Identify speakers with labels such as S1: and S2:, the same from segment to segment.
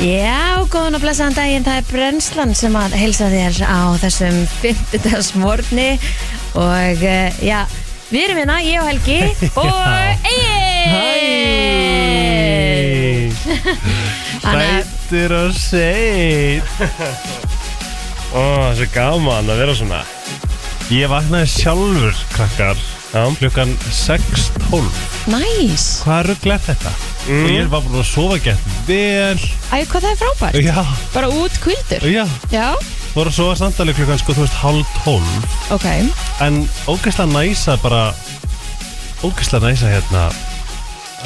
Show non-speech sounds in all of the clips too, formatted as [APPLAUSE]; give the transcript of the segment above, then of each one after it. S1: Já, góðan og blessaðan daginn, það er brennslan sem að heilsa þér á þessum 50. morgni og eh, já, við erum hérna, ég og
S2: [LAUGHS]
S1: Helgi og Egil! Þannig að-
S2: Sættir og sætt Ó, það er svo gaman að vera svona Ég vaknaði sjálfur, krakkar Já. Klukkan 6.12
S1: Næs!
S2: Hvað rugl er þetta? Og ég var búin að sofa gett vel
S1: Æ, hvað það er frábært?
S2: Já,
S1: Bara út kvildur?
S2: já
S1: Já,
S2: Fór að sofa samtali klukkan sko, þú veist, halv tólf
S1: ok.
S2: En ógeðslega næsa bara Ógeðslega næsa hérna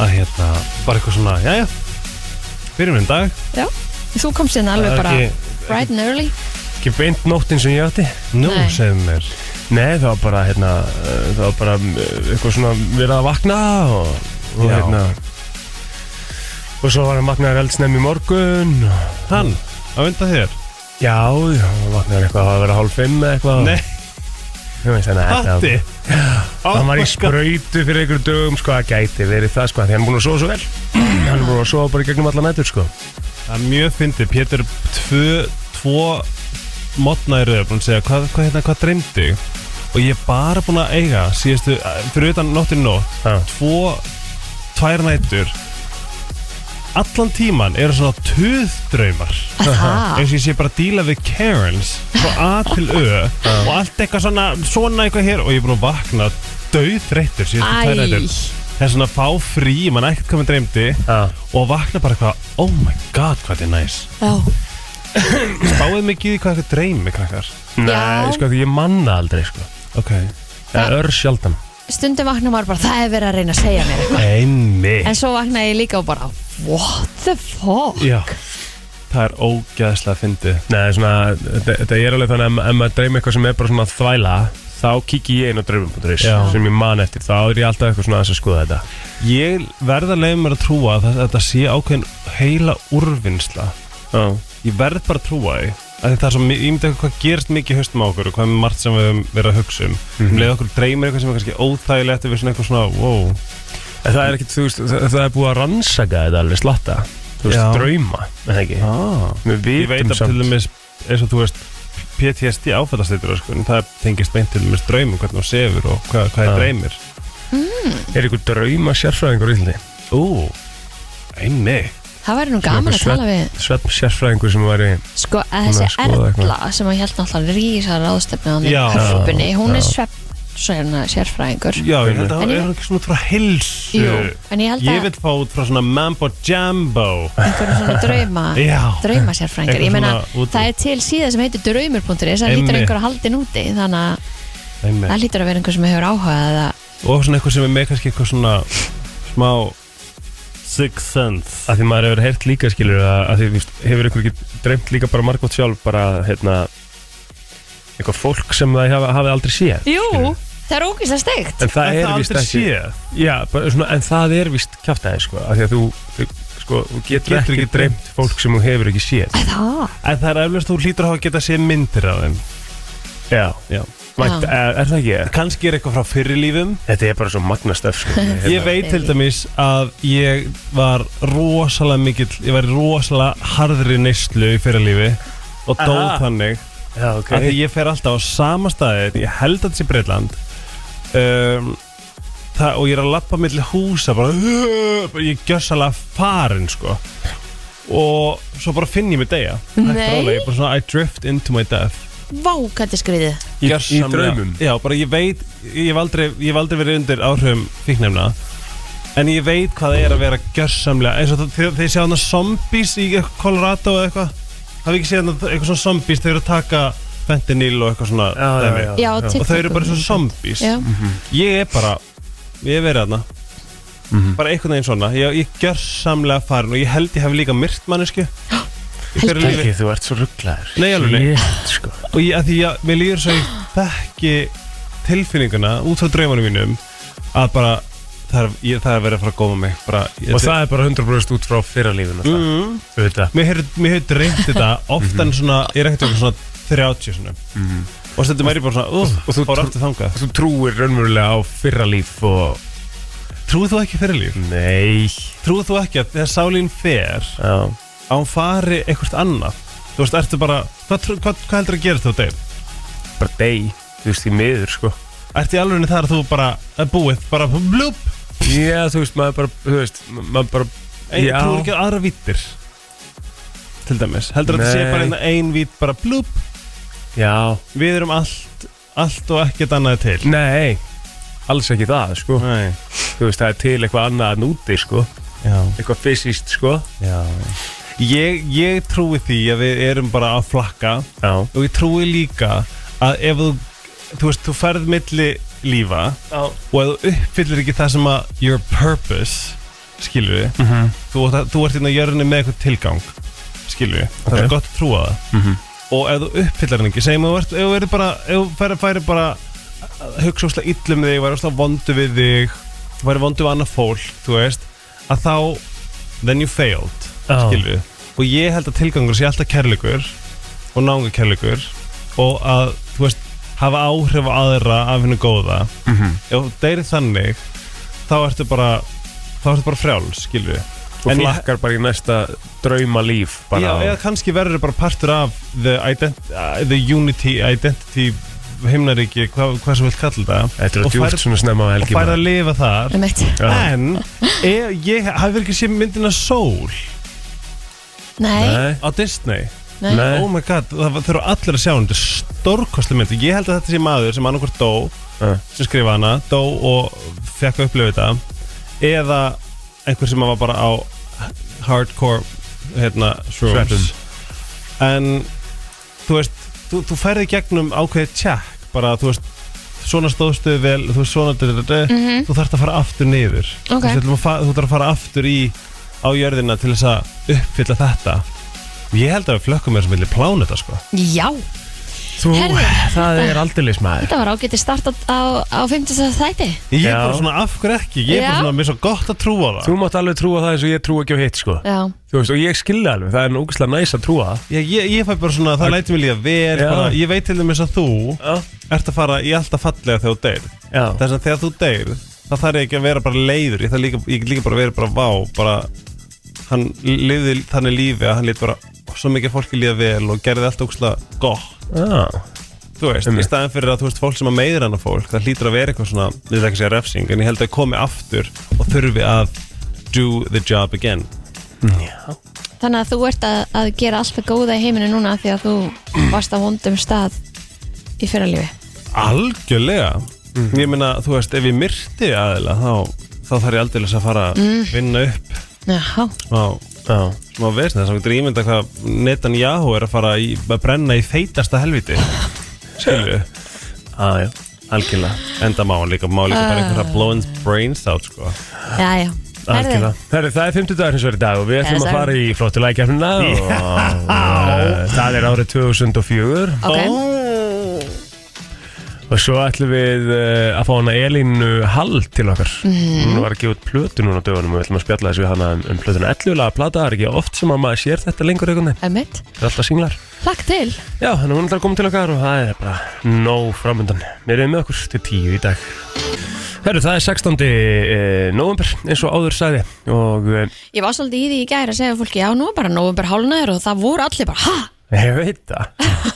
S2: Að hérna, bara eitthvað svona Jæja, fyrir minn dag
S1: Já, þú komst hérna
S2: Það
S1: alveg
S2: er
S1: bara
S2: ekki-
S1: bright and early.
S2: ekki beint nóttin sem ég átti Nú,
S1: Nei.
S2: segðu mér Nei, það var bara, hérna, uh, það var bara uh, eitthvað svona verið að vakna og, og
S3: Já.
S2: hérna og svo var hann vaknaður eldsnefn í morgun og,
S3: Hann, á undan þér
S2: já, já, hann vaknaður eitthvað að vera hálf fimm eða eitthvað
S3: Nei,
S2: Ég veist, þannig að
S3: Patti Oh
S2: þetta- hann var í spröytu fyrir einhverjum dögum sko, að gæti verið það sko, því hann er búin að sofa svo vel hann er búin að sofa bara í gegnum alla nætur sko
S3: Mm. Það er mjög fyndið, Pétur er tvö, tvo modnæri búin að segja hvað, hvað, hérna, hvað dreymdi þig?" og ég er bara búin að eiga síðastu, eh, fyrir utan nóttin í nótt
S2: Já.
S3: tvo, tvær nætur allan tíman eru svona tuðdraumar
S1: Aha.
S3: eins og ég sé bara að díla við Karens frá A til Ö og allt eitthvað svona, svona eitthvað hér og ég er búin að vakna döðrættur síðastu tvær
S1: Æ,
S3: nætur Það er svona að fá frí, mann ekkert hvað maður dreymdi
S2: Já.
S3: og vakna bara eitthvað, oh my god, hvað þetta er næs
S1: já,
S3: Spáðið mikið í hvað eitthvað dreymi, krakkar
S1: Já.
S2: Nei, sko, því ég manna aldrei sko
S3: Ok
S2: það er sjaldan
S1: stundum vakna maður bara, það er verið að reyna að segja mér eitthvað.
S2: einmitt
S1: En svo vaknaði ég líka og bara, what the fuck?
S3: Já Það er ógæðslega fyndið
S2: Nei, svona, þetta, þetta er alveg þannig að ef maður dreymi eitthvað sem er bara svona þvæla þá kiki ég inn á dreymum.is
S3: Já.
S2: sem ég man eftir, þá er ég alltaf eitthvað svona aðeins að skoða þetta
S3: Ég verð að leiða mér að trúa að það- þetta sé ákveðin heila úrvinnsla
S2: Já,
S3: Ég verð bara að trúa því að þetta er svo, mi- ég myndi eitthvað hvað gerist mikið í haustum á okkur og hvað er margt sem við höfum verið að hugsa um mm
S2: Mhm.
S3: -hmm. leið okkur dreymir eitthvað sem er kannski óþægilegt við svona eitthvað svona, wow
S2: En það er ekki, þú veist, það, það er búið að rannsaka þetta alveg slatta Þú veist,
S3: Já.
S2: drauma, en ekki
S3: ah.
S2: Við
S3: Ég veit
S2: vitum
S3: að til dæmis eins og þú veist PTSD áfættastýtur sko, en það tengist beint til dæmis draumum hvernig þú sefur og hvað, hvað
S2: Já.
S3: er dreymir
S2: Er ykkur drauma sérfræðingur í Íslandi?
S3: Hmm. Ú, einmi
S1: Það væri nú gaman að tala við
S2: Svepp sérfræðingur sem væri
S1: Sko, að
S2: Hún er
S1: þessi
S2: að skoða
S1: Erla sem að held náttúrulega rísa ráðstefni á því
S3: Já.
S1: hörpunni, hún er
S2: Já.
S1: svepp svona sérfræðingur
S3: Já, ég held að
S1: En
S3: það
S1: ég-
S3: er ekki svona út frá hilsu
S1: Jú, en ég held
S3: Ég
S1: að
S3: vil fá út frá svona mambo jambo
S1: einhverjum svona drauma
S3: [LAUGHS] Já.
S1: drauma sérfræðingur,
S3: Einhver
S1: ég meina
S3: svona út-
S1: það er til síða sem heitir draumur.is það lítur
S3: Einmitt.
S1: einhver að haldin úti, þannig að
S3: Einmi
S1: það lítur að vera einhver sem hefur áhugað að
S3: Og svona eitthvað sem er með kannski eitthvað svona smá Sixth Sense
S2: að því maður hefur heyrt líka skilur að, að því þú veist, hefur ykkur ekki dreymt líka bara margótt sjálf bara hérna eitthvað fólk sem það hafi, hafi aldrei séð
S1: Jú,
S2: skilurðu.
S1: það er ógeðslega steikt
S2: en það er víst
S3: aldrei
S2: ekki
S3: séð
S2: já, bara, svona, en það er víst kjáftæði sko, að því að þú, þú sko, þú getur,
S3: getur
S2: ekki
S3: ekki
S2: dreymt fólk sem þú hefur ekki séð
S1: Það,
S3: En það er eflaust þú hlýtur að hafa getað séð myndir af þeim
S2: já,
S3: Já
S2: Vænt, eh, er, er það ekki?
S3: Kannski er eitthvað frá fyrirlífum
S2: þetta er bara svo magnastöf sko,
S3: Ég veit til dæmis að ég var rosalega mikill, ég var í rosalega harðri neyslu í fyrirlífi og dó
S2: Aha.
S3: þannig
S2: já, ok
S3: að því ég fer alltaf á sama staðið, ég held að þetta sé Breitland um, það, og ég er að lappa milli húsa bara, bara ég gjörs alveg farin sko og svo bara finn ég mig degja
S1: Nei.
S3: ég bara svona I drift into my death
S1: vá, hvað þetta er skriðið
S3: Ég-
S2: Gjörsamlega.
S3: Já, bara ég veit, ég hef aldrei, ég hef aldrei verið undir áhrifum fíknefna En ég veit hvað það er að vera gjörsamlega eins og það- þegar þeir sjá hana zombies í eitthvað Colorado eða eitthvað Hafið ekki séð hana eitthvað svona zombies þegar að taka fentanyl og eitthvað svona
S2: Já, já,
S3: dæmi.
S2: já.
S1: Já,
S2: Og
S3: Og
S1: TikTok
S3: þau eru bara svona zombies
S1: Já,
S2: Mhm.
S3: Ég er bara, ég hef verið hana
S2: Mhm.
S3: Bara einhvern veginn svona, ég, ég gjörsamlega farin og ég held ég hef líka myrt
S1: [GASPS]
S3: mannesku
S1: Helgi.
S2: ekki, þú ert svo rugglaður
S3: Nei, alveg nei.
S2: sko.
S3: og ég, að því að mér líður svo ég þekki tilfinninguna út frá draumanum mínum að bara það er, ég, það er verið að fara að góma mig bara, ég,
S2: og það er bara 100% út frá fyrralífinu mm.
S3: mm,
S2: það,
S3: mér hefur mér hefur dreymt þetta
S2: [LAUGHS]
S3: oftan svona, ég er ekkert eitthvað svona 30 svona og stundum er ég bara svona, uh,
S2: Mhm. og þú
S3: fór
S2: trú-
S3: aftur þangað
S2: þú trúir raunverulega á fyrralíf og
S3: trúið þú ekki fyrir líf?
S2: Nei
S3: trúið þú ekki að þegar sálín fer
S2: Já,
S3: að hún fari eitthvað annað þú veist, ertu bara, hvað, trú- hvað, hvað heldur að gera þú Dave?
S2: bara dey, þú veist, því miður sko
S3: Ertu í alveg þar að þú bara er búið, bara blúp
S2: Já, þú veist, maður bara, þú veist, ma- maður bara
S3: ein,
S2: Já.
S3: þú er ekki á aðra vítir til dæmis, heldur að þetta sé
S2: Nei.
S3: bara hérna- ein- ein vít bara blúp,
S2: Já,
S3: við erum allt allt og ekkert annað til
S2: nei, alls ekki það, sko
S3: Nei,
S2: Þú veist, það er til eitthvað annað en úti, sko
S3: já,
S2: Eitthvað fysiskt, sko
S3: já ég, ég trúi því að við erum bara að flakka
S2: Já,
S3: og ég trúi líka að ef þú, þú veist, þú ferð milli lífa
S2: já,
S3: og ef þú uppfyllir ekki það sem að your purpose, skilur við
S2: Mhm.
S3: þú, átt að- þú ert inn á jörðinni með eitthvað tilgang skilur við, það
S2: Ok. Mhm.
S3: er gott að trúa það og ef þú uppfyllir hann ekki, segjum að þú ert, ef þú verður bara, ef þú færi, færi bara að hugsa óslega illum þig, væri óslega vondu við þig væri vondu við annað fólk, þú veist að þá, then you failed
S2: Já.
S3: skilur við, og ég held að tilgangur sé alltaf kærleikur og náunga kærleikur og að, þú veist hafa áhrif á aðra af hennu góða ef þú deyri þannig þá ertu bara þá ertu bara frjáls, skilur við
S2: Og
S3: En ég-
S2: flakkar bara í næsta drauma líf bara
S3: Já,
S2: á-
S3: eða kannski verður bara partur af the, ident uh, the unity, identity himnaríki, hvað, hvað sem við kallum það
S2: Þetta er
S3: og
S2: djúpt
S3: færa-
S2: svona snemma á
S3: og
S2: helgi
S3: fær að
S2: maður.
S3: lifa þar
S1: um eitt
S2: Já.
S3: en ef, ég hafi ekki séð myndina Soul
S1: Nei,
S2: Nei,
S3: á Disney
S1: nei,
S2: nei.
S3: oh my god, það var- þurfa allir að sjá hann þetta er stórkostlega mynd, ég held að þetta sé maður sem annarkvort dó,
S2: Já.
S3: sem skrifa hana dó og fekk að upplifa þetta eða einhver sem var bara á hardcore hérna, shrooms
S2: Sveppum.
S3: en þú veist, þú, þú færði gegnum ákveðið tjekk, bara þú veist svona stóðstu vel, þú veist svona -hmm. þú þarft að fara aftur niður
S1: Mhm. Ok.
S3: þú, veist, við ætlum að fa- þú þarft að fara aftur í á jörðina til þess að uppfylla þetta ég held að við flökkum er sem vilja plána þetta sko
S1: já
S2: Þú,
S1: Herðu.
S2: það er aldeilis maður
S1: Þetta var ágætið start á, á 50. þætti
S3: ég er
S2: Já.
S3: bara svona af hverju ekki, ég er
S1: Já.
S3: bara svona mér er svo gott að trúa það
S2: Þú mátt alveg trúa það eins og ég trúa ekki á hitt, sko
S1: Já,
S2: Þú veist, og ég skilja alveg, það er núgislega næs að trúa það
S3: Já, ég, ég fæ bara svona, það læti mig líða vel
S2: Já.
S3: bara, Ég veit til dæmis að þú ert að fara í alltaf fallega þegar þú deyr
S2: Já,
S3: Þess að þegar þú deyr, þá þarf ég ekki að vera bara leiður Ég þarf líka, ég get líka bara að vera bara vá bara, Hann liði þannig lífi að hann lít bara svo mikið fólki líða vel og gerði allt ókslega gott
S2: já,
S3: Þú veist,
S2: Einmitt.
S3: í staðan fyrir að þú veist fólk sem að meiðir annað fólk Það hlýtur að vera eitthvað svona, við það ekki segja refsing En ég held að komi aftur og þurfi að do the job again
S1: þannig að þú ert að, að gera allt það góða í heiminu núna af því
S2: [CLEARS THROAT]
S1: að þú varst á vondum stað í fyrralífi
S3: Algjörlega
S2: Mhm.
S3: Ég meina, þú veist, ef ég myrti aðila þá, þá þarf ég aldrei að fara að vinna upp
S1: Jaha,
S3: á
S2: já
S3: smá vesna þess að getur ímynda hvað Netanyahu er að fara í, að brenna í feitasta
S2: [LAUGHS]
S3: helviti skilju
S2: Já, Ah. já, algjörlega
S3: enda má hann líka, má líka bara einhverja blowing brains out sko
S1: já, já
S2: Algjörlega. Herri, það er 50 dagar hins vegar í dag og við ætlum að
S1: dagur.
S2: fara í flottulækjarnina og uh, það er árið 2004
S1: Ok,
S2: og svo ætlum við uh, að fá hana Elínu Hall til okkar
S1: Mhm.
S2: hún var að gefa út plötu núna á dögunum og við ætlum að spjalla þessu við hana um, um plötuna 11 laga plata, það er ekki oft sem að maður sér þetta lengur einhvern veginn,
S1: er mitt
S2: það er alltaf singlar
S1: Plakk til
S2: Já, þannig að hún ætlar að koma til okkar og það er bara nóg framöndan. Við erum með okkur til tíu í dag. Herru, það er 16. eh, november eins og áður sagði og eh,
S1: Ég var svolítið í því í gæri að segja fólki Já, nú er bara nóvember hálnaður og það voru allir bara Hæ?
S2: ég veit
S1: [LAUGHS]
S2: það.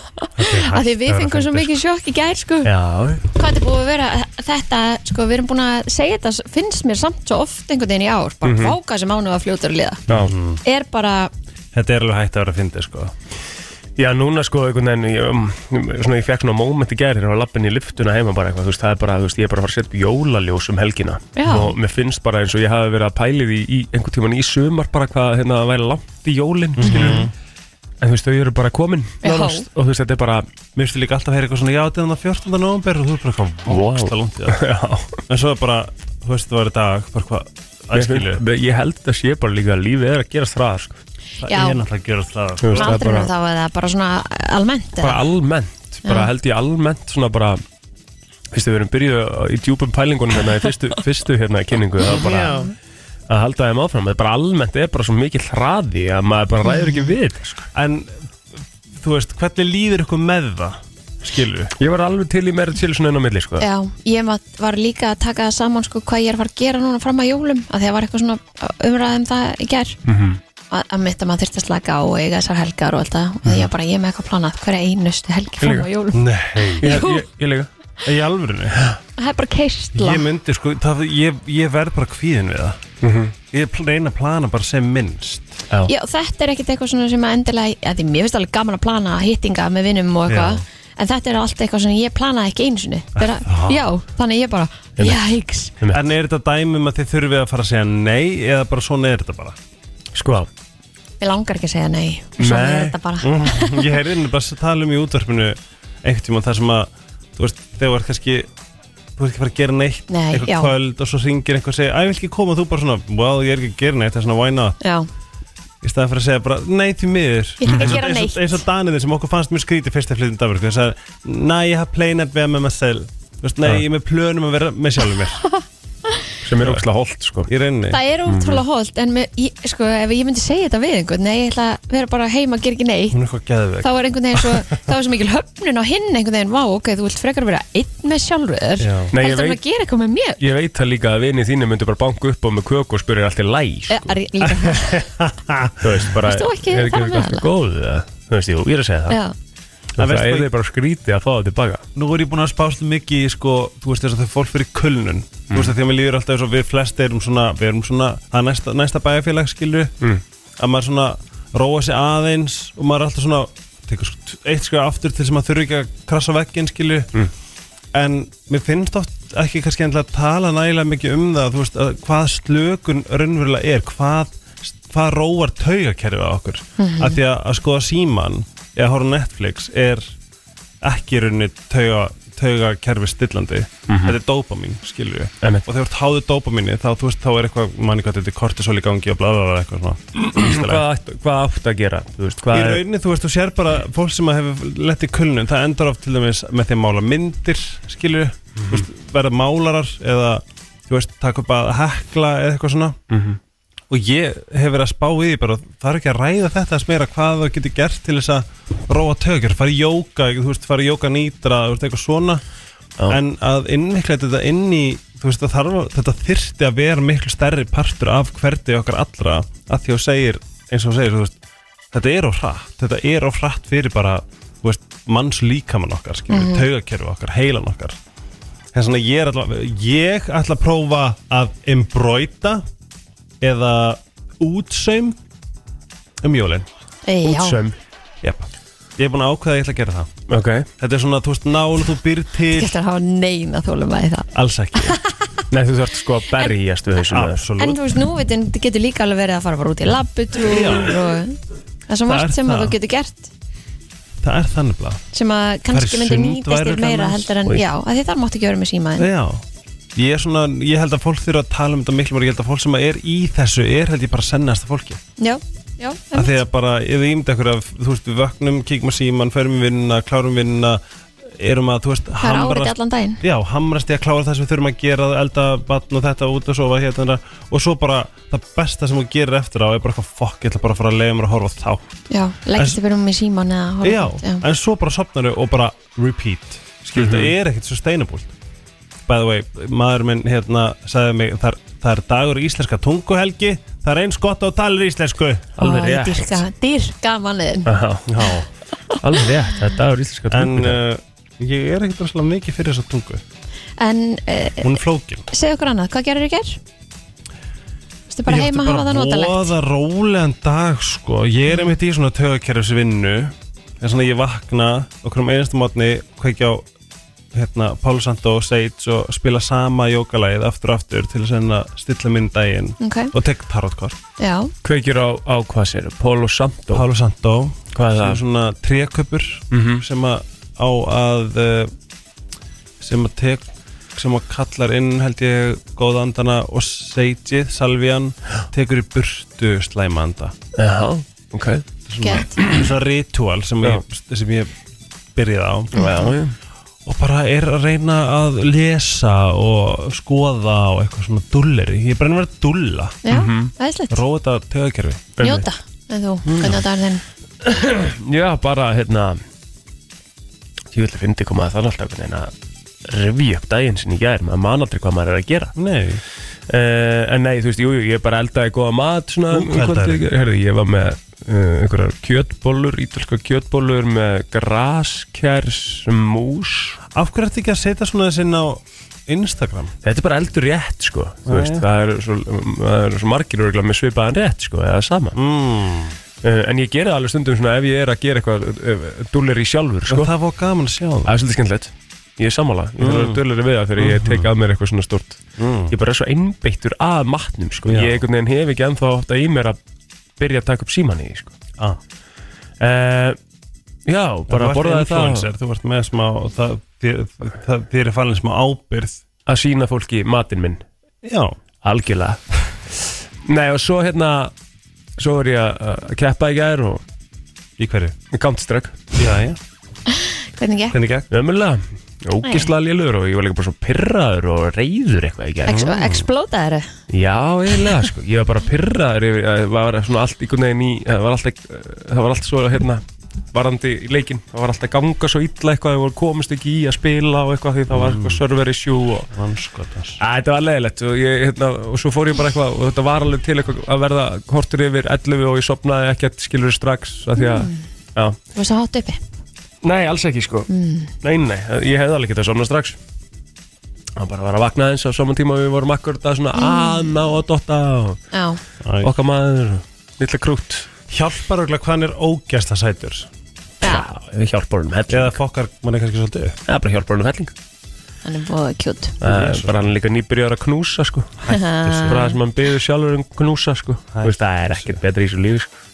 S1: Af því við fengum svo mikið sjokk í gæri sko
S2: Já,
S1: Hvað þetta er búið að vera þetta Sko, við erum búin að segja þetta Finnst mér samt svo oft einhvern veginn í ár Bara
S2: Mhm.
S1: mm -hmm. fáka sem ánum að fljóta að liða
S2: já.
S1: Er bara,
S3: þetta er alveg hægt að vera að fyndi sko
S2: já, núna sko einhvern veginn, ég, um, svona ég fekk svona moment í gæri og lappin í lyftuna heima bara eitthvað, þú veist, það er bara, þú veist, ég er bara að fara að setja upp jólaljós um helgina
S1: Já.
S2: og mér finnst bara eins og ég hafi verið að pæli því í einhvern tíman í sumar bara hvað, hérna, það væri langt í jólin, mm en þú veist, þau eru bara komin,
S1: Já.
S2: nánast, og þú veist, þetta er bara,
S3: mér finnst líka alltaf að heyra eitthvað svona já, þetta er þannig 14. november og þú er bara eitthvað
S2: Wow.
S3: vóksla langt í það
S2: [LAUGHS] já,
S3: en svo er bara, þú veist, það var í dag bara hvað, æskilu
S2: Ég- Ég held að sé bara líka að lífið er að gerast hraðar sko.
S3: það
S1: Já.
S3: er náttúrulega að gera það sko.
S2: Þú veist, það er
S1: aldrei
S2: bara,
S1: þá er það bara svona almennt
S2: bara almennt bara
S1: Já.
S2: held ég almennt svona bara Fyrstu við erum byrjuð í djúpum pælingunum hérna í
S1: [LAUGHS]
S2: fyrstu, fyrstu hérna kynningu það var bara að halda þeim áfram það bara almennt er bara svo mikið hraði að maður bara
S1: Mm.
S2: ræður ekki við þetta, sko.
S3: en þú veist, hvernig líður ykkur með það skilu
S2: Ég var alveg til í meira til svona enn á milli sko.
S1: Já, ég mat- var líka að taka það saman sko, hvað ég er að fara að gera núna fram að jólum að því að var eitthvað svona umræðum það um í gær að, að mitt að maður þurfti að slaka á og eiga þessar helgar og alltaf og ég bara, ég er með eitthvað planað hverja einustu helgi fram á jólum
S3: Nei
S2: Ég,
S1: Jú.
S2: ég, ég líka
S3: Í alvörinu
S1: það er bara keistla
S3: Ég myndi sko það, ég, ég verð bara kvíðin við það Ég pl- reyna að plana bara sem minnst
S1: Já, þetta er ekkert eitthvað svona sem að endilega að því mér finnst alveg gaman að plana hittinga með vinnum og eitthvað en þetta er allt eitthvað sem ég planaði ekki einu sinni Þeirra, já, þannig ég bara, jæks
S3: En er þetta dæmi um að þið þurfið að fara að segja nei Eða bara svona er þetta bara
S2: Sko,
S1: Mér langar ekki að segja nei Svo
S2: Nei.
S1: er þetta bara
S3: Mhm. Ég heyrði henni bara að tala um í útvarpinu einhvern tíma þar sem að þú veist, þegar var kannski þú veist ekki fara að gera neitt
S1: Nei,
S3: eitthvað
S1: já.
S3: kvöld og svo ringir einhver og segir æ, ég vil ekki koma, þú bara svona, well, ég er ekki að gera neitt það er svona why not,
S1: Já,
S3: í staðan fyrir að segja bara nei, því miður
S1: Ég ætla ekki að
S3: Eins og-
S1: gera
S3: eins og-
S1: neitt.
S3: eins og Daniðin sem okkur fannst mjög skrítið fyrst að flytja Danmark, þess að næ, ég hafa pleinat við með maður selv, þú veist, nei,
S2: Já.
S3: ég er með plönum að vera með sjálfum mér,
S2: sem er ógæslega holdt sko
S3: í rauninni
S1: það er útrúlega hólt en mér, ég, sko, ef ég myndi segja þetta við einhvern nei, ég ætla að vera bara heima að gera ekki neitt
S3: hún er eitthvað geðveg
S1: þá er einhvern veginn svo, þá er svo mikil höfnun á hinn einhvern veginn, vá, ok, þú vilt frekar vera einn með sjálfur,
S3: Já.
S2: Nei, ég
S1: heldur hann
S2: veit-
S1: að gera eitthvað með mér
S2: Ég veit það líka að vini þínu myndu bara banka upp og með köku og spyrir allt í læ
S1: Eh,
S2: sko.
S1: er ég líka,
S2: Þú veist bara
S1: Varst þú ekki þar
S2: er
S1: með
S2: kannski
S1: hana?
S2: góð eða? Þú veist, jú, ég er að segja það
S1: já,
S2: Það,
S3: veist
S2: það er
S3: þú-
S2: þið bara skrítið að fá það tilbaka
S3: Nú er ég búinn að spást mikið í sko, þú veist þess að þau fólk fyrir kulnun Þú veist að því að mér líður alltaf eins og við flest erum svona, við erum svona að næsta, næsta bæjarfélag skilur
S2: Mm.
S3: Að maður svona róa sig aðeins og maður er alltaf svona, tekur sk- eitt skrifa aftur til sem maður þurfi ekki að krassa veggin skilur
S2: Mm.
S3: En mér finnst oft ekki kannski endilega að tala nægilega mikið um það, þú veist, að hvað slökun raunverulega er, hvað, hvað róar taugakerfið á okkur Af því að, að skoða síman eða horfa á Netflix er ekki í rauninni tauga, tauga stillandi þetta er dopamin, skilju
S2: Einmitt.
S3: og þegar þú háður dopaminni þá, þú veist, þá er eitthvað, manni hvað þetta er kortisol í gangi og bla bla bla eitthvað svona
S2: Hvað átt, hvað átt að gera? Þú veist,
S3: í
S2: hvað er
S3: rauninni, þú veist, þú sér bara fólk sem að hefur lett í kulnun, það endar oft til dæmis með því að mála myndir, skilju
S2: Mhm.
S3: þú veist, verða málarar eða þú veist, taka upp að hekla eða eitthvað svona
S2: Mhm.
S3: og ég hef verið að spá í því bara, það er ekki að ræða þetta að smera hvað þú getur gert til þess að róa tökjur, fara í jóka, þú veist, fara í jóka nýtra, þú veist, eitthvað svona
S2: Já.
S3: en að innvikla þetta inn í þú veist, það þarf, að- þetta þyrfti að vera miklu stærri partur af hverdi okkar allra að því að þú segir, eins og þú segir þú veist, þetta er of hratt, þetta er of hratt fyrir bara, þú veist, manns líkamann okkar, skilur, mm okkar heilan okkar þess vegna ég er alltaf ég ætla að prófa að embroita eða útsaum um jólin
S1: Eh, já.
S2: útsömm?
S3: yep. ég er búin að ákveða að ég ætla að gera það
S2: Ok,
S3: þetta er svona, þú veist, nál þú býr
S1: Ég
S3: til
S1: ætla að hafa neina þólumæði það
S3: alls ekki,
S2: nei þú þarft sko að berjast við þessum með
S1: En
S3: absolutt
S1: þú veist, núvitin getur líka alveg verið að fara bara út í labbutúr og það er svo
S3: Það er
S1: margt sem
S3: það.
S1: að þú getur gert
S3: það er þannig blað
S1: sem að kannski myndi nýtast
S3: sundværur
S1: þér meira
S3: annars.
S1: heldur en,
S3: Oj.
S1: já, að því þar máttu ekki vera með símaðin
S3: já, ég er svona ég held að fólk þurfa að tala um þetta miklu mér ég held að fólk sem er í þessu er held ég bara sennast að fólki
S1: Já, já,
S3: að því að bara, ef við ímda ykkur að þú veist, við vöknum, kíkum að síman, förum í vinnuna klárum vinnuna, erum að, þú veist
S1: það er
S3: hamrast-
S1: árið allan daginn
S3: já, hamrast ég að klára það sem við þurfum að gera elda batn og þetta út og sofa hérna og svo bara það besta sem þú gerir eftir á er bara eitthvað fokk, ég ætla bara að fara að leiða mér að horfa á þá
S1: Já,
S3: En-
S1: leggist þið fyrir um í síman eða horfa
S3: já,
S1: út, já.
S3: en svo bara sopnar og bara repeat, skil,
S2: Mhm.
S3: það er ekkert sustainable by the way, maður minn hérna sagði mig, það er, það er dagur íslenska tunguhelgi, það er eins gott og talir íslensku
S2: alveg
S1: Ó, ég
S2: rétt.
S1: Dyrka, dyrka manniðin
S2: Já,
S3: já,
S2: alveg rétt, þetta er íslenska
S3: en
S2: tungu
S3: uh, ég er ekkert rosalega mikið fyrir þessa tungu
S1: En uh,
S3: hún er flókin
S1: segðu okkur annað, hvað gerir þið ger? Vistu bara heima að hafa það
S3: Ég
S1: notalegt
S3: átti bara voða rólegan dag sko Ég er einmitt í svona tögakerfisvinnu En svona ég vakna okkur um einasta mótni Kveikja á hérna, Pálu Sandó og Seitz Og spila sama jókalagið aftur og aftur Til þess að stilla minn daginn
S1: Ok,
S3: Og tek tarotkort
S1: já,
S2: Kveikir eh, á, á hvað sér, Polo Santo
S3: Pálu Sandó
S2: Hvað er
S3: sem er
S2: það?
S3: svona tréköpur
S2: Mhm.
S3: Sem að á að eh, Sem að tek sem að kallar inn held ég góða andana og seitið, salvian tekur í burtu slæma anda
S2: Já, ok
S1: gett
S3: svona ritual sem
S2: Já.
S3: ég, sem ég byrjaði á
S2: Já, já.
S3: og bara er að reyna að lesa og skoða og eitthvað svona dulleri ég er bara að vera að dulla
S1: Já,
S3: Mhm.
S1: aðeinslegt,
S3: róa þetta tögakerfi
S1: njóta En þú,
S3: Mm.
S1: hvernig þetta er þinn
S2: Já, bara hérna Ég vil finna ekki koma að það alltaf einhvern veginn að revja upp daginn sinni í gær maður man aldrei hvað maður er að gera
S3: Nei
S2: uh, en nei, þú veist, jú, jú, ég bara eldaði góða mat svona
S3: Nú,
S2: um
S3: hvað
S2: kvöldið.
S3: eldaðirðu?
S2: Herðu, ég var með uh, einhverjar kjötbólur, ítalska kjötbólur með graskers mús
S3: Af hverju ertu ekki að setja svona þess inn á Instagram?
S2: þetta er bara eldur rétt, sko þú
S3: Já,
S2: veist,
S3: já.
S2: það eru svo, það er svo margir örugglega með svipaðan rétt, sko, eða sama
S3: Mm.
S2: uh, en ég geri það alveg stundum svona ef ég er að gera eitthvað dúlir í sjálfur, sko
S3: Sko? Það var gaman að sjá það
S2: Það er svolítið skemmtilegt Ég er sammála, ég þarf
S3: Mm.
S2: að vera dölur við það þegar ég
S3: Mm-hmm.
S2: tek að mér eitthvað svona stort Ég er bara svo einbeittur að matnum sko. Ég
S3: Já.
S2: einhvern veginn hef ekki ennþá átt að í mér að byrja að taka upp síman í því, sko.
S3: ah.
S2: uh, Já, bara borðaði það
S3: influencer, Þú ert með smá það, þér, það, þér er falin smá ábyrð
S2: að sína fólki matinn minn
S3: Já
S2: Algjörlega [LAUGHS] Nei og svo hérna Svo er ég að- að keppa í gær og
S3: Í hverju?
S2: Counter-Strike
S3: Já, já
S1: Hvernig gekk?
S3: Hvernig gekk?
S2: Ömulega, ógislega lélur og ég var líka bara svo pirraður og reyður eitthvað í gær
S1: Ex Explótaður
S2: Já, eiginlega, sko. Ég var bara pyrraður yfir, það var svona allt einhvern veginn í, það var alltaf, það var alltaf svo, hérna, varandi í leikinn, það var alltaf að ganga svo illa eitthvað, það voru komist ekki í að spila og eitthvað því það var eitthvað server issue og...
S3: Vanskotans
S2: Æ, þetta var leiðilegt og, ég, hérna, og svo fór ég bara eitthvað og þetta var alveg til eitthvað að verða hortur yfir 11 og ég sopnaði ekkert skilur strax að því að, já.
S1: Þú var svo hátt uppi
S2: Nei, alls ekki, sko. Nei, nei, ég hefði alveg getað sopnað strax. Það bara var að vakna eins á saman tíma og við vorum akkur þetta svona að ná að dotta og
S1: Já
S2: okkar maður lilla krút
S3: Hjálpar auðvitað hvað hann er ógæsta sætur
S1: Já,
S2: við hjálpar honum helling
S3: Eða fokkar manni kannski svolítið upp
S2: það er bara hjálpar honum helling
S1: hann er búið kjút
S2: það er bara hann líka nýbyrjar að knúsa sko bara það sem hann byrður sjálfur um knúsa sko Þú veist, það er ekkert betra í þessu lífi sko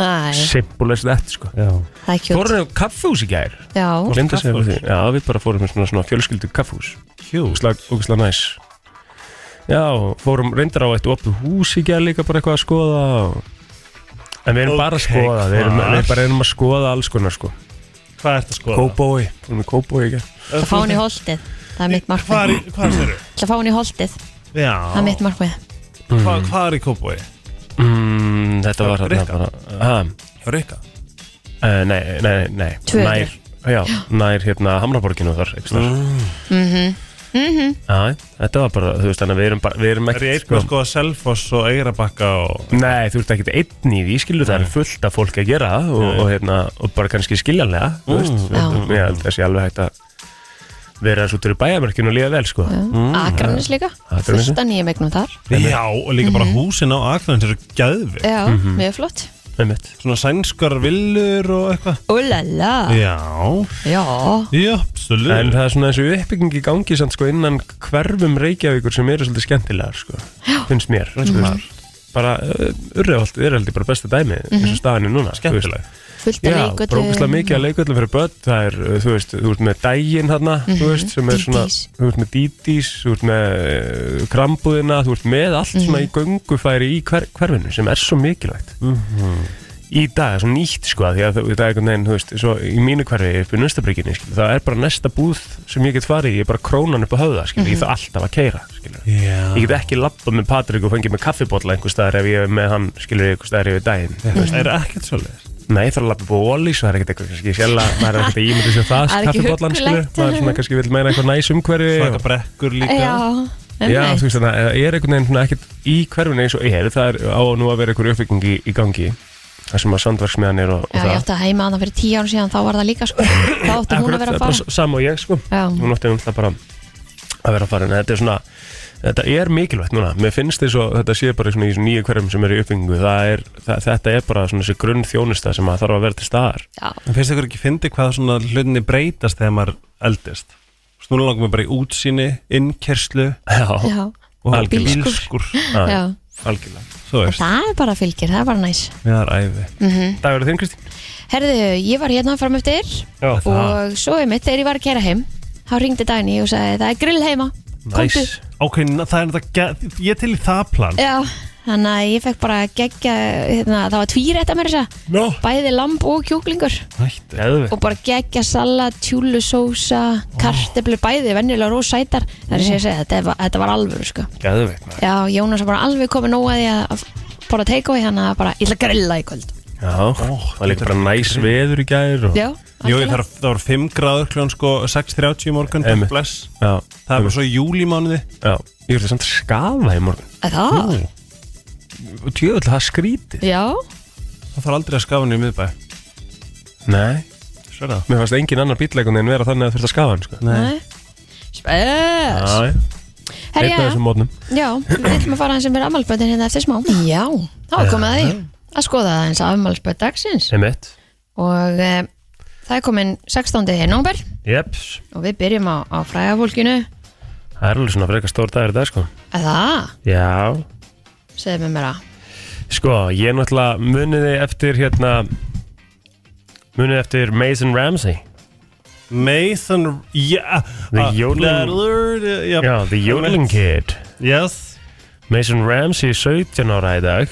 S1: Það
S2: simple as that sko
S3: Já
S1: er kjút
S2: fórum við kaffhús í gær
S1: Já,
S2: Gleymdi að segja frá því. já við bara fórum við svona, svona fjölskyldu kaffhús
S3: Hjúst
S2: ógislega næs já fórum reyndar á eitt opið hús í gær líka bara eitthvað að skoða og... en við erum bara að
S3: Ok,
S2: skoða við erum,
S3: hvar?
S2: við bara erum að skoða alls konar sko
S3: Hvað ert að skoða?
S2: Kóbói fórum við Kóbói í gær
S1: að fá hann í holdið Það er mitt
S3: Hvað
S1: markmið
S3: er í, hvað er þeirri?
S1: Það að fá hann í holdið
S3: Já
S1: Það er mitt markmið
S3: Hvað, hvað er í kópói?
S2: Mm, þetta var hérna
S3: Rikka?
S2: bara ha,
S3: Hjá Rikka
S2: uh, Nei, nei, nei
S1: Tvö
S2: Nær, já, nær hérna Hamraborginu þar mm. að, Þetta var bara, þú veist, þannig að við erum, bara, við erum
S3: Er ég sko?
S2: ekkert sko,
S3: eitthvað að skoða Selfoss og Eirabakka og
S2: Nei, þú ert ekkert einn í því, skilur það er fullt af fólki að gera og, og, hérna, og bara kannski skiljanlega Þú veist,
S1: Já.
S2: Ég held að það sé alveg hægt að vera þessu út úr í bæjarmörkinu og líða vel, sko
S3: Mm.
S1: Akranis líka
S2: Akranesi.
S1: Fullt af nýjum eignum þar
S3: Já, og líka
S1: Mhm.
S3: bara húsin á Akran Þeir eru gæðvig
S1: Já,
S2: Mhm.
S1: mjög flott
S2: Einmitt.
S3: Svona sænskar villur og eitthvað
S1: Úlala
S3: Já
S1: Já
S3: Já, absolutt
S2: En það er svona þessu uppbygging í gangi samt, sko, innan hverfum Reykjavíkur sem eru svolítið skemmtilegar sko, finnst mér mm -hmm. bara urðvöld, er heldur bara besta dæmi eins og staðinni núna
S3: Skemmtileg.
S1: Fullt af
S2: Já,
S1: leikvöldum
S2: brókislega mikið að leikvöldum fyrir börn það er, uh, þú veist, þú ert með dægin þarna, þú veist, sem er svona
S1: Dítís.
S2: þú ert með dítís, þú ert með uh, krambúðina, þú ert með allt svona í göngufæri í hver, hverfinu sem er svo mikilvægt í dag, svo nýtt sko, af því að það er einhvern veginn, þú veist, svo í mínu hverfi upp í nöstabrygginni, skil, það er bara næsta búð sem ég get farið, í, ég er bara krónan upp á höfða skil, ég þarf alltaf að keira, skilur
S3: Já
S2: Ég get ekki lappa með Patrik og fengið með kaffibotla einhver staðar ef ég er með hann, skilur ég, einhver staðar yfir daginn.
S3: Það er ekkert svolítið
S2: Nei, ég þarf að lappa búið óli, svo það er ekkert eitthvað, kannski ég
S1: [LAUGHS]
S2: sjálf að maður er ekkert að ímynda sér það,
S1: Það er ekki
S2: kaffibollan, skilur,
S1: huggulegt.
S2: maður svona kannski vil meina eitthvað næs umhverfi.
S3: Svaka brekkur líka
S1: Já
S2: Já,
S1: einmitt.
S2: þú veist þannig, að er einhvern veginn svona ekkert í hverfinu eins og er, það er á nú að vera einhver uppbygging í, í gangi, það sem að sandverksmiðan er og, og
S1: Já, ég
S2: það.
S1: átti að heima að það fyrir tíu árum síðan þá var það líka sko Þá átti hún að vera að
S2: bara
S1: fara
S2: s- sama og ég, sko,
S1: Já.
S2: hún átti um það bara að vera að fara, en þetta er svona, þetta er mikilvægt núna, mér finnst þess að þetta sé bara svona í svona nýju hverfum sem eru í uppbyggingu, það er, það, þetta er bara svona þessi grunn þjónusta sem að þarf að vera til staðar.
S1: Já,
S3: En finnst ykkur ekki fyndi hvað svona hlutinni breytast þegar maður eldist? Svo Núna langum við bara í útsýni, innkerslu
S2: Já,
S1: já,
S3: og
S1: Bílskúr.
S3: bílskur.
S2: Já,
S1: já
S2: algjörlega.
S3: Þú veist,
S1: Það er bara fylgir, það er bara næs
S3: við það er æði.
S1: Mhm.
S2: Það verður þinn, Kristín?
S1: Herðu, ég var hérna fram eftir
S2: Já,
S1: og svo er mitt þegar ég var að kera heim þá ringdi Dani og sagði það er grill heima komdu
S2: Næs.
S3: Ok, na- það er þetta, ge- ég er til í það plan.
S1: já þannig að ég fekk bara geggja hérna, það var tvírætt að mér þess að
S2: Nó.
S1: bæði lamb og kjúklingur
S3: Ætti.
S2: Geðvegt.
S1: og bara geggja salat, tjúlusósa karteblur bæði, venjulega rósætar það er sem ég segi, þetta, var- þetta var alvöru sko.
S2: Geðveikt, maður.
S1: já, Jónas var bara alveg komið nóg að ég að bara teika og hérna bara, ég ætla að grilla í kvöld
S2: Já, það var líka bara næs veður í gær og
S1: já,
S3: Jú, ég þarf, það var 5 gráður kljóðan sko 6.30 í morgun,
S2: Einmitt.
S3: takk bless
S2: Já,
S3: Það er bara svo júlímánuði
S2: Já, ég verði samt skafa í morgun
S4: Er Það?
S2: Tjöfull, það skrítið
S4: Já,
S3: Það þarf aldrei að skafa hann í miðbæ
S2: Nei,
S3: Sverða
S2: mér fannst engin annar bílleikun en vera þannig að þurft að skafa hann sko.
S4: nei Spes
S2: Já,
S4: Herri,
S2: Einn af
S4: já,
S2: þessum mótnum
S1: Já, við ætlum að fara hans sem er afmálspöldin hérna eftir smá
S4: já
S1: Þá er komið að því að skoða það eins afmálspöld dagsins
S2: Sem mitt
S1: og e, það er komin 16. nómber
S2: Jeps,
S1: og við byrjum á, á frægafólkinu
S2: það er alveg svona frekar stór dagur í dag sko
S1: að það,
S2: Já,
S1: segðu mér mér að
S2: sko, ég náttúrulega muniði eftir hérna muniði eftir Mason Ramsey
S3: Nathan, já
S2: The
S3: Ah,
S2: Yodeling-
S3: blurred, Já,
S2: Já, The Yodeling Kid
S3: eh, Yes,
S2: Mason Ramsey, 17 ára í dag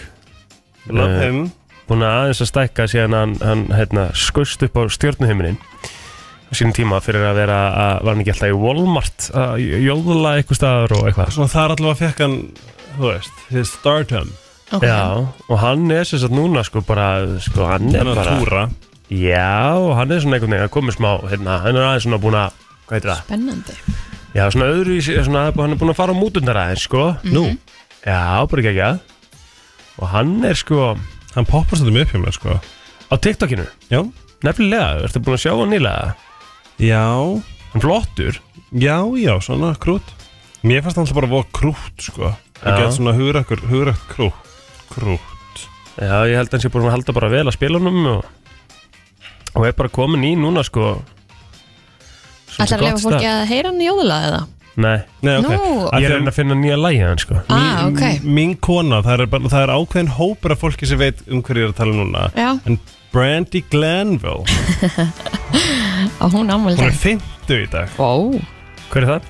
S3: love
S2: Eh,
S3: him
S2: búin að aðeins að stækka síðan hann, hann hérna, skust upp á stjórnuhiminin á sínum tíma fyrir að vera að var hann ekki alltaf í Walmart að jóðla eitthvað staðar og eitthvað
S3: Svona það er allavega fekk hann, þú veist, his stardom
S2: Já, og hann er sem sagt núna sko bara, sko hann er
S3: Hann er að
S2: bara
S3: túra
S2: Já, og hann er svona einhvern veginn að koma smá, hérna, hann er aðeins svona búin að hvað heitir það?
S1: Spennandi
S2: Já, svona öðru í sig, svona hann er búin að fara á mútundar aðeins sko Nú? Já, bara ekki ekki að og hann er sko á
S3: Hann poppar svolítið mjög upp hjá mér, sko
S2: TikTokinu,
S3: Já
S2: nefnilega, ertu búin að sjá hann nýlega?
S3: Já,
S2: Hann flottur
S3: já, já, svona krút Mér fannst hann alltaf bara að voða krút, sko
S2: Já.
S3: Það get svona hugrakkur, hugrakk krút Krút
S2: Já, ég held að hann sé búin að halda bara vel að spilunum og, og er bara komin í núna sko
S1: Ætlar að lefa fólki að heyra hann jóðla eða?
S2: Nei,
S3: Nei, ok
S1: Nú.
S3: Af
S2: ég
S3: því
S2: er
S3: að-
S2: enn að finna nýja lægi hann sko
S3: Mm,
S1: Ah, ok
S3: Mín kona, það er, bara, það er ákveðin hópur af fólki sem veit um hverju ég er að tala núna
S1: Já,
S3: En Brandy Glanville
S1: og hún ámæli
S3: Hún er
S1: dag
S3: 50 í dag
S1: Ó,
S2: Hver er það?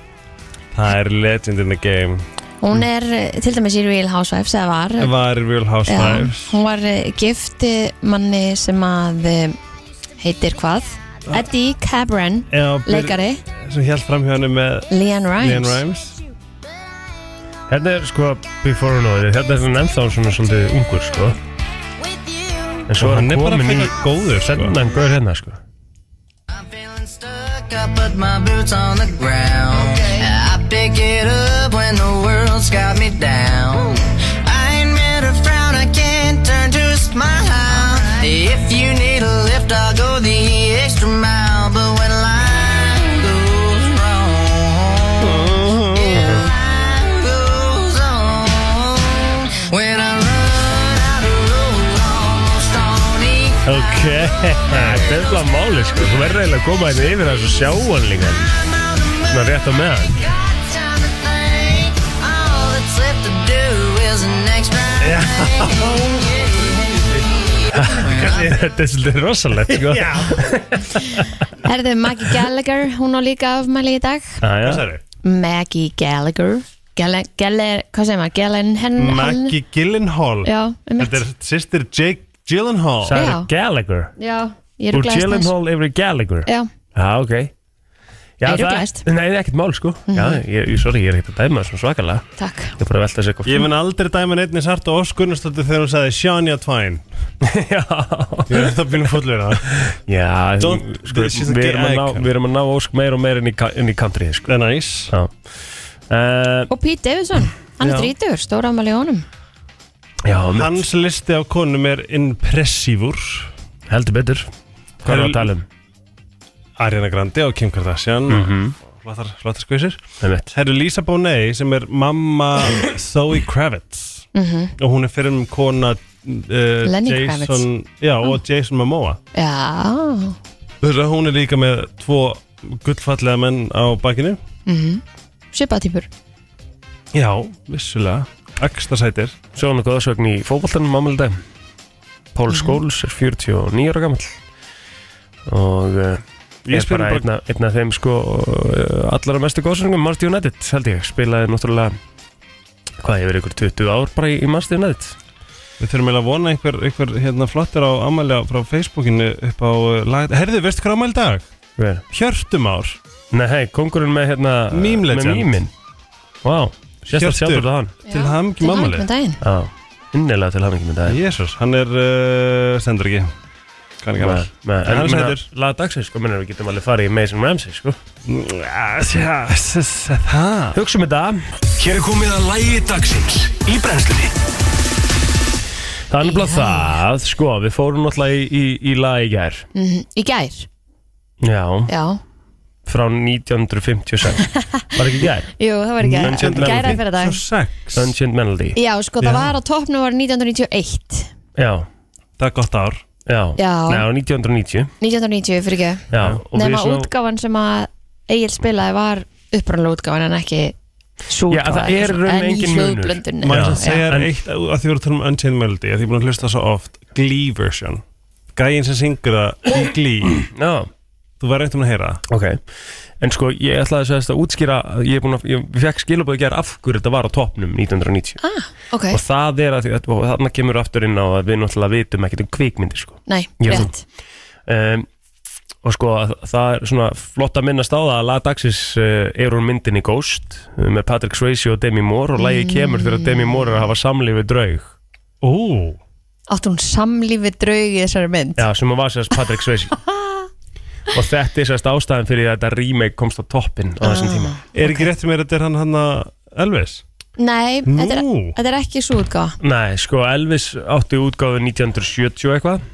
S3: Það er legend in the game
S1: hún er eh, til dæmis í Real Housewives eða var
S3: Var í Real
S1: Já,
S3: Housewives
S1: hún var eh, gifti manni sem að eh, heitir hvað?
S3: Ah.
S1: Eddie Cabran,
S3: Já, byr-
S1: leikari,
S3: Sem held fram hjá henni með
S1: Leanne
S3: Eh, Leon
S1: Rimes.
S3: Rimes
S2: Hérna er sko Before and Over Hérna er hann ennþá svona svolítið ungur sko En svo
S3: Og
S2: er hann
S3: hann er bara
S2: komin í
S3: fyrir góður sko.
S2: Sennan gaur hérna sko
S5: I'm feeling stuck, I put my boots on the ground. I pick it up when the world's got me down. I ain't made a frown, I can't turn to a smile. If you need a lift, I'll go the extra mile. But when life goes
S2: Oh.
S5: wrong, yeah, life goes on. When I run out of road, almost on E.
S2: Ok, [LAUGHS] þetta er bara máli sko Þú verður eiginlega að koma hérna yfir þess að sjá hann líka Svona rétt á meðan [LAUGHS]
S5: [LAUGHS]
S2: Þetta er svolítið rosalegt sko [LAUGHS] Já,
S1: Erðu Maggie Gallagher, hún á líka afmæli í dag
S2: já
S1: Maggie Gallagher Gale, Gale, hvað segir maður, Galen henn
S3: Maggie Gyllenhaal
S1: Já, um
S3: Þetta er sýstir Jake Gyllenhaal
S2: Það
S1: Já.
S2: er Gallagher
S1: Já, ég er
S2: Úr
S1: glæst þess
S2: Gyllenhaal yfir í Gallagher
S1: Já,
S2: Já, ok Já,
S1: Eru Mhm.
S2: það-
S1: glæst.
S2: Nei, það er ekkert mál sko Já, ég, ég- sorry, ég er ekkert að dæma þessum svakalega
S1: takk
S2: Ég er bara að velta þessu eitthvað
S3: Ég mun aldrei dæma neittni Sarta Ós Gunnarsdóttir þegar hún sagði Shania Twain
S2: [LAUGHS] Já,
S3: Ég er þetta að byrja fólur það
S2: já
S3: Don't-
S2: sko,
S3: this is a
S2: við,
S3: gay
S2: erum að ná,
S3: icon.
S2: við erum að ná ósk meir og meir inn í, ka- inn í country sko.
S3: Það er næs
S2: Já uh,
S1: Og Pete Davidson, hann
S3: Já.
S1: er drítur, stóra afmæli í honum
S2: Já, hann...
S3: Hans listi á konum er impressívur
S2: heldur betur Hvað er að tala um?
S3: Ariana Grande og Kim Kardashian mm -hmm. Flottar, flottar skvísir
S2: Það mitt
S3: Það eru Lisa Bonet sem er mamma Zoe Kravitz
S1: Mhm.
S3: og hún er fyrir um kona uh,
S1: Lenny
S3: Jason,
S1: Kravitz. Ah.
S3: Já, og Jason Momoa
S1: Já,
S3: Þess að hún er líka með tvo gullfallega menn á bakinu
S1: Mhm. sjöpatýpur
S3: Já, vissulega Ekstra sætir
S2: Svo hann og góðsögn í fótboltanum ámæli dag Pól Skóls er 49 ára gamall Og uh,
S3: Ég
S2: er
S3: spyr
S2: bara
S3: bara,
S2: einn af- einn af þeim sko uh, Allara mestu góðsögnum Manchester United held ég Spilaði náttúrulega Hvað, hefur ykkur 20 ár bara í, í Manchester United
S3: Við þurfum eiginlega að vona einhver, einhver hérna, flottir á amæli frá Facebookinu upp á uh, lag... Herðu, veistu hvað amæli dag?
S2: Hver?
S3: Hjörtumár
S2: Nei, hei, kongurinn með hérna
S3: Meme
S2: Með
S3: legend.
S2: mýmin Vá, sérst að
S3: Hjörtur.
S2: sjáttur það hann
S3: til hamngi mammalið
S1: daginn
S2: Já, innilega til hafingi með dag
S3: Jésús, hann er uh, eh, stendur ekki Kann ekki að
S2: Nei,
S3: vera En
S2: nei,
S3: hann er
S2: en meina,
S3: sætur.
S2: laga dagsins sko, minnur við getum alveg farið í Mason Ramsey sko
S3: Það
S2: Hugsa um þetta,
S6: Hér er komið að lægi dagsins í brennslunni
S2: það er nefnilega það sko, við fórum náttúrulega í, í, í lag í gær
S1: Mhm. Í gær,
S2: Já,
S1: já
S2: frá 1956 Var ekki í gær?
S1: Jú, það var í gær,
S2: Mentioned Melody.
S1: gæra fyrir dag
S3: sex
S2: Ancient Melody
S1: Já, sko, það
S3: Já.
S1: var á toppnum var 1991
S2: Já,
S3: Það er gott ár
S2: já,
S1: Já.
S2: Nei, á 1990
S1: 1990 fyrir ekki
S2: Já, og við
S1: Nefna
S2: svona-
S1: útgáfan sem að Egil spilaði var upprannlega útgáfan en ekki svo
S2: Já, það er raun
S1: en
S2: engin
S1: í
S2: munur.
S1: hljóðblöndunni.
S3: Má ég
S2: Já.
S3: sem segja
S2: En-
S3: þér eitt að því voru að tala um Unchained Melody að því ég er búin að hlusta svo oft Glee version Gæin sem syngur það í Glee
S2: Já,
S3: Þú verður eitthvað að heyra það
S2: ok En sko, ég ætlaði að, að útskýra Ég er búin að, ég fekk skilabóð í gær af hverju þetta var á toppnum 1990
S1: Ah, ok,
S2: Og það er að því, og þarna kemur aftur inn á að við náttúrulega vitum ekkert um kvikmyndir sko
S1: nei,
S2: Já.
S1: rétt
S2: um, og sko þa- það er svona flott að minnast á það að lag dagsins uh, er úr myndinni Ghost uh, með Patrick Swayze og Demi Moore og lagið kemur þegar Demi Moore er að hafa samlífi draug
S3: Ó,
S1: Áttu hún samlífi draug í þessari mynd
S2: já, sem að var sérst Patrick Swayze og þetta er sérst ástæðan fyrir að þetta remake komst á toppin á þessum tíma
S3: er ekki rétt mér að þetta er hann hann að Elvis?
S1: Nei, þetta er,
S3: Nú.
S1: þetta er ekki svo útgáfa
S2: nei, sko Elvis átti útgáfu 1970 og eitthvað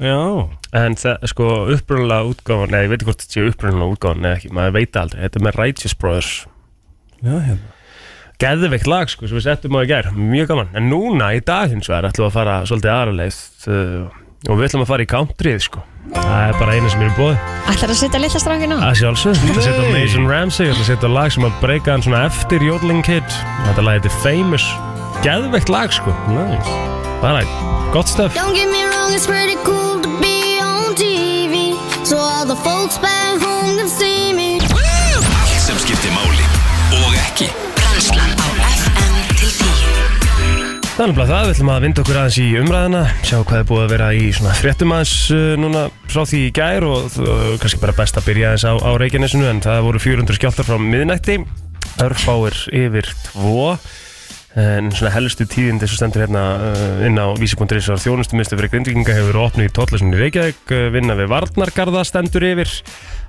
S3: Já
S2: en það, sko upprunalega útgáfan nei, ég veit ekki hvort þetta sé upprunalega útgáfan eða ekki, maður veit það aldrei, þetta er með Righteous Brothers
S3: Já, hérna
S2: geðveikt lag sko sem við settum á í gær mjög gaman, en núna í dag hins vegar ætlum við að fara svolítið aðra leið uh, og við ætlum að fara í countryð sko það er bara eina sem ég er búið
S1: Ætlar að setja litla strákin á?
S2: að sjálfsög, ég ætla að setja
S3: Nei.
S2: Mason Ramsey ég ætla að setja lag sem að breyka hann svona eftir Jodling Kid, þetta lag heitir Famous geðveikt lag sko nice. bara, gott stöf
S7: Don't get me wrong, it's pretty cool to be on TV. So all the folks back home can see me.
S6: Allt sem skiptir máli og ekki
S8: Brennslan á FM til 10
S2: þannig að það, við ætlum að vinda okkur aðeins í umræðina sjá hvað er búið að vera í svona fréttum aðeins uh, núna frá því í gær og uh, kannski bara best að byrja aðeins á, á Reykjanesinu en það voru 400 skjáltar frá miðnætti örfáir yfir tvo en svona helstu tíðindi sem stendur hérna uh, inn á vísi.is og þjónustumistu fyrir grindvikinga hefur verið opnuð í tóllesunni Reykjavík uh, vinna við varnargarða stendur yfir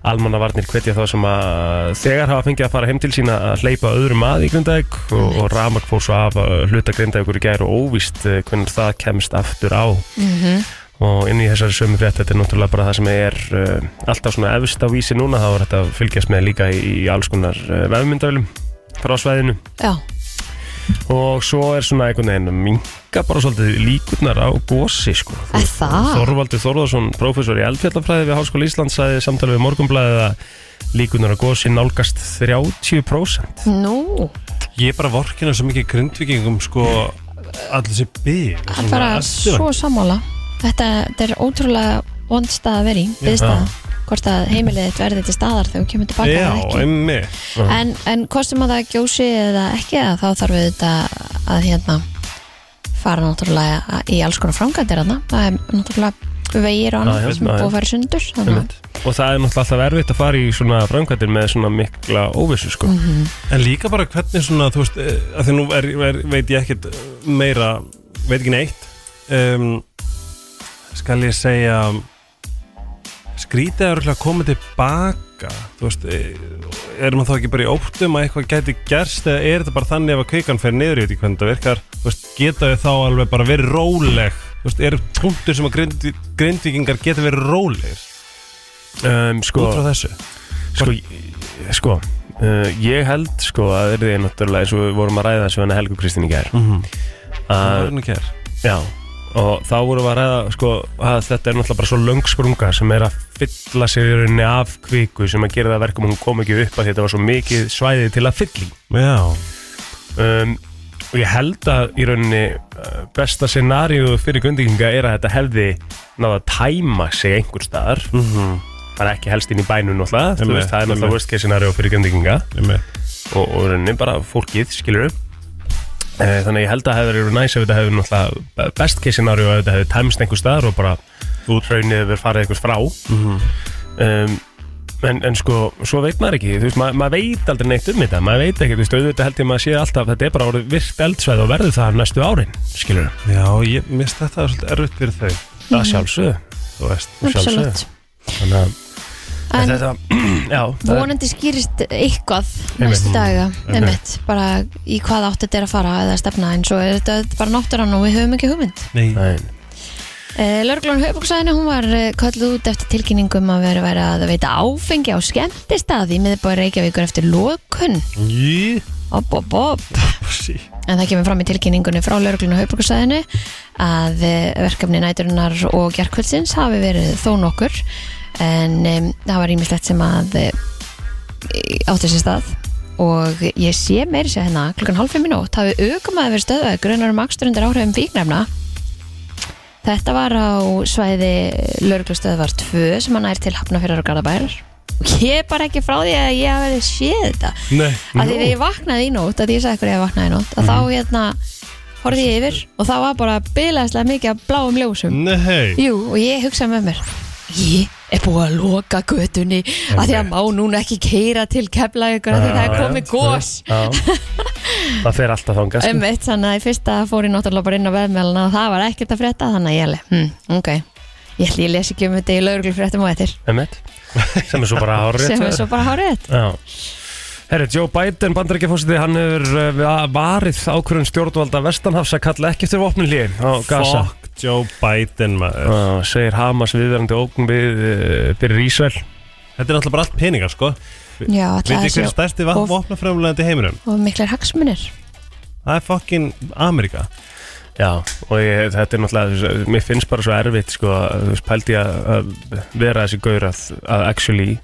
S2: almanna varnir hvetja þá sem að uh, þegar hafa fengið að fara heim til sína að hleypa öðrum að í Grindavík og, og ramak fór svo af uh, hluta Grindavíkur í gær og óvíst uh, hvernig það kemst aftur á og inn í þessari sömu frétt þetta er náttúrulega bara það sem er uh, alltaf svona efst á vísi núna þá er þetta að fylgjast með líka í, í alls konar uh, vefmyndavölum frá svæðinu
S1: Já,
S2: og svo er svona einhvern veginn að minga bara svolítið líkurnar á gósi sko.
S1: Er það?
S2: Þorvaldur Þorðarsson, prófessor í eldfjallafræði við Háskóla Íslands sagði í samtali við morgumblæðið að líkurnar á gósi nálgast 30%
S1: nú
S3: Ég er bara vorkina svo mikið grindvikingum sko allir sér bygg
S1: Það er bara svo sammála Þetta þetta er ótrúlega vond stað að vera í, byggstað Hvort að heimilið þitt verði til staðar þegar þú kemur tilbaka
S3: Já,
S1: eða ekki
S3: emmi
S1: en, en hvort sem að það gjósi eða ekki að þá þarf við þetta að hérna fara náttúrulega að- í alls konar framkvæmdir þarna. það er náttúrulega vegir og
S2: Já, já,
S1: annað sem er
S2: já, já.
S1: búið að fara í sundur þannig að-
S2: og það er náttúrulega alltaf erfitt að fara í svona framkvæmdir með svona mikla óvissu sko.
S3: En líka bara hvernig svona, þú veist, eh, að því nú er, er, veit ég ekkert eh, meira, veit ekki neitt um, Skal ég segja, skrítið er örugglega að koma tilbaka Þú veist, eh, er maður þá ekki bara í óttum að eitthvað gæti gerst Eða er þetta bara þannig ef að kveikan fer niður, ég veit ekki hvernig þetta virkar Þú veist, geta þau þá alveg bara verið róleg Þú veist, er punktur sem að grind, grindvíkingar geta verið rólegir
S2: um, sko,
S3: út frá þessu
S2: sko, sko uh, ég held sko að það er náttúrulega eins og við vorum að ræða þessu henni Helgu Kristín í gær
S3: Það
S2: að
S3: er nú kær
S2: Já, og þá vorum við að ræða sko, að þetta er náttúrulega bara svo löng sprunga sem er að fylla sér í rauninni af kviku sem að gera það að verkum að hún kom ekki upp að þetta var svo mikið svæði til að fylla í.
S3: Já,
S2: um, og ég held að í rauninni uh, besta scenaríu fyrir gundinga er að þetta hefði náða að tæma sig einhver staðar bara ekki helst inn í bænum náttúrulega
S3: Mhm.
S2: þú
S3: Einmitt,
S2: veist, það er náttúrulega
S3: einmitt.
S2: worst case scenaríu fyrir gundinga
S3: emmi
S2: og, og í rauninni bara fólkið, skilur við Þannig að ég held að það hefði verið næs ef þetta hefði náttúrulega best case scenario ef þetta hefði tæmst einhver staðar og bara út raunnið hefur farið einhvers frá um, en, en sko, svo veit maður ekki, þú veist, maður, maður veit aldrei neitt um þetta, maður veit ekki, þú veist, auðvitað held ég maður sé alltaf, þetta er bara orðið virkt eldsveið og verður það næstu árin, skilur
S3: Já, ég mist þetta er svolítið erfitt fyrir þau
S2: það sjálfsög þú veist, og sjálfsögðu.
S1: Mhm. absolutt
S2: Þannig að en,
S1: En-
S2: þetta, [CLEARS THROAT] já, það er,
S1: vonandi skýrist eitthvað
S2: Einmitt.
S1: næstu daga,
S2: Einmitt.
S1: einmitt bara í hvað átt þetta er að fara eða stefna en svo er þetta bara náttúrann og við höfum ekki hugmynd
S3: Nei,
S2: nein,
S1: eh, Lörglun Hauðbúksæðinu, hún var eh, kölluð út eftir tilkynningum að vera, vera að veita áfengi á skemmtistaði í miðbæri Reykjavíkur eftir lokun
S3: Jú,
S1: Opp, opp, opp.
S3: sí.
S1: En það kemur fram í tilkynningunni frá lauruglun og haugbrukarsæðinu að eh, verkefni næturinnar og gerkvöldsins hafi verið þó nokkur en um, það var ímislegt sem að eh, átti sér stað og ég sé meiri sér hérna klukkan hálf fimm í nótt hafi aukum að verið stöðvað grunar um akstur undir áhrifum fíknefna Þetta var á svæði lauruglustöðvar 2 sem hann er til Hafnafjörðar og Garðabærar og ég er bara ekki frá því að ég hafi séð þetta
S2: nei,
S1: að því að ég vaknaði í nótt að því ég sagði ykkur að ég vaknaði í nótt að
S3: Mhm.
S1: þá hérna horfði ég yfir og það var bara bilaðslega mikið af bláum
S3: Mm.
S1: ljósum
S3: Nei,
S1: Jú, og ég hugsaði með mér ég er búið að loka götunni að því að má núna ekki keira til kefla ykkur að því það er komið gós
S2: Já, það fer alltaf
S1: [LAUGHS]
S2: þangast
S1: um eitt þannig að í fyrsta fór ég náttúrulega bara inn á veðmjöluna og það var ekkert að frétta þannig að ég alveg, hm, ok ég ætli ég les ekki um þetta í lauruglufréttum og eftir
S2: Emmett, sem er svo bara hárið
S1: sem er svo bara hárið
S2: Já Herri, Joe Biden, bandarækjafósiti, hann hefur uh, varið ákvörðun stjórnvalda vestanhafs að kalla ekki eftir vopnulíði á Gaza.
S3: fuck Joe Biden maður
S2: Uh, segir Hamas viðverandi ógn við uh, fyrir Ísrael.
S3: Þetta er náttúrulega bara allt peningar sko
S1: Já, alltaf
S3: Vitið hver er
S1: þessi
S3: stærsti
S1: of-
S3: vopnaframlegandi heiminum?
S1: og miklar hagsmunir
S3: Það er fucking Amerika
S2: Já, og ég, þetta er náttúrulega, þú veist, mér finnst bara svo erfitt, sko, að, þú veist, pældi ég að, að vera þessi gaur að, að actually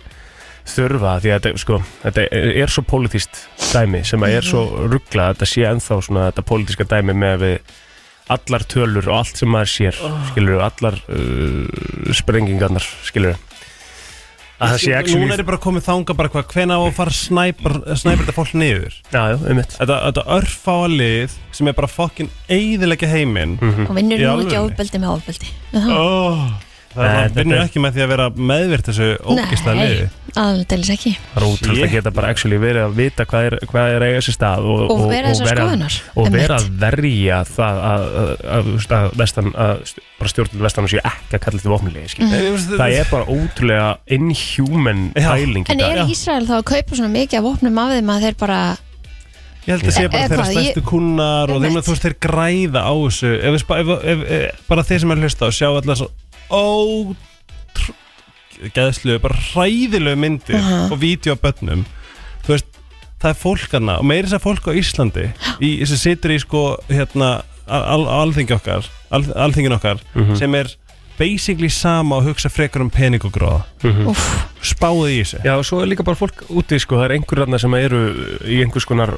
S2: þurfa, því að þetta, sko, þetta er svo pólitískt dæmi sem að er svo
S3: Mhm.
S2: rugglað að þetta sé ennþá svona þetta pólitíska dæmi með að við allar tölur og allt sem maður sér,
S3: Ah.
S2: skilur allar uh, sprengingarnar, skilur að það sé actually,
S3: Núna er ég bara komið þanga bara hvað Hvena á að fara að snæpa þetta fólk niður
S2: já, já, um mitt,
S3: Þetta, þetta örfáa lið sem er bara fucking eiðilegja heiminn
S2: Mhm.
S1: og vinnur
S3: Mm. Í
S1: nú ekki
S3: alvörunni?
S1: ofbeldi með ofbeldi Er það?
S3: oh, Það
S2: Nei,
S3: Nei,
S2: þetta
S3: vinnur
S2: er-
S3: ekki með því að vera meðvirt þessu ógislega liði
S1: aldeilis ekki
S2: það er útrúlega að geta bara actually verið að vita hvað er, hvað er að eiga sér stað og,
S1: Og vera þessar skoðunar,
S2: og
S1: einmitt.
S2: vera að verja það að, að, að, þú veist, að, vestan, að st- bara stjórnul vestan sé ekki að kalla þetta vopnulegi mm. það er bara ótrúlega inhuman
S3: Já.
S2: pæling í
S1: en
S2: dag.
S1: er Ísrael þá að kaupa svona mikið af vopnum af þeim að þeir bara
S3: Ég held að sé bara
S1: Eh,
S3: þeirra
S1: hvað,
S3: stærstu kunnar og þeim að
S1: Einmitt.
S3: þú veist þeir græða á þessu ef, ef, ef, ef, ef, bara þeir sem er að hlusta og sjá allar svo ótrú geðslu, bara hræðilegu myndir og vídeo af börnum þú veist, það er fólkana og meiri þess að fólk á Íslandi í, sem situr í sko hérna al, al, alþingi okkar, al, alþingin okkar sem er basically sama og hugsa frekar um pening og gróða
S2: Mhm.
S1: úff,
S3: spáðu í þessu
S2: Já, og svo er líka bara fólk úti, sko, það er einhverjarna sem eru í einhvers konar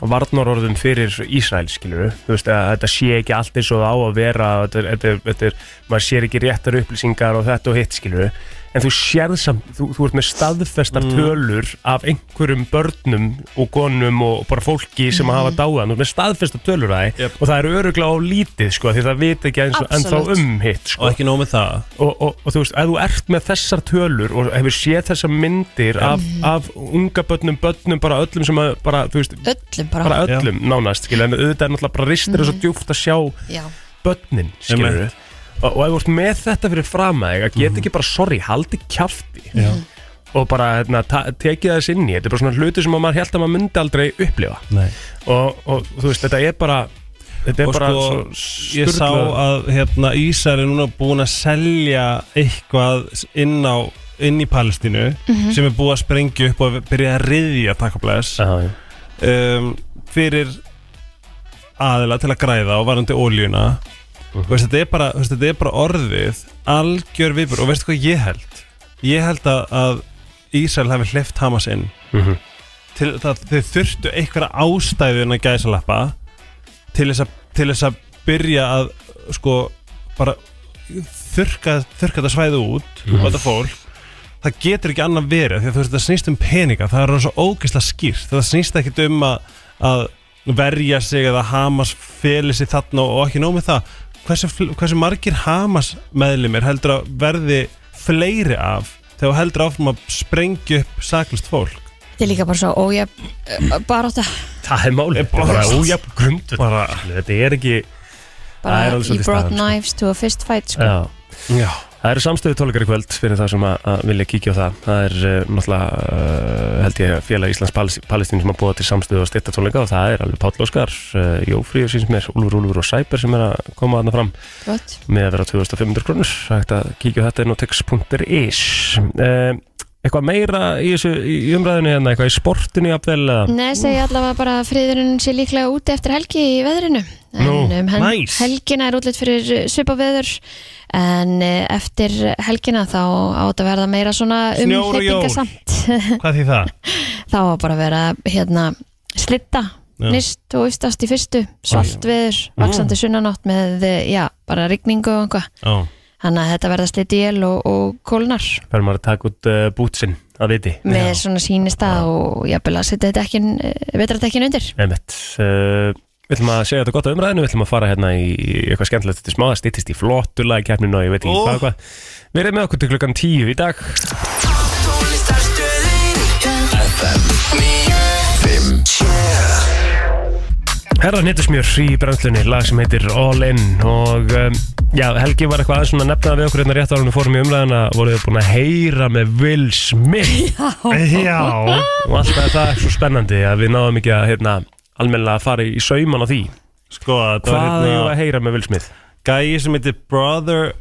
S2: varnarorðum fyrir Ísrael, skilur þú veist, að þetta sé ekki allt eins og það á að vera, þetta er, þetta er, þetta er maður sér ekki réttar upplýsingar og þetta og hitt, skilur en þú sérð samt, þú, þú ert með staðfestar tölur af einhverjum börnum og konum og bara fólki sem hafa dáðan, þú ert með staðfestar tölur af því og það er öruglega á lítið, sko, því það veit ekki eins og ennþá
S1: Absolutt.
S2: um hitt, sko
S3: og ekki nóg með það
S2: og, og, og þú veist, ef þú ert með þessar tölur og hefur séð þessar myndir af, af unga börnum, börnum bara öllum sem að, bara, þú veist,
S1: öllum bara,
S2: bara öllum nánast, skilja, en auðvitað er náttúrulega bara ristir og svo djúft að sjá
S1: já,
S2: börnin, skilur við og, og ef þú ert með þetta fyrir fram að þig að
S3: Mm.
S2: geta ekki bara, sorry, haldi kjafti Já. og bara, hérna, ta- tekið þess inn í þetta er bara svona hluti sem að maður held að maður myndi aldrei upplifa
S3: Nei.
S2: og, og þú veist, þetta er bara þetta er
S3: og
S2: bara
S3: sko,
S2: svo
S3: ég sá
S2: sturlað-
S3: að hérna, Ísar er núna búin að selja eitthvað inn á inn í Palestínu sem er búið að sprengja upp og byrja að riðja takkablaðis
S2: Já, já.
S3: um, fyrir aðila til að græða og varandi óljuna og veist, þetta, er bara, veist, þetta er bara orðið algjör viðbjör og veistu hvað ég held ég held að, að Ísrael hafi hleyft Hamas inn
S2: Mhm.
S3: til, það, þeir þurftu einhverja ástæðu en að gæsalappa til þess að, til þess að byrja að sko bara þurka, þurka þetta svæði út og þetta fólk það getur ekki annað verið því að þú veist það snýst um peninga það er svo ógeðslega skýrt það snýst ekkit um að, að verja sig eða Hamas feli sig þarna og, og ekki nóg með það hversu, fl- hversu margir Hamas meðlumir heldur að verði fleiri af þegar þú heldur áfram að sprengja upp saklist fólk
S1: þetta er líka bara svo ójöfn bara átt að,
S2: Það er málið, þetta er bara ójafn grundvöld Þetta er ekki, Það
S1: bara
S2: er alveg
S1: you
S2: svolítið
S1: brought
S2: staðan, sko.
S1: knives to a fist fight sko.
S2: já,
S3: Já,
S2: Það eru samstöðu tólkar í kvöld fyrir það sem að, að vilja kíkja á það. Það er uh, náttúrulega, uh, held ég, félag Íslands Palis- Palestín sem að búa til samstöðu og styrta tólika og það er alveg Páll Óskar, uh, Jófríður síns mér, Úlfur Úlfur og Sæber sem er að koma þarna fram
S1: Gott.
S2: með að vera 2500 krónur. Það er hægt að kíkja á þetta er notex.is. Uh, eitthvað meira í, þessu, í umræðinu hérna, eitthvað í sportinu jafnvel? eða?
S1: Nei, segja allavega bara að friðurinn sé líklega úti eftir helgi í veðrinu. En
S2: Nú,
S1: um hen-
S2: nice.
S1: helgina er útlitt fyrir svipa veður en eh, eftir helgina þá átt að verða meira svona um
S3: Snjór og jól.
S1: umhleypingasamt.
S3: Hvað því það?
S1: þá á bara að vera hérna slitta,
S3: Já.
S1: nýst og austast í fyrstu, svalt veður, vaksandi sunnanátt með, eh, já, bara rigningu og einhvað.
S3: Já.
S1: Þannig að þetta verða slitt í el og, og kólnar
S2: Fer maður að taka út uh, bútsinn að viti?
S1: með svona sínista og jafnvel að setja dekkin, vetradekkin eh, undir.
S2: Einmitt. Uh, við ætlum að segja þetta gott á umræðinu, við ætlum að fara hérna í eitthvað skemmtilegt þetta smá, það stýttist í flottulega keppninu og ég veit ekki hvað og hvað. Við erum með okkur til klukkan tíu í dag. Herra Nýttusmjör í brennslunni, lag sem heitir All In og um, já, Helgi var eitthvað aðeins svona að nefna við okkur hérna rétt ára hún fórum í umræðina, voruð þið búin að heyra með Will Smith
S3: Já.
S2: og alltaf er það svo spennandi að við náðum ekki að hérna, almennilega fara í sauman á því
S3: Sko, það var
S2: Hvað hefur
S3: hérna
S2: að heyra með Will Smith?
S3: gæi sem heitir Brother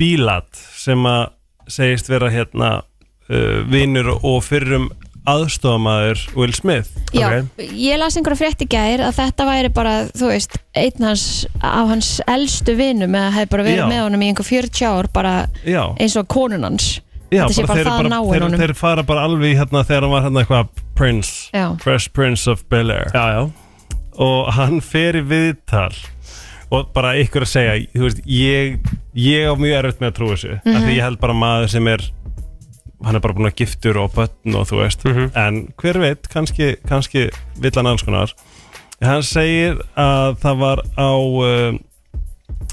S3: Bílat sem að segist vera hérna uh, vinnur og fyrrum aðstofamaður Will Smith
S1: Já, ég las einhverja frétt í gær að þetta væri bara, þú veist, einn hans, af hans elstu vinum eða hefði bara verið
S3: Já.
S1: með honum í einhver 40 ár bara
S3: Já,
S1: eins og konun hans
S3: já
S1: þetta sé bara það
S3: þeir,
S1: náinn
S3: þeir,
S1: honum.
S3: þeir fara bara alveg í hérna þegar hann var hérna eitthvað Prince
S1: Já.
S3: Fresh Prince of Bel-Air
S2: Já, já
S3: og hann fer í viðtal og bara ykkur að segja þú veist, ég, ég á mjög erfitt með að trúa þessu af því ég held bara maður sem er hann er bara búin að giftur og börn og þú veist
S2: Mhm.
S3: en hver veit, kannski, kannski vill hann alls konar hann segir að það var á uh,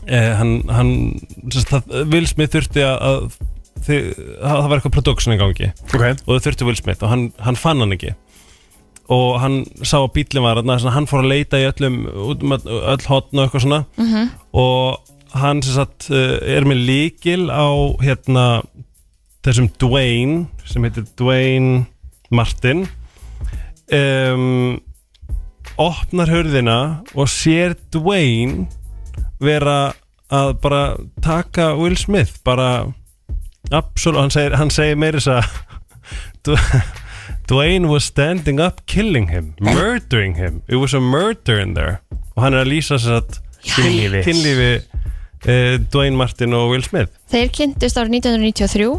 S3: eh, hann, hann sérst, það, Will Smith þurfti að, að þið, að það var eitthvað production í gangi
S2: Ok
S3: og þau þurftu Will Smith og hann, hann fann hann ekki og hann sá að bílinn var þarna, þannig að hann fór að leita í öllum út um öll öll hotn og eitthvað svona -hmm. og hann sem sagt uh, er með líkil á hérna þessum Dwayne sem heitir Dwayne Martin um, opnar hurðina og sér Dwayne vera að bara taka Will Smith bara absolutt, hann segir, hann segir meira þess að Du- [LAUGHS] Dwayne was standing up killing him, murdering him it was a murder in there og hann er að lýsa þess að
S2: Kynlífi.
S3: kynlífi uh, Dwayne Martin og Will Smith
S1: Þeir kynntust árið 1993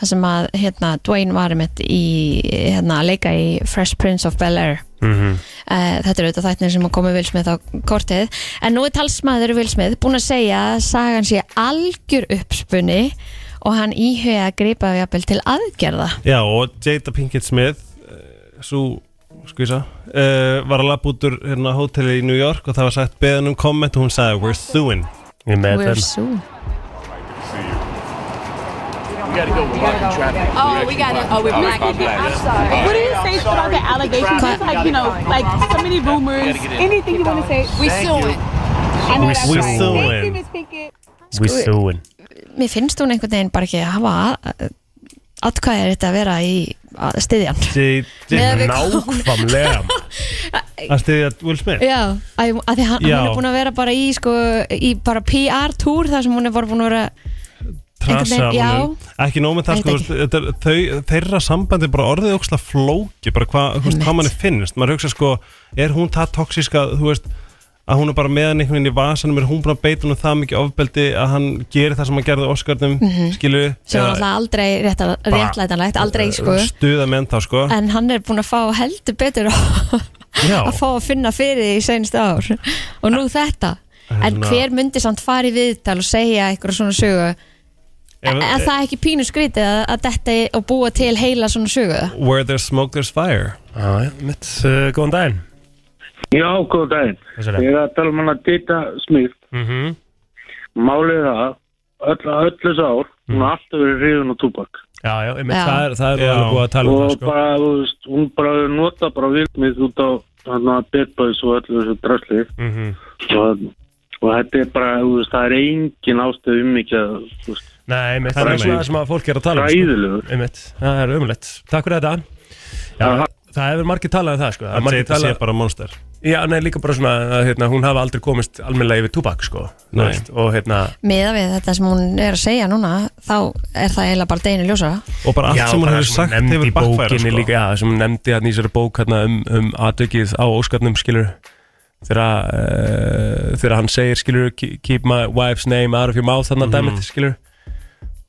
S1: þar sem að hérna, Dwayne var með í, hérna, að leika í Fresh Prince of Bel-Air
S2: Mhm.
S1: uh, Þetta er auðvitað þættin sem að komi Will Smith á kortið en nú er talsmaður Will Smith búin að segja að sagan sé algjör uppspunni og hann íhuga að gripa jafnvel til aðgerða
S3: já og Jada Pinkett Smith uh, svo skvísa uh, var að lappa út úr hérna hóteli í New York og það var sagt beðan um komment og hún sagði we're suing
S2: Ég er með
S1: We're
S2: þetta
S1: so
S9: Oh, we got it. Oh, we're black. I'm sorry. What do you say about the allegations? Just like, you know, like so many rumors. Anything you want to say.
S10: We suing
S9: I know
S2: We
S9: that's
S2: suing.
S9: right. Thank you, Miss Pinkett.
S2: We suing
S1: Mér finnst hún einhvern veginn bara ekki að hafa atkvæðir þetta að vera í að styðjan
S3: J- J-
S1: Meðan við komum-
S2: Nákvæmlega
S3: að stiðja Will Smith
S1: Já, að, að því hann,
S3: Já.
S1: hann er búin að vera bara í, sko, í bara PR-túr þar sem hún er bara búin að vera
S3: trasa
S1: Einhvern veginn,
S3: honum. ekki nóg með
S1: Ég
S3: það sko,
S1: veit
S3: þú veist, þetta- þau, þeirra sambandi er bara orðið óksla flóki bara hvað hva, hva manni finnst maður hugsa sko, er hún það toksíska þú veist, að hún er bara meðan einhvern veginn í vasanum er hún búin að beita hún það mikið ofbeldi að hann gerir það sem hann gerði á Oscarnum mm -hmm. skilu,
S1: Mhm. sem var alltaf aldrei rétta- réttlætanlegt, aldrei sko
S3: stuða menn þá sko
S1: en hann er búin að fá heldur betur að
S3: Já.
S1: [LAUGHS] að fá að finna fyrir því í seinustu ár og nú þetta en
S3: Hérna.
S1: hver myndi samt fara í viðtal og segja eitthvað svona sögu
S3: Ef-
S1: en það er ekki pínu skrítið að, að þetta og búa til heila svona sögu
S3: where there's smoke there's fire
S2: Já, já, mitt, uh, góðan daginn
S11: Já, góð daginn.
S2: Hvað sér
S11: Ég er að tala um hana Dita Smith.
S2: Mhm.
S11: Málið er það, öll, öll þess ár, hún har alltaf verið hrifin á túbak.
S2: Já, já, einmitt,
S1: Já.
S2: það er, það er
S3: Já.
S2: alveg búið að tala um
S11: og
S2: það sko
S11: bara, þú veist, hún bara nota bara vilmið út á hann að betbæðis og öllu þessu drasli.
S2: mm -hmm.
S11: Og, og þetta er bara, þú veist, það er engin ástöð um ekki að, þú veist,
S2: Nei, einmitt, það er
S3: Nei.
S2: svona það sem að fólk er að tala
S11: Hræðilegur.
S2: sko. Einmitt, það er umlegt Takk fyrir þetta Já,
S11: Aha.
S2: það hefur margir talað um það sko. Það er
S3: Það
S2: margir
S3: segir þetta sé
S2: talað
S3: bara monster
S2: Já, nei, líka bara svona að hérna, hún hafa aldrei komist almennilega yfir túbak sko. Þú
S3: Nei.
S2: veist, Og hérna
S1: Miða við þetta sem hún er að segja núna þá er það eiginlega bara deginu ljósara
S3: Og bara allt
S2: Já,
S3: sem hún
S2: bara
S3: hefur
S2: sem
S3: sagt
S2: nefndi
S3: hefur
S2: í
S3: backfæra
S2: bókinni
S3: sko.
S2: líka, Já, sem hún nefndi hann í þessari bók hérna, um, um aðdökið á óskarnum skilur þegar uh, þegar hann segir skilur keep my wife's name out of your mouth þannig að mm
S3: Mhm.
S2: skilur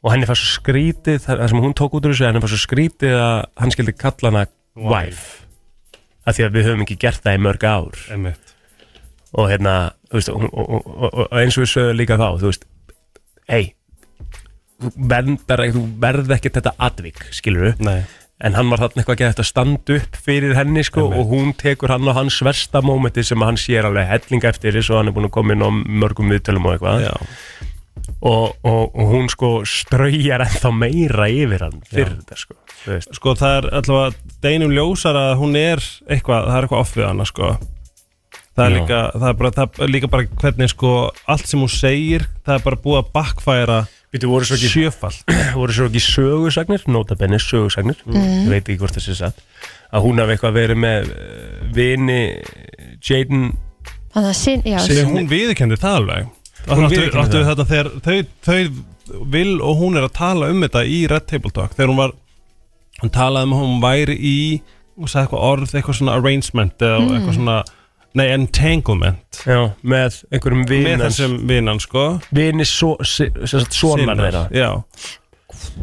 S2: og henni fannst svo skrítið það það sem hún tók út úr þessu henni fannst svo skrítið að hann skildi kalla hana wife af því að við höfum ekki gert það í mörg ár
S3: Einmitt.
S2: og hérna þú veist, og, og, og, og- og eins og við sögum líka þá þú veist, hei þú verndar ekki, þú verð ekki þetta atvik, skilur
S3: Nei,
S2: en hann var þarna eitthvað að gera þetta stand upp fyrir henni sko
S3: Einmitt.
S2: og hún tekur hann á hans versta mómenti sem hann sér alveg helling eftir þess og hann er búin að koma inn á mörgum viðtölum og eitthvað
S3: já,
S2: og, og, og hún sko ströyjar ennþá meira yfir hann fyrir þetta sko þú veist.
S3: sko það er allavega deinum ljósar að hún er eitthvað, það er eitthvað off við hana sko það er,
S2: Já.
S3: líka, það, er bara, það er líka bara hvernig sko allt sem hún segir það er bara búið að backfæra
S2: Býtu, voru svo ekki,
S3: sjöfall
S2: [CLEARS THROAT] voru svo ekki sögusagnir notabenni sögusagnir,
S1: Mm.
S2: ég veit ekki hvort þessi satt að hún hafi eitthvað verið með eh, vini Jaden
S1: þannig að sin, já,
S3: Nei, hún viðurkenndi það alveg
S2: Hún
S3: Hún
S2: viðurkenndi
S3: viðurkenndi
S2: það.
S3: þetta þegar þau, þau vil og hún er að tala um þetta í Red Table Talk þegar hún var hún talaði um að hún væri í hún sagði eitthvað orð, eitthvað svona arrangement eða eitthvað svona, nei entanglement
S2: já, með einhverjum
S3: með
S2: vinans
S3: þessum vinnan sko
S2: vini so, si, sonar
S3: Sinnar,
S2: þeirra
S3: Já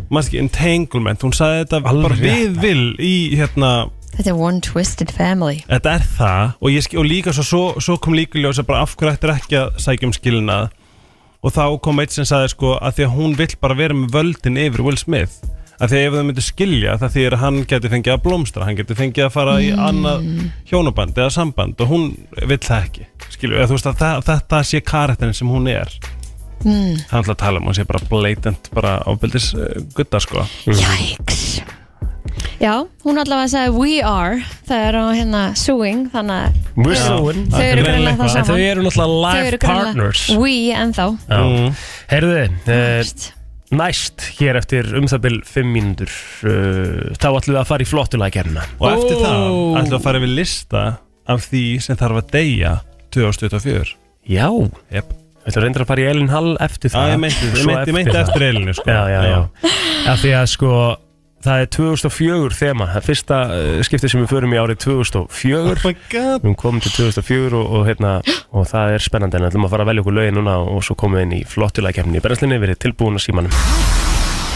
S3: Manst ekki, entanglement, hún sagði þetta
S2: Alveg
S3: bara
S2: rétt.
S3: við vil í hérna
S1: þetta er one twisted family
S3: Þetta er það og, ég, skil- og líka svo, svo, svo kom líka ljósa bara af hverju ættir ekki að sækja um skilnað og þá kom eitt sem sagði sko að því að hún vill bara vera með völdin yfir Will Smith að því að ef þau myndu skilja það því að hann geti fengið að blómstra hann geti fengið að fara í annað hjónaband eða samband og hún vill það ekki skilju, eða þú veist að það, þetta sé karakterin sem hún er mm. hann ætla að tala um hún sé bara blatant bara ábyldis uh, gutta sko
S2: Mm.
S1: Jæks Já, hún allavega sagði we are það er á hérna suing þannig að
S2: We're
S1: Já.
S2: sewing.
S1: Þau eru greinilega það
S2: En
S1: saman.
S2: Þau eru náttúrulega
S1: þau
S2: live
S1: eru greinilega- Mm.
S2: partners
S1: we ennþá
S2: Já. Mm. Heyrðu, eh,
S1: Veist.
S2: næst hér eftir um það byrjum 5 mínútur eh, þá ætlum við að fara í flottulækjarna
S3: og eftir það ætla að fara við lista af því sem þarf að deyja 2024
S2: Já,
S3: Jep.
S2: ætlum reyndar að fara í Elin Hall eftir
S3: Já,
S2: það
S3: ég meinti, ég
S2: Svo
S3: meinti, ég meinti
S2: það.
S3: eftir eilinu sko.
S2: Já, já, já, af því að sko það er 2004 þema það er fyrsta eh, skiptið sem við förum í árið 2004
S3: my god
S2: Við erum komin til 2004 og, og, hérna, og það er spennandi en við ætlum að fara að velja okkur lögin núna og svo komum við inn í flottulækjafni í brennslinni, verið tilbúin að símanum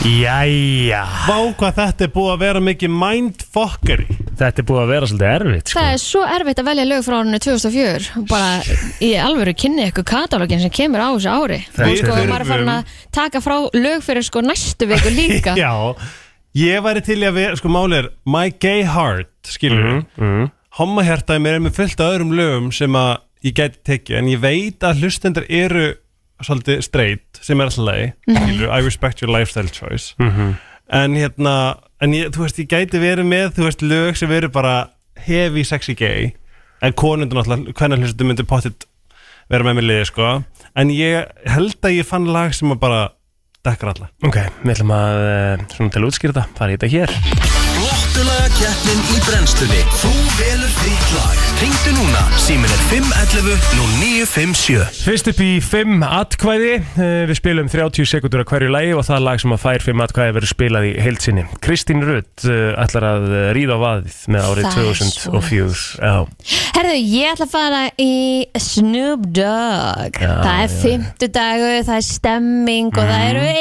S2: Jæja
S3: Vá hvað þetta er búið að vera mikið mindfuckery
S2: Þetta er búið að vera svolítið erfitt sko.
S1: Það er svo erfitt að velja lög frá árinu 2004 bara í alvöru kynni ykkur katalógin sem kemur á þessu ári
S2: Það
S1: og
S2: er-
S1: sko maður er farin að taka frá lög fyrir sko næstu viku
S2: [LAUGHS]
S1: líka
S3: Já Ég væri til í að vera, sko máli er My gay heart, skilur mm
S2: mm.
S3: Hommahjartaði mér er með fullt af öðrum lögum sem að ég gæti tekið en ég veit að hlustendur eru svolítið straight sem er alltaf leið skilur, I respect your lifestyle choice en hérna en ég, þú veist, ég gæti verið með, þú veist, lög sem eru bara heavy sexy gay en konundur náttúrulega, hvernig hlustendur myndi pottit vera með mér liði, sko en ég held að ég fann lag sem að bara dekkar alla
S2: Ok, við ætlum að eh, svona til að útskýra þetta, fara í þetta hér
S6: Flottulega keppnin í brennstunni Þú velur þitt lag Ringdu núna, símin er 511 0957
S2: Fyrst upp í 5 atkvæði eh, Við spilum 30 sekundur að hverju lagi og það lag sem að fær 5 atkvæði verður spilað í heilsinni Kristín Rutt eh, ætlar að eh, ríða á vaðið með árið
S1: Það er
S2: 2004 Já,
S1: Herðu, ég ætla að fara í Snoop Dogg Það er fimmtudagur, það er stemming og
S2: Mhm.
S1: það eru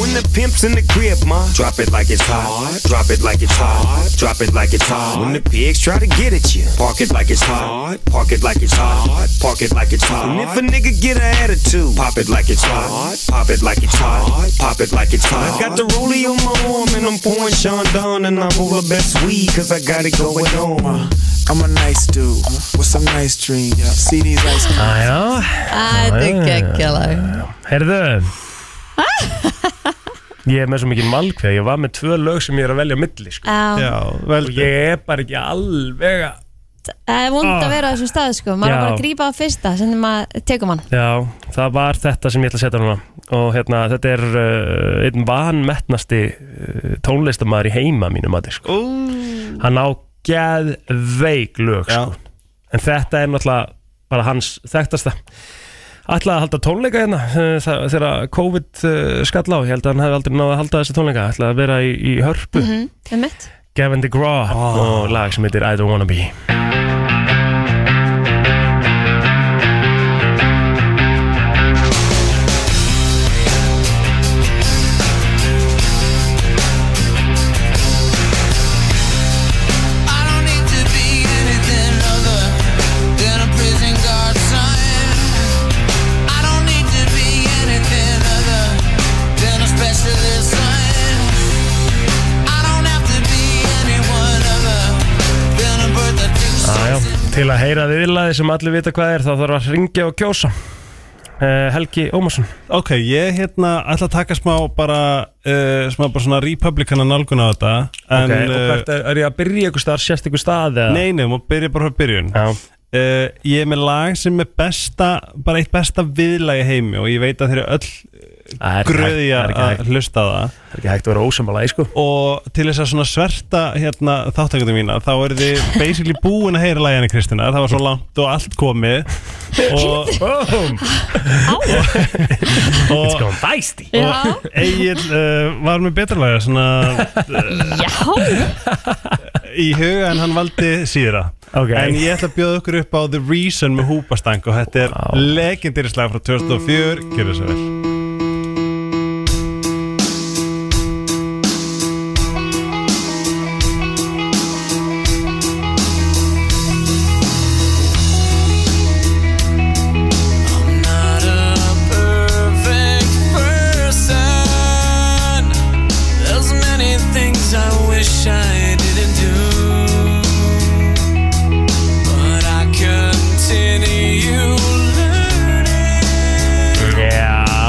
S6: When the pimp's in the crib, ma Drop it like it's hot Drop it like it's hot Drop it like it's hot When the pigs try to get at you Park it like it's hot Park it like it's hot Park it like it's hot And if a nigga get an attitude Pop it like it's hot Pop it like it's hot Pop it like it's hot I got the rollie on my arm And I'm pouring Sean Don And I'm all the best weed Cause I got it going on
S12: I'm a nice dude with some nice dreams. See these ice cream.
S2: ah, já.
S1: Það er geggjalag [LAUGHS]
S2: Herðu Ég er með svo mikið malkveð Ég
S1: Ah.
S2: var með tvö lög sem ég er að velja á milli sko.
S1: Já,
S3: Já, vel
S2: Og ég er bara ekki alveg að
S1: vond, eh, vond
S2: Ah.
S1: að vera á þessum stað sko. maður
S2: Já.
S1: er bara að grípa á fyrsta sem maður tekum hann
S2: Já, það var þetta sem ég ætla að setja núna og hérna, þetta er uh, einn vanmetnasti uh, tónlistamæður í heima mínum að sko. hann á geðveik lög sko. en þetta er náttúrulega bara hans þekktasta ætlaði að halda tónleika hérna uh, það- þegar COVID uh, skall á ég held að hann hefði aldrei náði að halda þessi tónleika ætlaði að vera í, í hörpu
S1: mm -hmm.
S2: Gavin DeGraw og lag sem heitir I Don't Wanna Be
S5: I don't need to be anything other than a prison guard sign. I don't need to be anything other than a specialist sign. I don't have to be anyone other than a birth that thinks
S2: Ah, já. Til að heyra viðlaði sem allir vita hvað er þá þarf að ringja og kjósa uh, Helgi Ómarsson
S3: Ok, ég hérna ætla að taka smá bara uh, smá bara svona republikana nálgun á þetta en, eh,
S2: okay, og hvert er, er ég að byrja ykkur stað, sérst ykkur stað eða?
S3: Nei, nei, maður byrja bara frá byrjun
S2: Já.
S3: Eh, Ég er með lag sem er besta bara eitt besta viðlagi í heimi og ég veit að þeir eru öll
S2: Það Ah, er ekki hægt-
S3: gröðja
S2: það er ekki
S3: að
S2: hægt.
S3: hlusta á það
S2: Það er ekki hægt að vera ósamala í sko
S3: og til þess að svona sverta hérna, þáttækundum mína þá eru þið basically búin að heyra læginni Kristina það var svo langt og allt
S2: [LAUGHS]
S3: komið og,
S2: Boom, it's
S3: og,
S2: gone feisty
S1: Já.
S3: og Egil uh, var með betra laga svona, uh, í huga en hann valdi síðra
S2: Ok.
S3: en ég ætla að bjóða ykkur upp á The Reason með Húbastang og þetta er
S2: Vá.
S3: wow. legendirislag frá 2004 gerðu svo vel
S5: I'm not a perfect person. There's many things I wish I didn't do, but I continue learning.
S2: Já, já,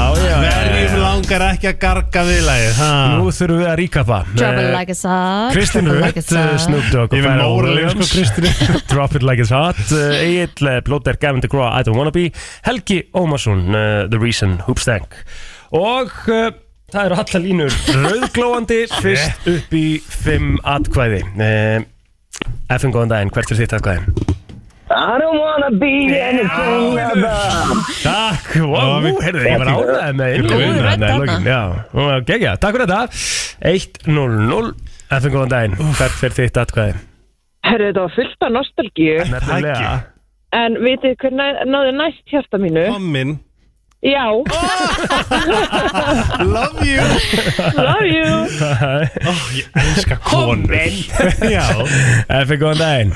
S3: Verjum langar ekki að garga viðlagið ha?
S2: Nú þurfum við að ríka það Eh,
S1: Trouble like it's hot
S2: Kristín eh,
S1: Trouble
S2: Rutt,
S1: it's hot.
S2: Snoop Dogg
S3: Ég er
S2: og
S3: með
S2: Pharrell
S3: móralegur,
S2: Williams.
S3: sko, Kristín.
S2: [LAUGHS] Drop it like it's hot uh, Egil, uh, Blóter, Gavin DeGraw, I don't wanna be Helgi Ómarsson, uh, The Reason, Hoopstank Og uh, það eru allar línur [LAUGHS] Rauðglóandi, fyrst upp í Fimm atkvæði uh, FM góðan daginn, hvert er þitt atkvæði?
S11: I don't wanna be anything
S2: Takk, wow,
S3: við-
S2: herðu, ég var ánægð með
S1: Góð rödd
S2: innlögin þarna í
S1: þarna.
S2: lokin, Já, hún var gegja, takk fyrir þetta 1-0-0, FM góðan daginn Hvert er þitt atkvæði?
S7: Herru, þetta var fullt af nostalgíu,
S2: Nefnilega
S7: en vitið hver næ- náði næst hjarta mínu?
S3: Hommin
S7: Já,
S3: Love you
S7: love you!
S3: Hommin Já
S2: FM góðan daginn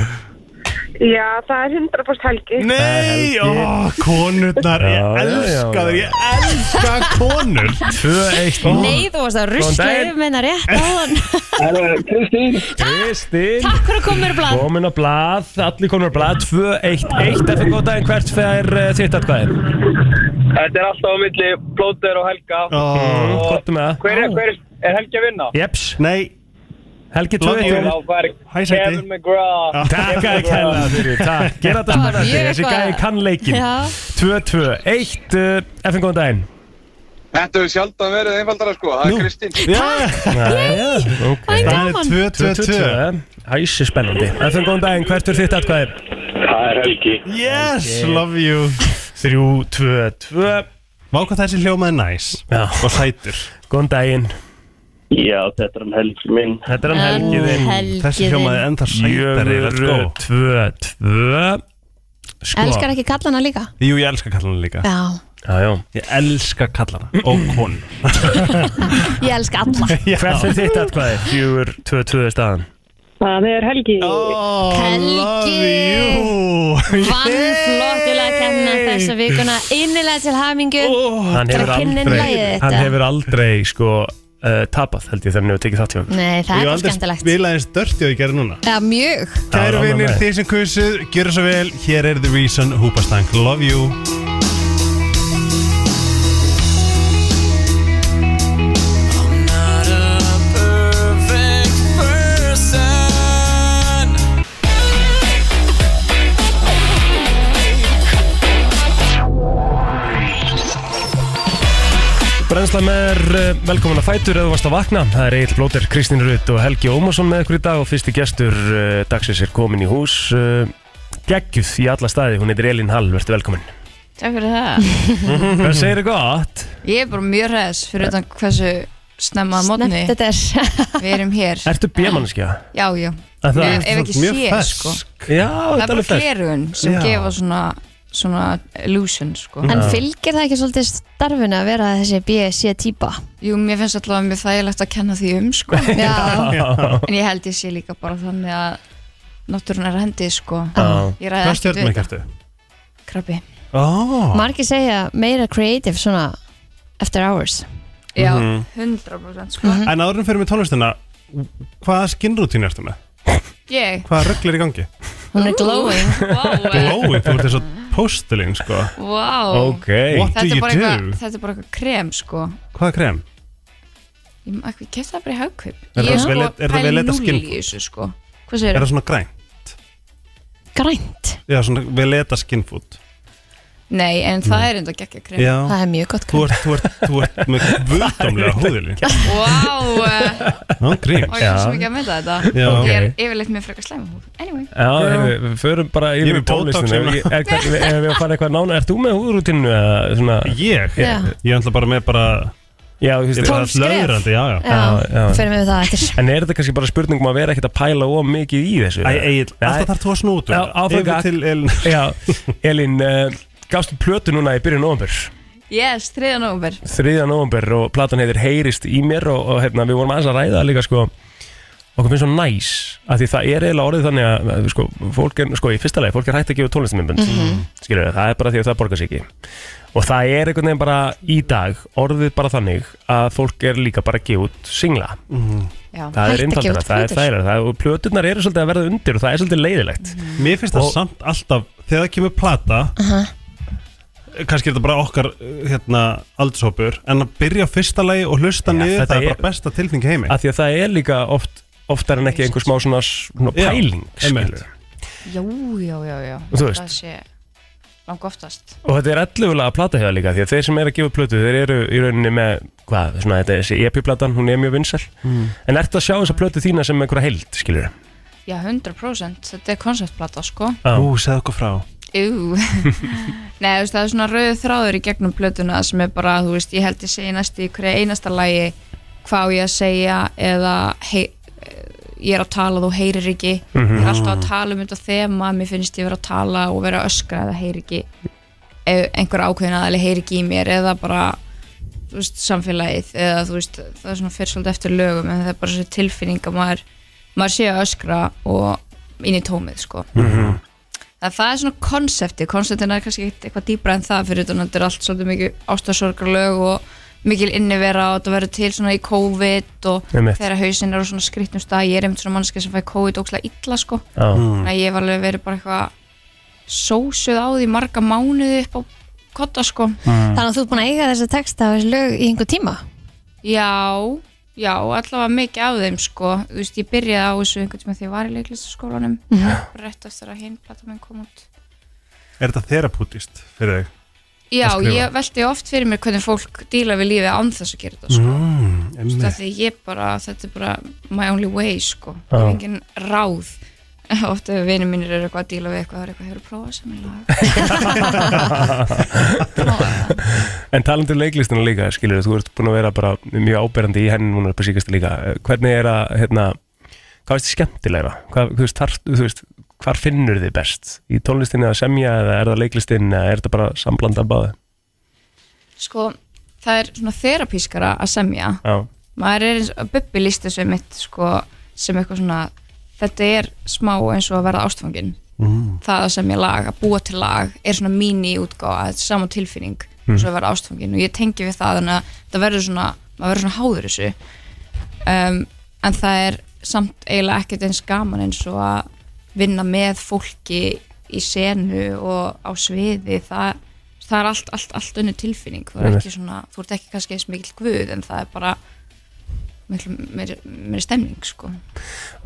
S13: Já, það er 100% helgi.
S3: Nei, ó, konurnar,
S2: Já,
S3: ég
S2: já,
S3: elska
S2: já,
S3: þér,
S2: já.
S3: ég elska konur
S2: 2-1
S1: Nei, þú varst að rusla
S2: daginn.
S1: yfir minna rétt á [LAUGHS] hann
S2: Kristín
S1: Takk fyrir að koma mér blad
S2: Komin á blað, allir komin á blað 2-1-1 Eftir góð daginn hvert fer uh, þitt atkvæði
S11: Þetta er alltaf á milli Plóter og Helga
S3: Ó,
S2: Kortum með um það
S11: Hver er, hver er, er Helgi að vinna?
S2: Jeps,
S3: Nei,
S2: Helgi
S3: Love
S2: 2-1
S11: Já, það er
S3: Hæ, sæti.
S11: Kevin McGraw
S2: Takk að kella fyrir, takk Gerða þetta
S1: Það var
S2: spennandi,
S1: mjög
S2: þessi
S1: eitthvað.
S2: gæði kann leikin
S1: Já.
S2: 2-2-1 uh, Eftir góðan daginn
S11: Þetta hefur sjaldan verið einfaldara sko, það er Kristín
S2: Nei,
S3: það
S1: Gaman.
S3: er 2-2-2
S2: Æsi spennandi Eftir góðan daginn hvert fer þitt atkvæði
S3: Yes, love you
S2: 3-2-2
S3: Vá hvað þessi hljómaði næs
S2: Já.
S3: og sætur
S2: Góðan daginn
S11: Já, þetta er hann Helgi minn
S2: Þetta
S1: Um,
S2: er hann Helgi þinn
S3: Þessi hljómaði enda sætari let's go.
S2: Jöfnur 2-2 Sko
S14: Elskar ekki kalla hana líka?
S3: Jú, ég elska kallana líka
S14: Já,
S2: Já, já
S3: Ég elska kallana og konur
S14: ég elska
S1: [LAUGHS]
S14: alla.
S2: Hvert er þitt atkvæði? 4-2-2 er staðan
S7: Það er helgi.
S3: Oh,
S1: Helgi.
S3: love you
S1: Vann flottilega kemna þessa vikuna Innilega til hamingu
S3: Oh.
S2: Hann hefur
S1: bara kynnir
S2: aldrei
S1: lagið þetta.
S2: Hann hefur aldrei sko uh, tapað held ég þegar hann hefur tekið þátt hjá okkur
S14: Nei, það
S3: Ég
S14: er
S3: hef
S14: bara
S3: aldrei
S14: skemmtilegt.
S3: spilað eins dörti og ég gerði núna
S14: Já, mjög.
S2: Það var
S3: Kæru
S2: annað
S3: vinnir,
S2: lagið.
S3: þið sem kusuð, gjöra svo vel Hér er The Reason, Húpastang, love you
S5: Not a perfect person.
S2: Brennslan er eh, velkomin að fætur eða þú varst að vakna. Það er Egil Blóter, Kristín Rutt og Helgi Ómarsson með ykkur í dag og fyrsti gestur eh, dagsins er komin í hús. eh, Geggjuð í alla staði, hún heitir Elin Hall, verður velkomin.
S5: Takk fyrir það
S2: [LAUGHS] Hvað segir þið gott?
S5: Ég er bara mjög ræðis fyrir utan hversu snemma að mótni
S1: Snemmt þetta
S5: er Við erum hér
S2: Ertu bjömannskja?
S5: Já, já
S2: En það-
S5: Ef- Ef ekki
S2: mjög
S5: sé,
S2: fersk.
S5: sko
S2: Já, þetta
S5: Það er
S2: er
S5: bara
S2: alveg fersk.
S5: flerun sem
S2: Já.
S5: gefa svona svona illusion, sko
S1: En fylgir það ekki svolítið starfinu að vera þessi BSC típa?
S5: Jú, mér finnst allavega mjög þægilegt að kenna því um,
S3: [LAUGHS]
S5: sko
S1: Já.
S5: En ég held ég sé líka bara þannig að náttúrun er á hendi, sko
S3: Já.
S5: Ég ræði
S3: Hvað
S5: ekkert
S3: stjörnum
S5: við
S3: ertu?
S5: þetta. Krabbi
S3: Oh.
S1: Margir segja meira creative svona after hours
S5: Já,
S3: Mhm.
S5: 100% sko
S3: En árum fyrir með tónlistina Hvaða skinnrútín ertu með?
S5: Ég,
S3: Hvaða rögl er í gangi?
S1: Hún er glowing
S3: Glói, þú ert eins og postulinn sko
S5: wow
S3: Ok. What do
S5: Þetta er
S3: you
S5: bara
S3: do?
S5: eitthvað- þetta er bara eitthvað krem, sko
S3: Hvaða krem?
S5: Ég maður ekki kæft það bara í hagkaup
S3: Er
S5: Ég
S3: það
S5: sko
S3: vel- er það
S5: pæli
S3: vel leitað
S5: núll í
S3: skinnfót?
S5: þessu, sko. Hvað segir
S3: Er það svona græn?
S1: Grænt?
S3: Já, svona við leta skinnfút
S5: Nei, en það er enda gekkja krem
S3: Já. Það
S1: er mjög gott
S3: Þú ert, þú ert, þú ert með völdamlega húðilín
S5: Vá eh,
S3: Ná, grín
S5: Og ég er svo mikið að mynda þetta
S2: Já.
S5: Ég er
S2: Ok.
S5: yfirleitt með frekar slæma húð Anyway
S2: Já, heyrðu, við förum bara
S3: Ég er
S2: yfir
S3: með botox
S2: tónlistinu.
S3: hérna.
S2: Ég- Er er-
S5: [LAUGHS]
S2: er við að fara eitthvað nána? Ert þú með húðrútinu eða svona?
S3: Ég?
S1: Já.
S3: Ég er alltaf bara með bara
S2: Já, þú
S3: Ég er bara
S1: Tólf skref.
S3: löðrandi, já, já
S1: Já, fyrir mig við það eftir
S2: En er þetta kannski bara spurningum að vera ekkert að pæla of mikið í þessu?
S3: Æ, Egil, alltaf þarf þú að snútu
S2: Já, áfram
S3: Yfir
S2: gakk.
S3: til Elin
S2: Já, Elín, uh, gafstu plötu núna í byrjun november
S5: Yes, 3. november
S2: 3. november og platan heitir Heyrist í mér og, og hérna, við vorum aðeins að ræða líka sko okkur finnst svo næs af því það er eiginlega orðið þannig að að, sko, fólk er, sko í fyrsta leið, fólk er hægt að gefa tónlistamimbund mm
S3: Mhm.
S2: skilur við, það er bara því að það borgar sig ekki og það er einhvern veginn bara í dag orðið bara þannig að fólk er líka bara að gefa út singla
S3: Mhm.
S5: Já.
S2: það
S5: Hægt
S2: er
S5: að gefa
S2: einfaldara,
S5: út
S2: það er
S5: plötur.
S2: þægilega það, og plöturnar eru svolítið að verða undir og það er svolítið leiðilegt
S5: Mhm.
S3: Mér finnst það
S2: Og-
S3: samt alltaf Þegar það kemur plata kannski er þetta bara okkar uh, hérna, aldurshópur, en að byrja á fyrsta lagi og hlusta niður, það er bara besta tilfengi heimi
S2: að því að það er líka oft, oftar en ekki einhver smá svona, svona
S3: Já,
S2: pæling
S3: einmitt.
S2: skilur.
S5: Jú, já, já, já
S2: Og þú veist.
S5: Það sé langt oftast
S2: og þetta er ellugulega að plata hefða líka því að þeir sem eru að gefa plötu, þeir eru í rauninni með hvað, svona þetta er þessi EP-platan hún er mjög vinsæl,
S5: Mm.
S2: en ertu að sjá þessa plötu þína sem einhverja heild, skilur
S5: Já, 100% Þetta er konceptplata, sko
S3: Ú, segð okkur frá
S2: [LAUGHS]
S5: Jú Nei, þú veist, það er svona rauðu þráður í gegnum plötuna sem er bara, þú veist, ég held ég segi næst í hverju einasta lagi hvað á ég að segja eða hei, ég er að tala, þú heyrir ekki
S15: Mhm.
S5: ég er alltaf að tala um þetta þema mér finnst ég vera að tala og vera að öskra eða heyrir ekki ef einhver ákveðin aðeins heyrir ekki í mér eða bara þú veist, samfélagið eða þú veist, það er svona fyrir svolítið eftir lögum en það er bara svo tilfinning að maður maður sé að öskra og inn í tómið, sko
S15: Mhm.
S5: Það, það er svona konsepti, konseptin er kannski ekkert eitthvað dýbra en það fyrir utan að þetta er allt svolítið mikið ástasorgarlög og mikil innivera og þetta verður til svona í COVID og
S2: Einmitt.
S5: þegar hausinn er á svona skrittnum stað, ég er einmitt svona mannski sem fæ COVID ókslega illa sko,
S2: Já. Mm.
S5: þannig að ég var alveg verið bara eitthvað sósuð á því marga mánuði upp á kotta sko.
S2: Mm.
S1: Þannig að þú ert búin að eiga þessi texta og þessi lög í einhver tíma
S5: Já, já, allavega mikið af þeim sko, þú veist, ég byrjaði á þessu einhvern tíma þegar ég var í leiklistaskólanum, rétt eftir að hinn plataminn kom út.
S3: Er þetta terapútist fyrir þig?
S5: Já,
S3: að skrifa?
S5: ég veldi oft fyrir mér hvernig fólk díla við lífið án þess að gera þetta sko.
S3: Mm,
S5: Þú veist, af
S3: einmitt.
S5: því ég bara, þetta er bara my only way sko, [LAUGHS]
S3: Já.
S5: það er engin ráð oft ef vinið mínir eru eitthvað að díla við eitthvað, það er eitthvað hefur prófað sem ég lag
S2: en talandur leiklistina líka, skilur þú ert búin að vera bara mjög áberandi í henni núna upp á síkast líka, hvernig er að hérna, hvað veist þið skemmtilegra hvað, þú veist, þar, þú veist, hvar finnur þið best í tónlistinni að semja eða er það leiklistin eða er þetta bara samblanda báði
S5: sko, það er svona þerapískara að semja
S2: Já.
S5: maður er eins og Bubbi líst þessu mitt sko, sem eitthvað svona þetta er smá eins og að vera ástfangin
S15: Mm.
S5: það sem ég lag, að búa til lag er svona mín í útgáða, þetta er sama tilfinning
S15: Mm.
S5: eins og að vera ástfangin og ég tengi við það þannig að það verður svona, maður verður svona háður þessu um, en það er samt eiginlega ekkert eins gaman eins og að vinna með fólki í senu og á sviði það, það er allt, allt, allt önnu tilfinning þú, er
S2: Einmitt.
S5: ekki svona, þú ert ekki kannski eins mikil guð en það er bara miklu meiri, meiri stemning sko.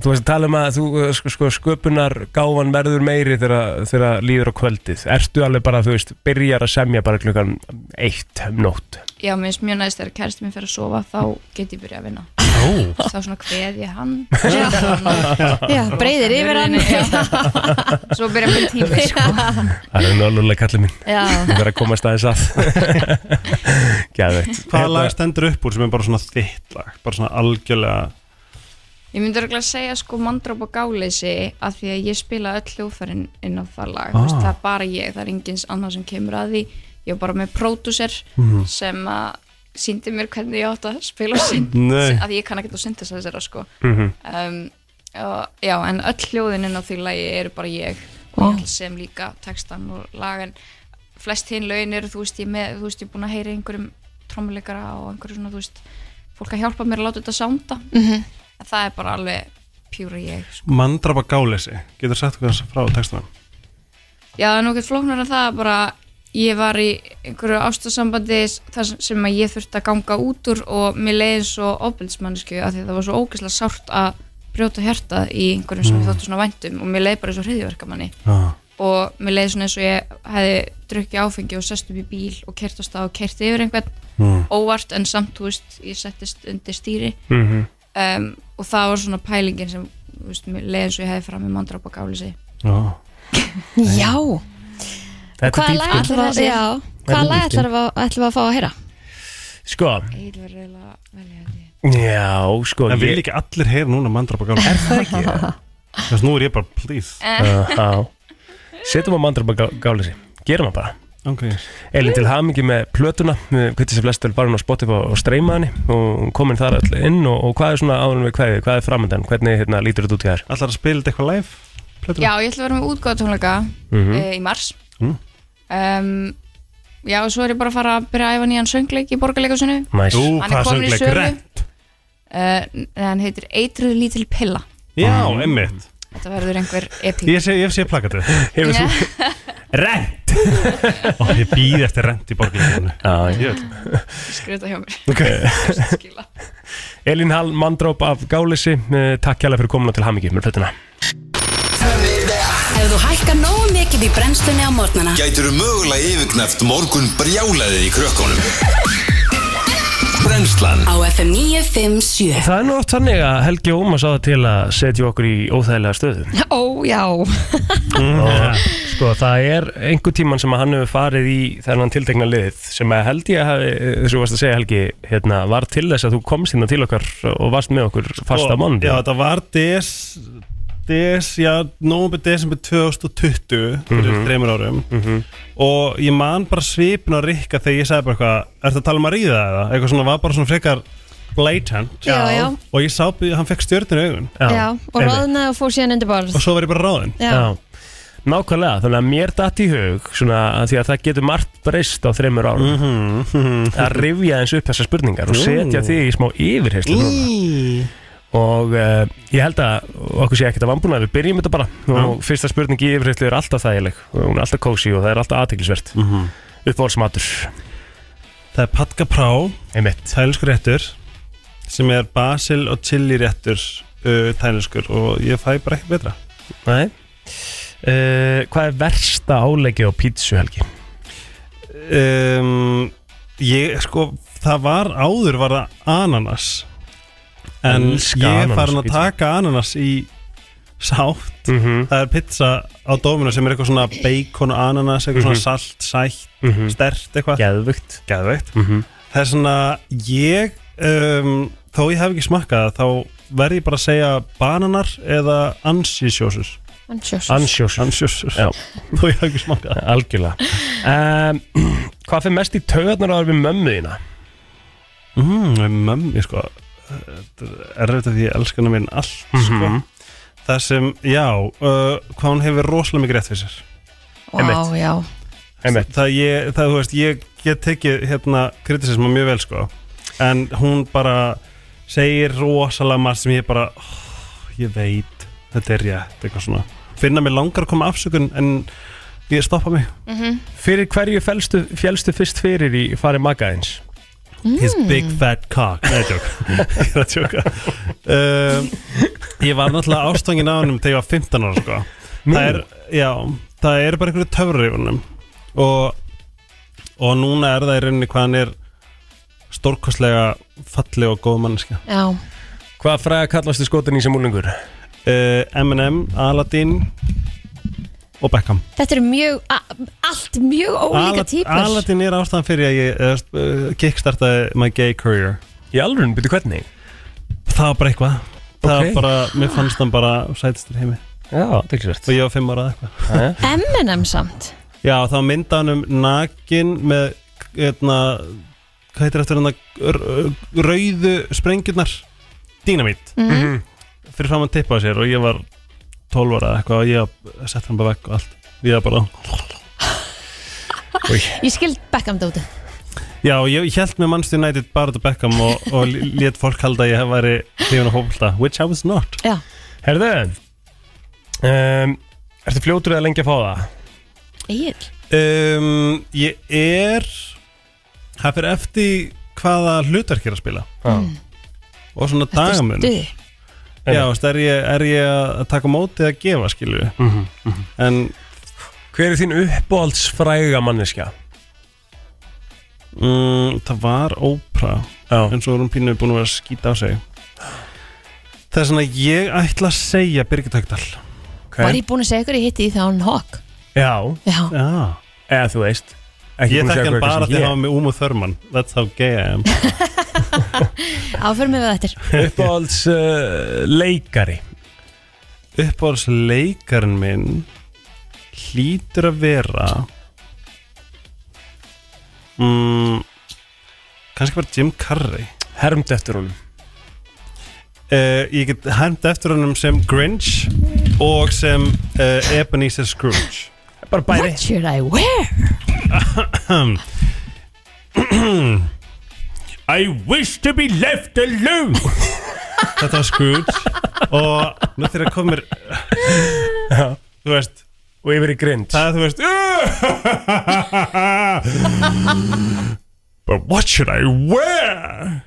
S2: Þú veist að tala um að þú uh, sko, sko, sköpunar gáfan verður meiri þegar, þegar líður á kvöldið. Ertu alveg bara, þú veist, byrjar að semja bara klukkan eitt um nótt?
S5: Já, mér finnst mjög næst þegar kærasti minn fer að sofa þá get ég byrjað að vinna
S2: Ó.
S5: þá svona kveð ég hann
S2: Já.
S16: Já, breiðir yfir hann.
S5: Já. svo byrja minn tími sko.
S2: Það er nálulega kallið minn.
S5: Já.
S2: Þú verður að Hérna- komast aðeins
S3: [LAUGHS]
S2: að. Gæðveikt.
S3: Hvaða lag stendur upp úr sem er bara svona þitt lag bara svona algjörlega
S5: ég myndi örgulega að segja sko mandróp og gáleysi af því að ég spila öll hljóðfærin inn á það lag,
S3: Ah.
S5: ah. veist, það er bara ég það er engins annað sem kemur að því ég var bara með pródúser
S3: Mhm.
S5: sem að síndi mér hvernig ég átt að spila sín,
S3: Nei.
S5: að ég kann ekki að synthesizera sko
S3: Mhm.
S5: um, og, já, en öll hljóðin inn á því lagi eru bara ég
S16: Vá.
S5: og ég sem líka textan og lagan flest hinn lögin eru, þú veist, ég með þú veist, ég er búin að heyra í einhverjum trommuleikara og einhverju svona, þú veist, fólk að hjálpa mér að láta þetta sánda
S16: Mhm.
S5: en það er bara alveg pjúra ég sko.
S3: Mandrapa gáleysi, getur sagt hvað frá textunum
S5: já, það er nokkuð flóknar en það er bara ég var í einhverju ástasambandi þar sem- sem að ég þurfti að ganga út úr og mér leiði svo ofbeldsmannsku af því að það var svo ógeðslega sárt að brjóta hjartað í einhverjum sem ég
S15: Mm.
S5: þóttu svona væntum og mér leiði bara eins og hriðjverkamanni
S15: Já.
S5: og mér leiði svona eins og ég hefði drukkið áfengi og sest upp í bíl og kert á stað og kert yfir einhvern
S15: Mm.
S5: óvart en samt, þú veist, ég settist undir stýri
S15: Mhm.
S5: um, og það var svona pælingin sem, þú veist, mér leiði eins og ég hefði fram í mandrap og gálisi
S3: Já.
S16: Já.
S2: Þetta er
S16: Hvaða
S2: dýpt,
S16: lag
S2: sko.
S16: ætlar að, já,
S2: Þetta er
S16: hvaða lag
S2: dýpt, sko.
S16: ætlar að, ætlar að fá að heyra?
S2: Sko,
S5: Egil var reyla
S2: já, sko.
S3: En vil
S2: ég-
S3: ekki allir heyra núna mandrapa gáleysi Er það ekki? [LAUGHS] Þess nú er ég bara please
S2: Já, já. Setjum á mandrapa gáleysi. Gerum það bara.
S3: Ok
S2: Elin til hamingi með plötuna hvernig sem flest vel bara hún á Spotify og streyma henni og komin þar öll inn og, og hvað er svona áðurum við kveðið, hvað er framöndan hvernig hérna, lítur þetta út í þær?
S3: Allar að spila þetta eitthvað live?
S5: Já, ég ætla að vera með útgáð tónleika
S2: Mhm.
S5: e, í mars
S3: Mm.
S5: um, Já, og svo er ég bara að fara að byrja að æfa nýjan söngleik í borgarleikasinu
S2: Næs. Ú,
S5: Hann er
S2: hvaða
S5: komin í
S2: söngleik?
S5: sölu
S2: Rent.
S5: uh, Hann heitir Eitruð lítil pilla
S3: Já,
S2: Mm.
S3: emmitt
S5: Þetta verður einhver epík
S3: Ég sé, ég sé plakatið
S2: [LAUGHS] Hefur
S5: þú-
S2: Rent
S3: [LAUGHS] Ó, ég býð eftir rent í borgarleginu
S2: Já,
S5: Skrifa þetta hjá mér
S2: [LAUGHS]
S5: Skila.
S2: Elin Hall, mandróp af Gálisi eh, takk hjálpa fyrir komuna til hamingi með plötuna
S10: Ef þú hækkar nógu mikið í brennslunni á morgnana
S17: Gætirðu mögulega yfirknæft morgun brjálaðið í krökkunum Brennslan
S10: á FM 957
S2: Það er nú oft þannig að Helgi Óma sá það til að setja okkur í óþægilega stöðu
S16: Ó, já.
S2: og sko það er einhver tíman sem að hann hefur farið í þennan tiltekna lið sem að held ég að hafi, þess að varst að segja Helgi hérna, var til þess að þú komst hérna til okkar og varst með okkur fasta
S3: Sko,
S2: mondi
S3: Já, þetta var des, des já, nómur desember 2020 fyrir
S2: Mhm.
S3: þreymur árum og ég man bara svipin á Rikka þegar ég sagði bara eitthvað, ertu að tala um að ríða eða? Eitthvað svona, var bara svona frekar blatant
S16: Já, já.
S3: og ég sá, að hann fekk stjörnir í augun
S16: Já, og ráðnaði og fór síðan undir borð.
S3: og svo var ég bara ráðinn
S16: Já.
S2: Nákvæmlega, þannig að mér datt í hug svona, að því að það getur margt breyst á þreymur árum
S3: Mhm.
S2: að rifja eins upp þessar spurningar og
S3: Ú.
S2: setja þig í smá yfirheyslu
S3: núna
S2: og uh, ég held að okkur sé ekkert að vambúna við byrjum þetta bara og fyrsta spurning í yfirheyslu er alltaf þægileg og hún er alltaf kósi og það er alltaf aðteglisvert mm -hmm.
S3: [LAUGHS] Það er patka prá Tælskur réttur sem er basil og chili réttur uh, tælskur og ég fæ bara ekki betra
S2: Nei uh, Hvað er versta áleggi á pítsu Helgi?
S3: um, Ég sko það var áður var það ananas en
S2: Elska
S3: ég er
S2: ananas
S3: farin
S2: á
S3: að
S2: pizzu.
S3: taka ananas í sátt
S2: það
S3: er pizza á dóminu sem er eitthvað svona bacon og ananas, eitthvað
S2: Mhm.
S3: svona salt, sætt
S2: Mhm.
S3: stert eitthvað
S2: Geðvögt
S3: Geðvögt
S2: Mhm.
S3: Það er svona, ég um, þó ég hef ekki smakkað það, þá verð ég bara að segja bananar eða ansísjósur
S16: Ansjósus.
S2: Ansjósus
S3: Ansjósus
S2: [LAUGHS] Já
S3: Þó ég hef ekki smakað
S2: Algjörlega um, [CLEARS THROAT] Hvað fyrir mest í taugarnar áður við mömmu þína?
S3: mm, Mömmi sko þetta er erfitt að því ég elska hana minn allt
S2: Mhm.
S3: sko. Það sem, já uh, hvað hún hefur rosalega mikið rétt fyrir sér
S16: Vá, Einmitt. já.
S2: Einmitt.
S3: Það ég, það þú veist, ég get tekið hérna kritisisma mjög vel sko en hún bara segir rosalega margt sem ég bara oh, ég veit, þetta er rétt eitthvað svona, finna mig langar að koma afsökun en ég stoppa mig
S2: Fyrir hverju fælstu, fjælstu fyrst fyrir í fari maka eins?
S3: His big fat cock Nei, ég tjók [LAUGHS] Ég er að tjóka um, Ég var náttúrulega ástofngin á hennum þegar ég var 15 ára sko. Það er, já, það eru bara einhverju töfrar í honum og, og núna er það í rauninni hvað hann er stórkostlega falli og góð mannskja
S1: Já,
S2: Hvað fræða kallastu skotin í sem úlingur?
S3: uh, M&M, Aladdin og Beckham
S1: þetta eru mjög, a- allt mjög ólíka
S3: Alad-
S1: típur
S3: Aladdin er ástæðan fyrir að ég uh, kickstartaði my gay career
S2: Í alveg, byrju hvernig?
S3: Það var bara eitthvað Það
S2: Ok.
S3: var bara, mér fannst hann bara sætistur heimi
S2: Já, dyrkisvert
S3: Og ég var fimm ára eða eitthvað
S1: M&M samt
S3: Já, þá mynda hann um nakin með, hérna, hvað heitir eftir hann rauðu sprengjurnar dínamít
S1: Mhm.
S3: fyrir fram að tippa á sér og ég var 12 ára eða eitthvað og ég sett hann bara vekk og allt ég var bara Új.
S1: Ég skil Beckham dóti
S3: Já, og ég held með Manchester United bara til Beckham og, og let fólk halda að ég væri hrifin á hóflta, which I was not
S1: Já.
S2: [LAUGHS] Herðu um, Ertu fljótur eða lengi að fá það?
S1: Egil
S3: Um, ég er Það fyrir eftir hvaða hlutverk ég er að spila
S2: mm.
S3: Og svona dagamun
S1: stuði.
S3: Já, veist, er, ég, er ég að taka á móti eða gefa skilju
S2: Mhm,
S3: En
S2: Hver er þín uppáhaldsfræga manneskja?
S3: mm, það var ópra
S2: Já.
S3: En svo er hún pínu búin að vera að skýta á sig Það er svona ég ætla að segja Birgit Haugdal
S1: Var ég búin að segja ykkur ég hitti því þegar hann hokk
S2: Já,
S1: Já,
S3: Já
S2: eða þú veist Ekki
S3: Ég
S2: búin að
S3: þekki
S2: segja
S3: hann
S2: hvað
S3: bara
S2: eitthvað
S3: því
S2: sem
S3: að
S2: ég-
S3: hafa með Umu Thurman That's how gay I am
S1: áförum við þetta
S2: [LAUGHS] Uppáhalds uh, leikari
S3: uppáhalds leikarinn minn hlýtur að vera mm, kannski bara Jim Carrey
S2: Hermd eftir honum
S3: uh, ég get hæmt eftir honum sem Grinch og sem uh, Ebenezer Scrooge
S2: Bara bæði
S1: What should I wear?
S2: I wish to be left alone
S3: [LAUGHS] þetta var Scrooge og nú þegar komir þú veist
S2: Og yfir í grind
S3: það er þú
S2: [LAUGHS]
S3: veist But what should I wear?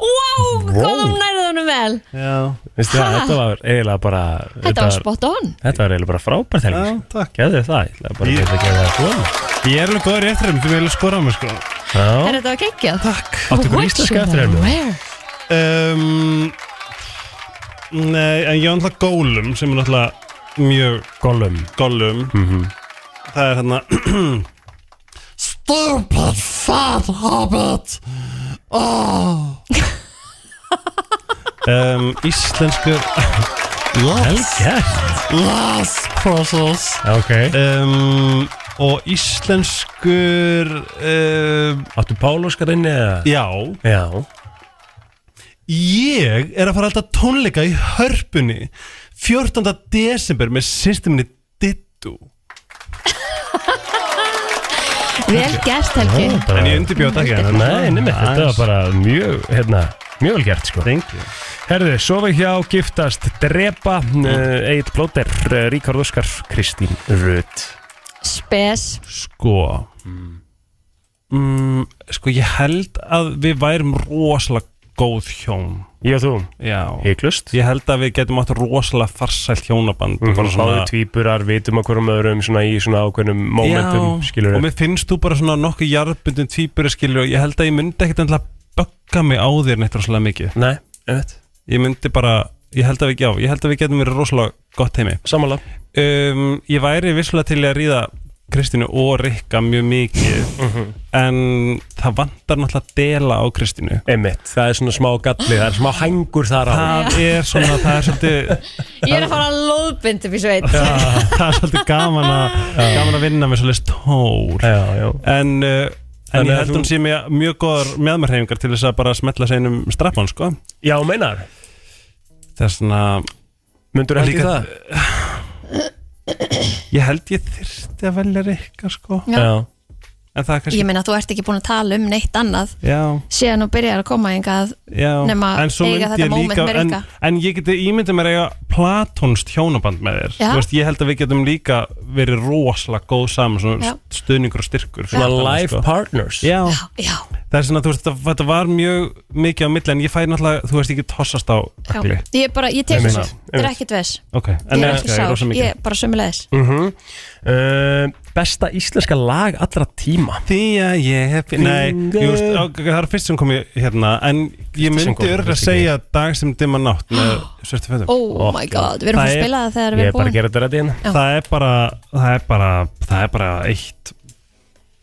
S1: Wow, hvað þú nærið honum vel
S3: Já,
S2: Veistu það, þetta var eiginlega bara
S1: Þetta var spot on
S2: Þetta var eiginlega bara frábært
S3: já,
S2: helgi
S3: takk
S2: Gæðu það, ég ætla bara
S3: Ég-
S2: að geta það svona
S3: Ég er alveg góður í eftir þeim, þú vil skora á mig sko
S1: Er
S2: Já,
S1: þetta var geggjað? Takk
S2: Áttu ykkur íslenska eftir hennu?
S3: um, Nei, en ég er náttúrulega gólum sem er náttúrulega mjög
S2: Gollum
S3: gólum
S2: Mhm.
S3: Það er hérna [CLEARS THROAT] Stupid fat hobbit oh.
S2: [LAUGHS]
S3: um, Íslensku
S2: [LAUGHS] Helgert
S3: Last process
S2: Ok
S3: um, Og íslenskur um,
S2: Áttu Páloskar inni eða?
S3: Já
S2: Já
S3: Ég er að fara alltaf tónleika í hörpunni 14. desember með systeminni Dittu
S1: Vel gert Helgi
S3: En ég undirbjóð ekki hana.
S2: Ah, Nei, nemi, þetta var bara mjög, hérna, mjög vel gert sko
S3: Thank you
S2: Herðu, sofa hjá, giftast, drepa uh, Egil Plóter, uh, Ríkard Óskar Kristín Rut
S1: Spes
S3: Sko mm, Sko ég held að við værum rosalega góð hjón
S2: Ég og þú,
S3: Já
S2: hygglust
S3: Ég held að við getum átt rosalega farsælt hjónaband
S2: Bara
S3: bara
S2: svona Mhm. tvíburar, vitum að hverjum öðrum svona í svona ákveðnum momentum, skilur
S3: og mér finnst þú bara svona nokkuð jarðbundin tvíburi skilur og ég held að ég myndi ekkit endilega bögga mig á þér neitt rosalega mikið
S2: Nei, einmitt
S3: ég myndi bara, ég held að við, já, ég held að við getum verið rosalega gott heimi
S2: Samanlega
S3: um, ég væri vissulega til í að ríða Kristínu og Rikka mjög mikið en það vantar náttúrulega að dela á Kristínu
S2: Einmitt, það er svona smá galli, það er smá hængur þar á
S3: það er svona, það er
S2: [LAUGHS]
S3: svolítið
S1: Ég er að fara að lóðbind upp í sveit
S3: það er svolítið gaman að gaman að vinna með svolítið tól
S2: Já, já
S3: en, uh, en
S2: Þannig
S3: ég
S2: að
S3: held
S2: þú-
S3: hún sé mjög, mjög góðar meðmörhefingar til þess að bara smetla sig einum strappan sko.
S2: Já, meinar,
S3: það er svona
S2: myndur ekki
S3: Líka-
S2: það?
S3: ég held ég þyrsti að velja Rikka sko.
S2: Já
S3: En það er kannski
S1: Ég meina þú ert ekki búin að tala um neitt annað
S3: Já.
S1: síðan þú byrjar að koma engað
S3: Já,
S1: nema
S3: en svo
S1: eiga
S3: myndi
S1: þetta
S3: ég
S1: moment
S3: líka
S1: með
S3: en,
S1: Rikka
S3: en ég geti ímyndið mér að eiga platónst hjónaband með þér
S1: Já.
S3: Þú veist, Ég held að við getum líka verið rosalega góð saman
S1: Já.
S3: svona stuðningur og styrkur sko.
S2: Svona life partners
S3: Já,
S1: Já.
S3: það er svona, þú veist, þetta- þetta var mjög mikið á milli en ég fæði náttúrulega, þú veist, ég get tossast á ökli
S1: Já. Ég bara, ég tek
S3: Einmitt.
S1: þessu, þetta er ekkert ves
S3: Ok,
S1: Ég
S3: en
S1: er
S3: eh,
S1: ekki
S3: ok,
S1: sár,
S3: rosa mikið.
S1: ég bara sömulegis
S2: mm Ehm, Besta íslenska lag allra tíma
S3: Því að ég hef Nei, ég veist, ok, það er fyrst sem kom ég hérna En ég
S2: sem kom,
S3: myndi örgulega
S2: fyrst sem
S3: segja dag sem dimma nátt með [GASPS] svörtu fötum
S1: Oh my god, við erum að spila það þegar við erum búin
S2: þetta hérna. rætt inn
S1: Já.
S3: Það er bara, það er bara, það er bara eitt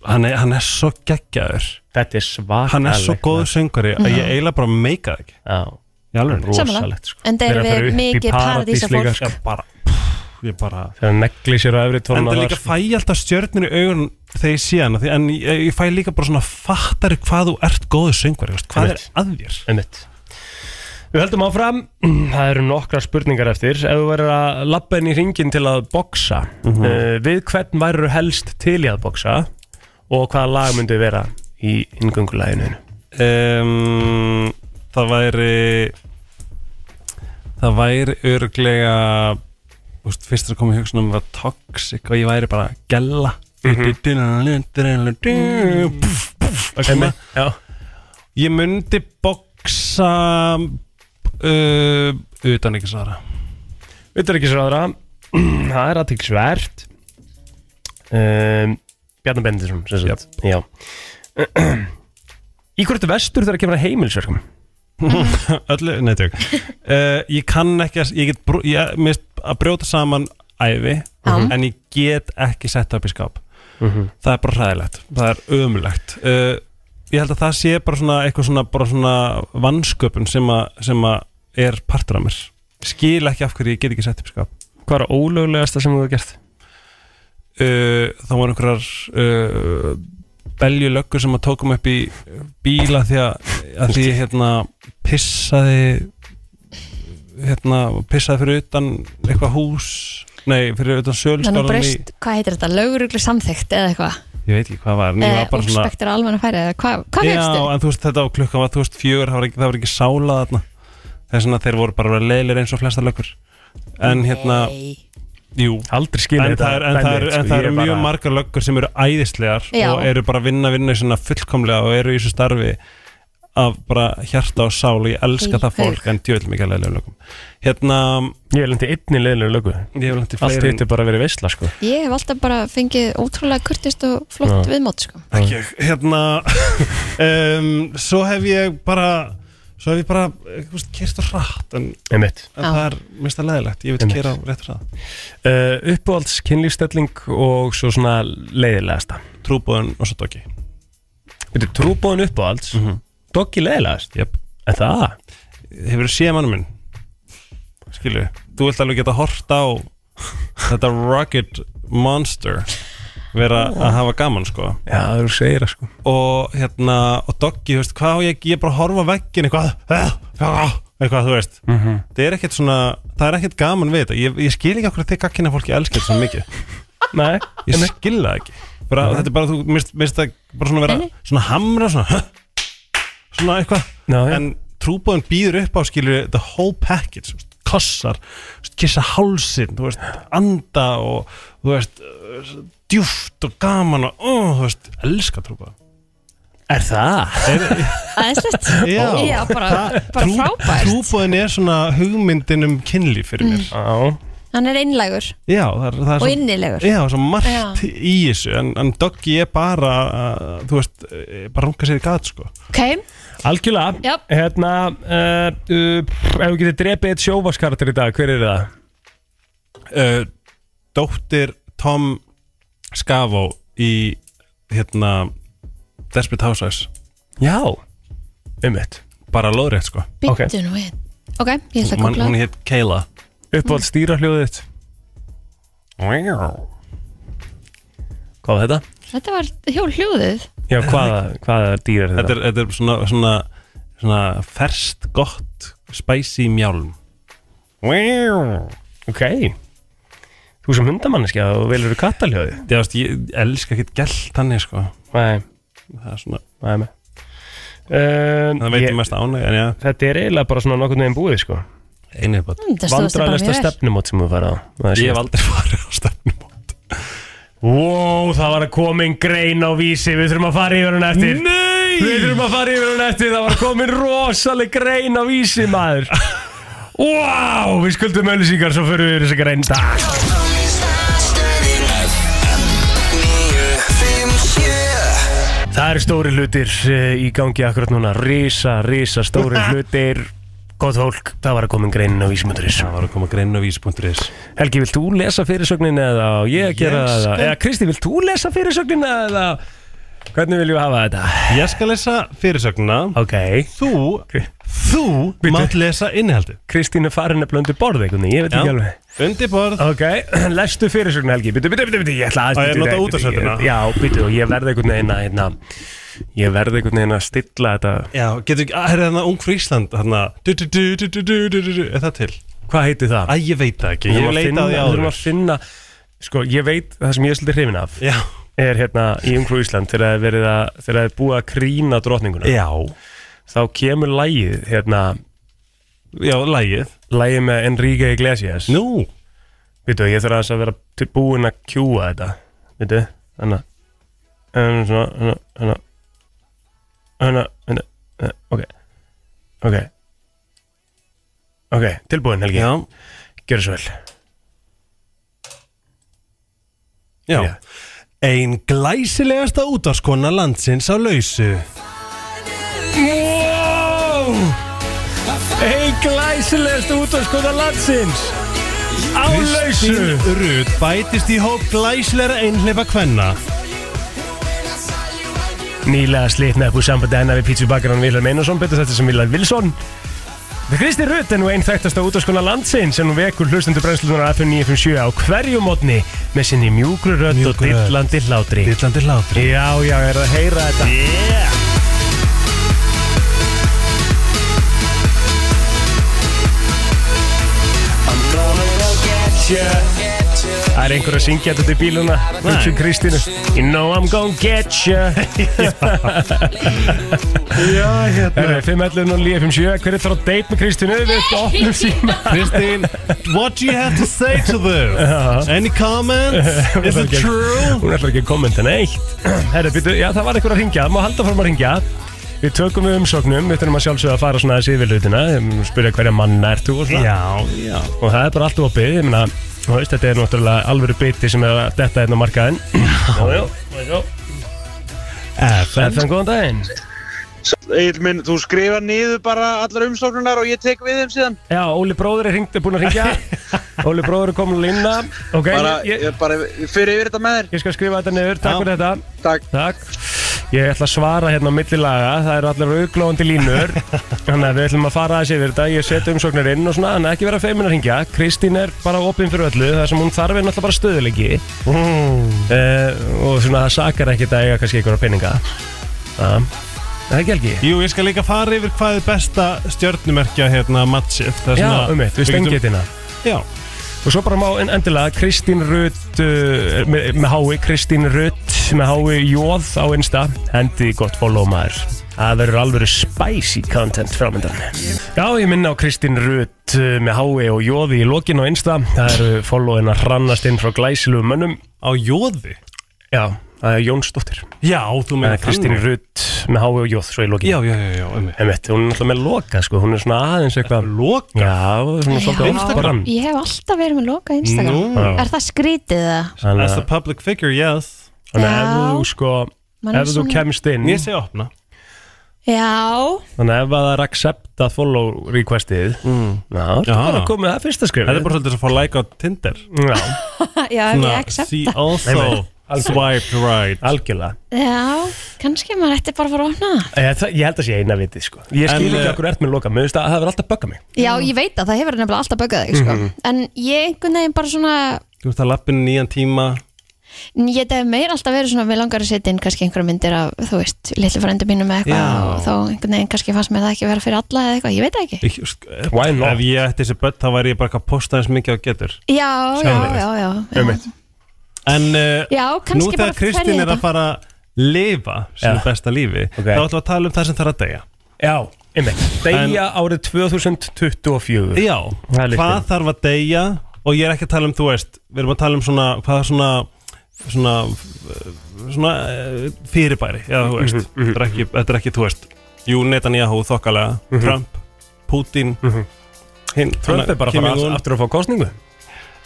S3: Hann er, hann er svo geggjaður
S2: Þetta er svakalega
S3: Hann er svo góður söngari að ég eiginlega bara meika það ekki
S2: Já, sko.
S3: Í alveg
S1: Sammála. Enda erum
S2: Þegar
S1: við
S2: fer upp í
S1: mikið
S2: paradís
S1: paradísa fólk
S2: líka, sko.
S3: Ég bara, pff, ég bara
S2: Þegar hann negli sér á efri
S3: En
S2: tónum
S3: það líka fæ ég alltaf stjörnir í augun þegar ég sé hana því, En ég, ég fæ líka bara svona fattari hvað þú ert góður söngari þú veist, Hvað er
S2: Einmitt.
S3: að þér?
S2: Einmitt. Við höldum áfram [CLEARS THROAT] Það eru nokkra spurningar eftir Ef þú verður að labba inn í ringin til að boksa
S3: Mhm.
S2: uh, Við hvern værið helst til í að boksa Og hvaða lag myndi vera í ingöngulæginu
S3: um, það væri það væri örglega úst, fyrst að koma í hugsunum var toxic og ég væri bara gella Púff, púff, að koma.
S2: Já
S3: ég myndi boksa uh, utan ekki svara
S2: Utryggisráðra [CLEARS THROAT] Það er aðtíksvert um, Bjarnar Bendinsson sem sagt Já Í hvort ertu vestur þegar kemur að heimilsverkum
S3: öllu, nei tök uh, ég kann ekki að ég get brú, ég, mér finnst að brjóta saman æfi
S1: Já.
S3: en ég get ekki sett upp í skáp það er bara hræðilegt, það er ömulegt uh, ég held að það sé bara svona eitthvað svona, bara svona vansköpun sem, að- sem að er partur af mér skil ekki af hverju ég get ekki sett upp í skáp
S2: Hvað er ólöglegasta sem þú hefur gert?
S3: uh, þá var einhverjar uh, beljulöggur sem að tókum upp í bíla því að, að því ég hérna pissaði hérna pissaði fyrir utan eitthvað hús nei, fyrir
S1: Þannig
S3: utan
S1: að
S3: sölskálan í
S1: breyst, hvað heitir þetta, löguruglu samþygt eða eitthvað
S3: ég veit ekki hvað var, en ég
S1: Eh,
S3: var bara
S1: og
S3: svona
S1: spektur almenna færi eða hvað hva
S3: já,
S1: fegstu?
S3: en þú veist þetta á klukkan var þú veist fjögur, það var ekki, það var ekki sála þarna það er svona þeir voru bara leilir eins og flesta löggur en hérna, jú
S2: Aldrei skilja
S3: En það, er, en, það er,
S2: sko?
S3: en það eru mjög margar löggur sem eru æðislegar
S1: Já.
S3: og eru bara að vinna vinna í svona fullkomlega og eru í þessu starfi af bara hjarta og sál og ég elska
S1: Í
S3: það fólk en djöðl mikið að leiðlega lögum hérna,
S2: Ég hef lendi einni leðinu lögu
S3: ég hef langt í
S2: Allt
S3: fleiri
S2: hitt er bara verið veisla sko
S1: Ég hef alltaf bara fengið ótrúlega kurtist og flott
S2: Já.
S1: viðmót sko.
S3: Takk ég, hérna [LAUGHS] um, svo hef ég bara svo hef ég bara eh, kert og hratt en,
S2: Einmitt
S3: en það er mest að leiðilegt, ég vil
S2: Einmitt.
S3: kera rétt og hratt
S2: uh, Uppáhalds kynlífstelling og svo svona leiðilegasta
S3: trúbúðun og svo doggi
S2: Þetta er trúbóðin uppáhalds mm
S3: Mhm.
S2: -hmm. Doggi leiðilegast
S3: yep.
S2: En það
S3: hefur þú séð mannum minn skilu, þú vilt alveg geta hort á þetta rugged monster vera að hafa gaman sko
S2: Já, það eru segir það sko
S3: og hérna, og Doggy, þú veist, hvað á ég, ég bara að horfa á veggin eitthvað eh, ah, eitthvað, þú veist það er ekkert svona, það er ekkert gaman við þetta ég, ég skil ekki okkur að þið gagkynna fólki elskir þetta svo mikið,
S2: Nei
S3: ég skil það ekki bara, þetta er bara, þú mist, mist það bara svona vera, svona hamra, svona svona eitthvað
S2: Ná, já.
S3: en trúbóðin býður upp á skilur the whole package, þú veist, kossar þú veist, kissa hálsin, þú veist anda og þú veist uh, djúft og gaman og uh, þú veist, elska trúbóðin
S2: Er það?
S1: Æðislegt
S3: [LAUGHS] Já.
S1: Já, bara, bara frábært
S3: Trúbóðin er svona hugmyndin um kynlíf fyrir mér
S2: Já
S1: Hann er einlægur
S3: Já, það er, það er
S1: og
S3: svo-
S1: innilegur
S3: Já, svo margt
S1: Já.
S3: í þessu en, en Doggy er bara uh, þú veist, eh, bara runga sér í gat sko.
S1: Ok,
S2: Algjörlega
S1: Jáp.
S2: Hérna uh, uh, pff, Ef við getum drepið eitt sjóvaskarater í dag Hver er það?
S3: uh, Dóttir Tom Skavó í hérna Desperate Housewives
S2: Já Ummitt
S3: bara loðrétt sko
S1: býttu
S2: Ok.
S1: nú við Ok, ég ætla að
S3: Man,
S1: googla
S3: hún hétt Kayla
S2: Uppáhalds stýra hljóðið þitt Hvað var þetta?
S1: Þetta var hjól hljóðið
S2: Já, hvaða, hvaða dýr er
S3: þetta
S2: þetta?
S3: er, þetta er svona, svona, svona ferst gott spicy mjálm
S2: Ok Þú sem hundamanniski að þú velur kattaljóði
S3: Já, veist, ég elska ekkert gælt þannig sko
S2: Nei
S3: Það er svona
S2: Nei, nei Um,
S3: Það veitum mest ánægja, en já.
S2: Þetta er eiginlega bara svona nokkurn veginn búið sko
S3: Einnig bara
S16: Mm, það stóðst
S2: Vandræðalesta
S16: bara mjög vel.
S2: stefnumót sem þú farið á Það er
S3: Ég
S2: síðast.
S3: hef aldrei [LAUGHS] farið á stefnum
S2: Wow, það var að komin grein á vísi Við þurfum að fara yfir hún eftir
S3: Nei
S2: Við þurfum að fara yfir hún eftir Það var komin rosaleg grein á vísi maður Wow, við skuldum öllisíkar Svo förum við yfir þessa grein í dag Það eru stóri hlutir eh, í gangi akkurat núna Risa, risa stóri hlutir Góð fólk, það var að komin greinin á vísimundurins
S3: Það var að koma greinu á vísi.is
S2: Helgi, vilt þú lesa fyrirsögnin eða á ég að gera
S3: Ég
S2: það?
S3: skal-
S2: Eða Kristi, vilt þú lesa fyrirsögnin eða Hvernig viljum við hafa þetta?
S3: Ég skal lesa fyrirsögnina
S2: Ok
S3: Þú, þú
S2: Bíddu.
S3: mátt lesa innihaldið
S2: Kristín er farin að blöndu borð einhvern veginn, ég veit ekki alveg
S3: Undirborð
S2: Ok, [CLEARS THROAT] lestu fyrirsögn Helgi Bitu, bitu, bitu, bitu, ég ætla að
S3: Á, ég nota útvarpsröddina?
S2: Já, bitu, og ég verði einhvern veginn að hérna, Ég verði einhvern veginn að stilla þetta
S3: Já, getur ekki, að er það ung frá Ísland Þarna, du du du du du du du du du Er það til?
S2: Hvað heiti það?
S3: Æ, ég veit það ekki,
S2: Við
S3: ég
S2: þurfum að
S3: leita
S2: finna-
S3: á því
S2: Við þurfum að
S3: áður
S2: finna Sko, ég veit það sem ég er svolítið hrifin af
S3: Já,
S2: Er hérna í Ungru Ísland Þegar það er verið að Þegar það er búið að krýna drotninguna
S3: já,
S2: Þá kemur lægið Hérna
S3: já, lægið
S2: Lægið með Enrique Iglesias
S3: Nú,
S2: Vitu, ég þarf aðeins að vera til- búinn að kjúa þetta Vitu, þannig að Svona, svona, svona Svona, svona eh, Ok Ok Ok, tilbúin Helgi
S3: já,
S2: Gjörðu svo vel
S3: já
S2: Já.
S3: Ein glæsilegasta útvarskona landsins á lausu
S2: Wow! Einn glæsilegast útvarskona landsins Á lausu
S3: Kristín Rut bætist í hóp glæsilegra einhleipa kvenna
S2: Nýlega slitna upp úr sambandi hennar við pítsubakarinn Vilhelm Einarsson betur þetta sem Vilhelm Vilsson Kristi Rutt er nú einn þekktasta útvarskona landsins en hún vekur hlustendur brennslunar FM 957 á hverju mótni með sinni mjúkru rödd og
S3: Mjúkru rödd.
S2: dillandi hlátri
S3: Dillandi hlátur
S2: Já, já, er að heyra þetta
S3: Yeah
S2: Það er einhver að syngja þetta út í bíluna Hugsun Kristínu You know I'm gonna get ya
S3: [LAUGHS]
S2: [LAUGHS]
S3: Já,
S2: Það
S3: hérna
S2: er 511 og 957 Hver er það á date með Kristínu? Við dofnum síma
S3: Kristín, what do you have to say to them?
S2: Uh-huh.
S3: Any
S2: [LAUGHS]
S3: comments? Is it true?
S2: Hún ætlar ekki að kommenta neitt Herra, býtu, já það var einhver að ringja Má halda fórum að ringja Við tökum við umsóknum Við þurfum að sjálfsögða að fara svona aðeins yfir hlutina Spyrja hverja manna ert þú og svona
S3: Já, já
S2: Og það er bara allt opið Ég meina, þú veist, þetta er náttúrulega alvöru biti sem er að detta hérna á markaðin Já, já, já
S3: FN
S2: Þannig góðan daginn
S11: Egil minn, þú skrifa niður bara allar umsóknunar og ég tek við þeim síðan
S2: Já, Óli bróður er hringt, er búinn að ringja [LAUGHS] Óli bróður er komin að linna Ok,
S11: bara,
S2: ég,
S11: ég, bara fyrir yfir þetta með þér
S2: ég skal skrifa þetta niður, takk
S3: Já.
S2: fyrir þetta
S11: Takk
S2: Takk Ég ætla að svara hérna á millilaga, það eru allar auglóðandi
S3: [LAUGHS]
S2: línur Þannig að við ætlum að fara aðeins yfir þetta Ég setja umsóknir inn og svona, þannig að ekki vera feimin að ringja Kristín er bara opinn fyrir öllu, það sem hún þarf er náttúrulega bara stöðuleiki
S3: Mm.
S2: uh, Og svona það sakar ekkert að eiga kannski einhverja peninga Það Það er ekki helgi
S3: Jú, ég skal líka fara yfir hvað er besta stjörnumerkja hérna matchið Það er
S2: Já,
S3: svona-
S2: um eitt, við
S3: getum-
S2: stengjum þetta
S3: Já,
S2: Og svo bara má en- endilega Kristín Rutt uh, með, með hái, Kristín Rutt með hái Jóð á Insta hendi gott follow maður Það verður alveg spicy content framöndan Já, ég minna á Kristín Rutt uh, með hái og Jóði í lokin á Insta Það eru followin að hrannast inn frá glæsilu mönnum
S3: á jóði
S2: Já, það er Jónsdóttir
S3: Já, þú
S2: Það
S3: meina
S2: er Kristín Rutt með hái og Jóð svo í lokin
S3: Já, já, já, já, um eitt
S2: Emmett, hún er alltaf með loka sko, hún er svona aðeins eitthvað
S3: Loka
S2: Já, svona svolítið á
S3: Instagram?
S2: brann
S1: Ég hef alltaf verið með loka Instagram
S3: Nú,
S2: Já.
S1: Er það skrítið það?
S3: as
S2: Þannig
S3: a public figure, yes
S2: þannig að ef
S1: Já.
S2: þú sko
S1: Man er
S2: Ef þú
S1: svona-
S2: kemst inn
S3: Ég segi opna
S1: Já, [LAUGHS]
S2: Þannig að ef að það er accept að follow requestið mm. Já, það er
S3: Já.
S2: bara komið það fyrsta skrif
S3: Það er bara svolítið sem að fá like á Tinder
S2: Já,
S1: já, ef ég accept
S3: See
S2: Nei,
S3: also
S2: nei.
S3: Swipe right
S2: algjörlega
S1: Já, kannski maður ætti bara að fara að opna það.
S2: Ég, það, ég held að sé eina viti sko Ég skil
S3: En,
S2: ekki
S3: eh,
S2: okkur ert með loka Mér finnst að það verður alltaf að bögga mig
S1: Já, ég veit að það hefur
S3: Mhm.
S1: nefnilega alltaf böggað þig sko. En ég einhvern veginn bara svona
S3: Þú veist að lappin nýjan tíma
S1: En Ég hef meir alltaf verið svona, mér langar að setja inn kannski einhverja myndir af, þú veist, litlu frændum mínum eða
S3: Já.
S1: eitthvað og þá einhvern veginn kannski fannst mér það ekki vera fyrir alla eða eitthvað, ég veit það ekki.
S3: Ég-
S2: Why not?
S3: Ef ég ætti þessi börn þá væri ég bara eitthvað að posta eins mikið á getur
S1: Já, já,
S3: Sjáum
S1: já, já.
S2: Einmitt.
S3: En uh,
S1: Já,
S3: nú
S1: kannski bara
S3: þegar
S1: fer ég
S3: Kristín er
S1: þetta.
S3: að fara að lifa sinu
S2: Já.
S3: besta lífi þá ætlum við að tala um það sem þarf að deyja
S2: Já, einmitt Deyja árið 2024
S3: Já,
S2: Það er
S3: hvað
S2: listin.
S3: þarf að deyja og ég er ekki að tala um, þú veist við erum að tala um svona, hvað er svona svona, eh, svona eh, fyrirbæri, já, þú veist
S2: Mhm,
S3: þetta, er ekki, þetta er ekki, þú veist Jú, Netanyahu, þokkalega,
S2: Mhm.
S3: Trump Putin hinn,
S2: Trump er bara að
S3: Kim
S2: fara
S3: Jong-un.
S2: aftur að fá kostningu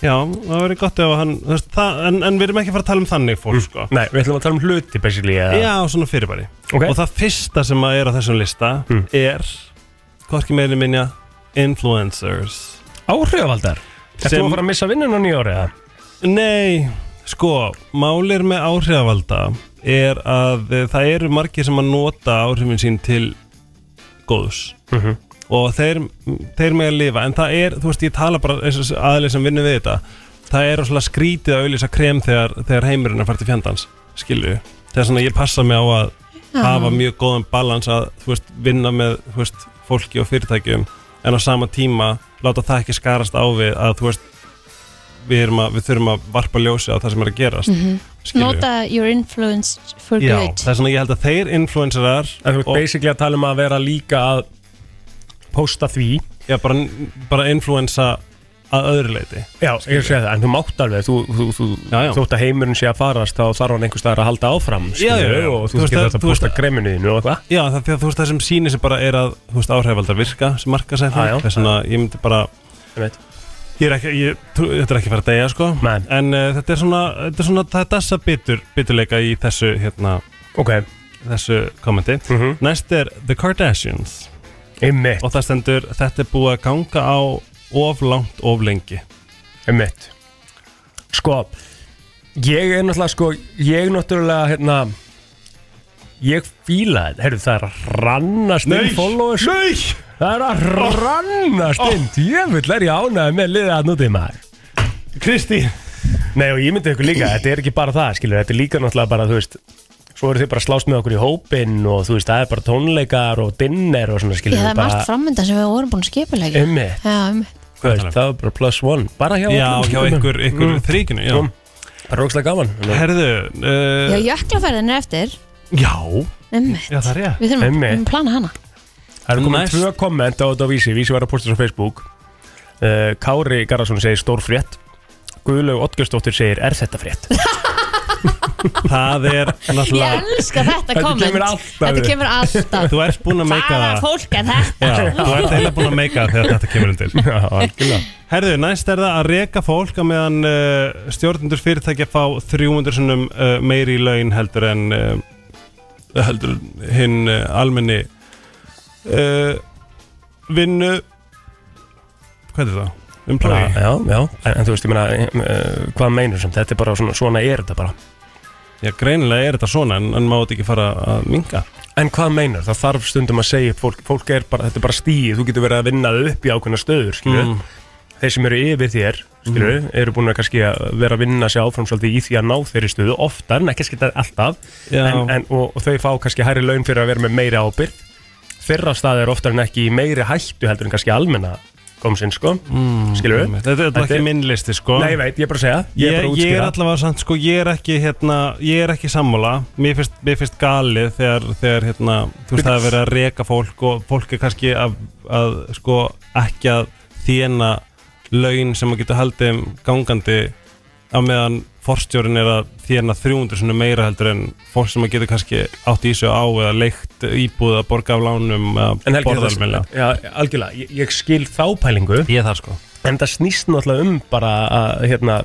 S3: Já, það verður gott ef hann þú veist, það, en, en við erum ekki að fara að tala um þannig fólk, sko
S2: Nei, við ætlum að tala um hluti basically eða-
S3: Já, svona fyrirbæri
S2: Ok.
S3: Og það fyrsta sem að er á þessum lista er, hvorki meiri minja influencers
S2: Áhrifavaldar Ertu
S3: Sem-
S2: að fara að missa vinnun á nýjári eða?
S3: Nei, sko, málir með áhrifavalda er að eh, það eru margir sem að nota áhrifin sín til góðs
S2: Mhm.
S3: og þeir, þeir með að lifa en það er, þú veist, ég tala bara aðlið sem vinnur við þetta það er rosalega skrítið að auðlýsa krem þegar, þegar heimurinn er fært í fjandans, skilju það er svona, ég passa mig á að
S1: Já.
S3: hafa mjög góðan balans að, þú veist, vinna með þú veist, fólki og fyrirtækjum en á sama tíma, láta það ekki skarast á við að, þú veist við, erum að, við þurfum að varpa ljósi á það sem er að gerast
S1: Mhm.
S3: skilju.
S1: Nota your influence for
S3: Já,
S1: good.
S3: það er svona, ég held að þeir influencerar
S2: En Þú ert basically að tala um að vera líka að posta því
S3: já, bara, bara influensa að öðru leiti
S2: Já, ég sé það, en þú mátt alveg þú, þú, þú,
S3: Já, já.
S2: þótt að heimurinn sé að farast þá þarf hann einhvers staðar að halda áfram
S3: Já, já, já.
S2: og
S3: Þú
S2: þú
S3: veist
S2: getur
S3: að-
S2: þetta að
S3: þú veist
S2: posta
S3: að-
S2: kreminu þínu og eitthvað
S3: Já, það, því að þú veist það sem sýnir sem bara er að þú veist áhrifaldar virka sem marka sér
S2: Já, já.
S3: þess vegna ég myndi bara
S2: Ég veit.
S3: Ah, ég er ekki, ég, trú- þetta er ekki að fara að deyja sko
S2: Nei.
S3: en uh, þetta er svona, þetta er svona það er dassa bitur, biturleika í þessu hérna,
S2: Ok,
S3: þessu kommenti
S2: Mhm.
S3: næst er The Kardashians
S2: einmitt,
S3: og það stendur, þetta er búið að ganga á of langt, of lengi
S2: einmitt Sko, ég er náttúrulega sko, ég náttúrulega hérna, ég fíla þetta herru, það er að rannast inn followers
S3: nei
S2: það er að rannast inn ég vil er ég ánægði með liðið að nútið maður
S3: Kristi
S2: Nei og ég myndi ykkur líka, þetta er ekki bara það skilur, þetta er líka náttúrulega bara, þú veist svo eru þið bara að slást með okkur í hópinn og þú veist, það er bara tónleikar og dinner og svona
S1: Já,
S2: skilur
S1: það er
S2: bara,
S1: margt framöndan sem við vorum búin að skipulegja.
S2: Einmitt,
S1: Já, um,
S2: þú veist, það er bara plus one bara hjá
S3: Já,
S2: öllum
S3: hjá
S2: skilurðu.
S3: ykkur, ykkur Mm.
S2: Mm.
S3: þríkinu, já
S2: Mm. Það er rókslega gaman Þannig-
S3: Herðu,
S1: já,
S2: Eh.
S3: uh,
S1: jöklaferðin er eftir.
S3: já
S1: Um,
S3: Já, það er ég
S1: við þurfum að, við
S2: Einmitt.
S1: þurfum að plana hana.
S2: Það eru komin
S3: Næst-
S2: tvö komment á þetta á Vísi Vísi var að posta þessu á Facebook uh, Kári Garðarsson segir stór frétt Guðlaug Oddgjörsdóttir segir er þetta frétt
S3: Það er náttúrulega
S1: [LAUGHS] Ég elska þetta
S2: Þetta
S1: komment.
S2: kemur alltaf
S1: Þetta
S2: upp.
S1: kemur alltaf.
S2: [LAUGHS]
S3: Þú ert búin að meika
S1: Hvaða fólk er þetta?
S3: Já, [LAUGHS] þú ert eiginlega búin að meika það þegar þetta kemur undir
S2: Já, algjörlega
S3: Herðu, næst er það að reka fólk að meðan uh, stjórnendur fyrirtækja fá 300 sinnum uh, meiri í laun heldur en uh, heldur hinn uh, almenni uh, vinnu hvað er það?
S2: bara,
S3: Umplagi?
S2: Já, já, en, en þú veist, ég meina uh, hvað meinur sem, þetta er bara svona, svona er þetta bara
S3: Já, greinilega er þetta svona en, en má þetta ekki fara að minga
S2: En hvað meinar? Það þarf stundum að segja upp fólk, fólk er bara, þetta er bara stíð, þú getur verið að vinna upp í ákveðna stöður, skilju
S3: Mm.
S2: Þeir sem eru yfir þér, skilju, eru búin að kannski að vera að vinna sér áfram svolítið í því að ná þeirri stöðu, oftar, en ekki skilta alltaf
S3: Já.
S2: en, en, og, og þau fá kannski hærri laun fyrir að vera með meiri ábyrg Þeirra stað er oftar en ekki í meiri hættu heldur en kannski almenna komsinn, sko mm. Skilju
S3: Þetta, þetta er ekki minn listi sko
S2: Nei, ég veit, ég er bara að segja,
S3: Ég,
S2: ég, er bara að
S3: ég er
S2: útskýra
S3: allavega samt, sko, ég er ekki hérna, ég er ekki sammála Mér finnst, mér finnst galið þegar, þegar hérna, þú veist, það er verið að reka fólk og fólk er kannski að, að sko, ekki að þjena laun sem að geta haldið um gangandi á meðan forstjórin er að þjena 300 svona meira heldur en fólk sem að geta kannski átt í þessu á eða leikt íbúð að borga af lánum
S2: En
S3: að
S2: Helgi,
S3: borða
S2: það,
S3: almennilega
S2: já, algjörlega, ég, ég skil þá pælingu
S3: Ég er það sko
S2: En það snýst náttúrulega um bara að hérna,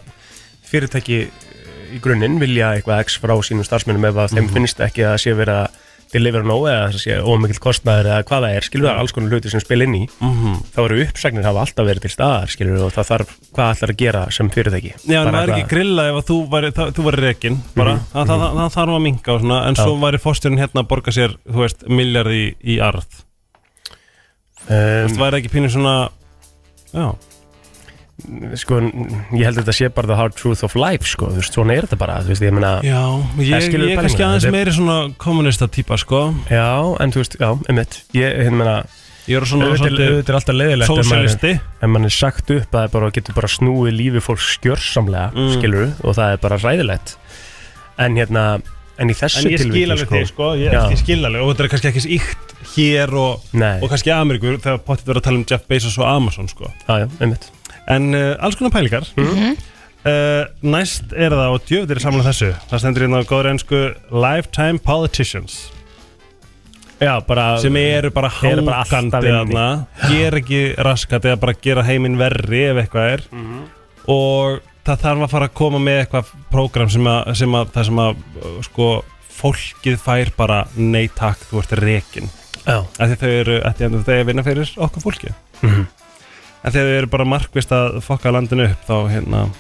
S2: fyrirtæki eh, í grunninn vilja eitthvað x frá sínum starfsmennum ef að
S3: Mhm.
S2: þeim finnst ekki að það sé verið að delivera nóg eða það sé ómikill kostnaður eða hvað það er, skilur
S3: Mhm.
S2: það alls konar hluti sem spil inn í þá eru uppsagnir hafa alltaf verið til staðar skilur og það þarf hvað ætlar að gera sem fyrirtæki
S3: Já, en
S2: Bara
S3: maður er ekki
S2: eitthvað-
S3: grilla ef að þú væri, það, þú væri rekin bara, mm það, það, það, þarf að minga og svona en
S2: Já.
S3: svo væri fórstjörn hérna að borga sér þú veist, miljard í, í arð Þú veist,
S2: um,
S3: Mhm. væri ekki pínu svona Já,
S2: sko, ég held að þetta sé bara the hard truth of life, sko, þú veist, svona er þetta bara, þú veist, ég meina
S3: Já, ég,
S2: Eh, skilurðu
S3: ég er kannski
S2: pælinguna?
S3: aðeins
S2: Þetta er-
S3: meiri svona kommunista típa, sko
S2: Já, en þú veist, já, einmitt Ég, hérna meina
S3: Ég er svona
S2: auðvitað
S3: svolítið
S2: auðvitað er alltaf leiðilegt ef maður-
S3: sósíalisti.
S2: ef mann er sagt upp að það er bara getur bara snúið lífi fólks skjörsamlega mm.
S3: Mm.
S2: og það er bara ræðilegt en hérna en í þessu
S3: En ég skil
S2: tilviki
S3: alveg þig, sko, ég,
S2: Já.
S3: ég skil alveg og þetta er kannski ekki íkt hér og,
S2: Nei.
S3: og kannski Ameríkur þegar potið verið að tala um Jeff Bezos og Amazon, sko
S2: Já, já, einmitt
S3: En uh, alls konar pælingar
S2: Mhm.
S3: uh, Næst er það og djöfðir er saman þessu Það stendur hérna á góður ennsku Lifetime Politicians
S2: Já, bara
S3: sem eru bara
S2: eru bara alltaf
S3: hangandi
S2: inni.
S3: þarna gera ekki raskat eða bara gera heiminn verri ef eitthvað er
S2: Mhm.
S3: og það þarf að fara að koma með eitthvað prógram sem að, sem að það sem að uh, sko fólkið fær bara nei takk þú ert rekin
S2: Já.
S3: af því þau eru að því að þau vinna fyrir okkur fólki
S2: Mhm.
S3: en þegar þau eru bara markvist að fokka landinu upp þá hérna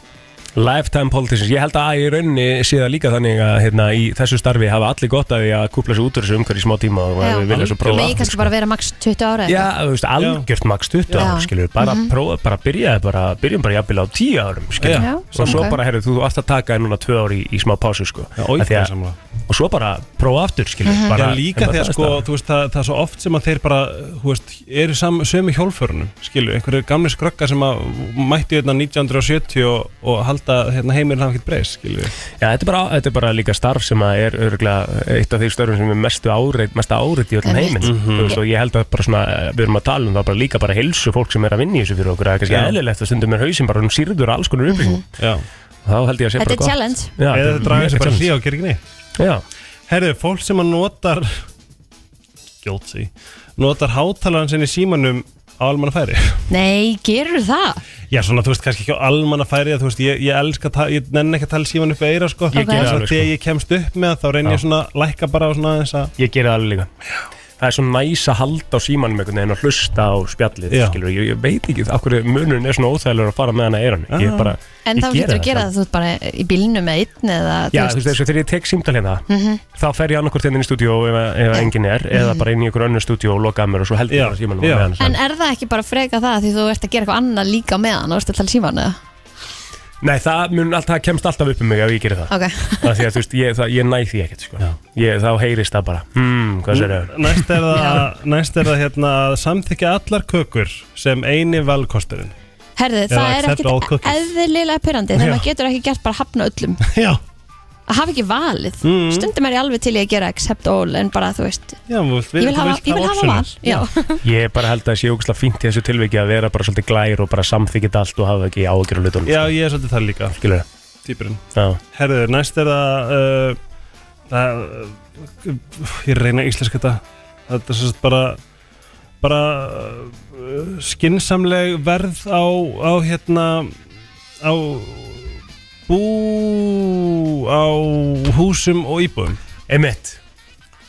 S2: Lifetime politicians, ég held að í rauninni sé það líka þannig að hérna, í þessu starfi hafa allir gott af því að kúpla sér út úr þessu umhverju í smá tíma og að við vilja svo prófa
S1: Megi kannski bara vera max 20 ára
S2: Já, þú veist, algjört maks 20 ára,
S1: Já.
S2: skilur, bara
S1: Mhm.
S2: prófa, bara byrjaði bara, byrjum bara jafnvel á 10 árum, skilur,
S1: Já,
S2: og svo
S1: ok.
S2: bara, herru, þú þú átt að taka þér núna 2 ári í, í smá pásu, sko,
S3: Já, og í
S2: Af því
S3: það
S2: að-
S3: samlega.
S2: og svo bara prófa aftur, skilur,
S3: Mhm.
S2: bara,
S3: Já, líka
S2: en bara
S3: þegar
S2: það
S3: sko,
S2: er staðan.
S3: þú veist, það, það er svo oft sem að þeir bara, þú veist, eru sam, sömu hjólförunum, skilu, einhverju gamli skröggar sem að mættu hérna 1970 og, og halda hérna heiminn hafa ekkert breyst, skilu.
S2: Já, þetta er, bara, þetta er bara líka starf sem að er örgulega eitt af því störfum sem er mestu áreit, mesta áreit í öllum
S1: Einmitt.
S2: heiminn
S3: Mhm.
S2: mm veist, og ég held að bara svona, eh, við erum að tala um það bara líka bara helsu fólk sem er að vinna í þessu fyrir okkur, það er kannski
S3: Já.
S2: eðlilegt að stundum er hausinn bara um sýrður alls konar upplýsing
S3: Já.
S2: þá held ég að
S1: Mhm.
S2: sé bara
S1: Þetta er
S2: gott.
S1: challenge
S2: Já,
S3: Eða
S2: þetta
S3: þau
S2: er
S3: draga
S2: mega
S3: þessi bara
S2: challenge.
S3: hlý og gerir ekki neitt.
S2: Já.
S3: Herðu, fólk sem að notar, guilty, notar hátalarinn sinni í símanum á almannafæri.
S1: Nei, gerur það?
S3: Já, svona, þú veist, kannski ekki á almannafæri, að, þú veist, ég, ég elska, að ta- ég nenni ekki að tala í símanum upp eira, sko.
S2: Ég Ok. geri það alveg, sko.
S3: Þegar ég kemst upp með það, þá reynir
S2: Já.
S3: ég svona, að lækka bara á svona þess að,
S2: Ég geri það alveg líka Það er svo næs að halda á símanum einhvern veginn og hlusta á spjallið,
S3: Já.
S2: skilur, ég, ég veit ekki af hverju munurinn er svona óþægilegur að fara með hana eirann ég
S3: Já.
S2: bara,
S1: En
S2: ég
S1: þá
S2: geri
S1: getur þú að gera
S2: samt.
S1: það, þú ert bara í bílnum með einn eða
S2: Já, þú veist, þessu, þegar ég tek símtal hérna
S1: Mhm.
S2: þá fer ég annarkvort inn í stúdíó ef, ef enginn er, eða bara inn í einhver önnur stúdíó og lokaða mér og svo heldur
S3: Já.
S2: ég bara símanum
S3: Já.
S2: á meðan, sko.
S1: En
S2: sem-
S1: er það ekki bara freka það því þú ert að gera eitthvað annað líka með hann og ert að tala síman eða?
S2: Nei, það, mun, all, það kemst alltaf upp um mig ef ég gerir það
S1: Ok,
S2: Það því að þú veist, ég, það, ég næ því ekkert sko. ég, þá heyrist það bara hmm,
S3: Mm.
S2: hvað sér þau?
S3: Næst er það, næst er það hérna, að samþykja allar kökur sem eini valkosturinn
S1: herðu,
S3: Eða
S1: það er
S3: accept all
S1: ekkit
S3: cookies.
S1: eðlilega pyrrandi
S3: Já.
S1: þegar maður getur ekki gert bara að hafna öllum
S3: Já,
S1: að hafa ekki valið
S3: Mhm.
S1: stundum er ég alveg til í að gera accept all en bara þú veist,
S3: já þú vilt,
S1: ég vil hafa, ég vil hafa val Já,
S2: Ég bara held að það sé ógustlega fínt í þessu tilviki að vera bara svolítið glær og bara samþykja allt og hafa ekki ágjör á hlutunum
S3: Já, ég er svolítið það líka
S2: Skilur það?
S3: Týpurinn
S2: Já
S3: Herðu, næst er það uh, Það uh, Ég reyna að íslenska þetta Þetta er svolítið bara bara uh, skinsamleg verð á, á hérna á bú á húsum og íbúðum
S2: Emitt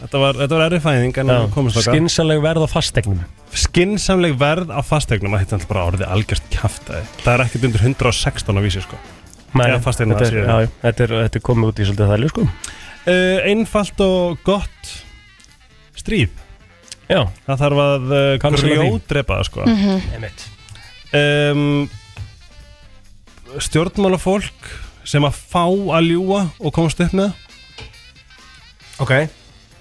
S3: Þetta var, þetta var erri fæðing en við komumst þangað.
S2: Skinsanleg verð á fastegnum
S3: skinsamleg verð á fastegnum að þetta er bara orðið algjört kjaftaði það er ekkert undir 116 á vísi sko.
S2: Nei,
S3: Já, fasteigna
S2: þetta,
S3: séu.
S2: er, já, já, þetta, er, þetta er komið út í svolítið þærlu sko
S3: uh, einfalt og gott stríð
S2: Já,
S3: það þarf að uh,
S2: Cancela því.
S3: grjóðdrepa það sko.
S2: emitt
S3: um, stjórnmálafólk sem að fá að ljúa og komast upp með
S2: Ok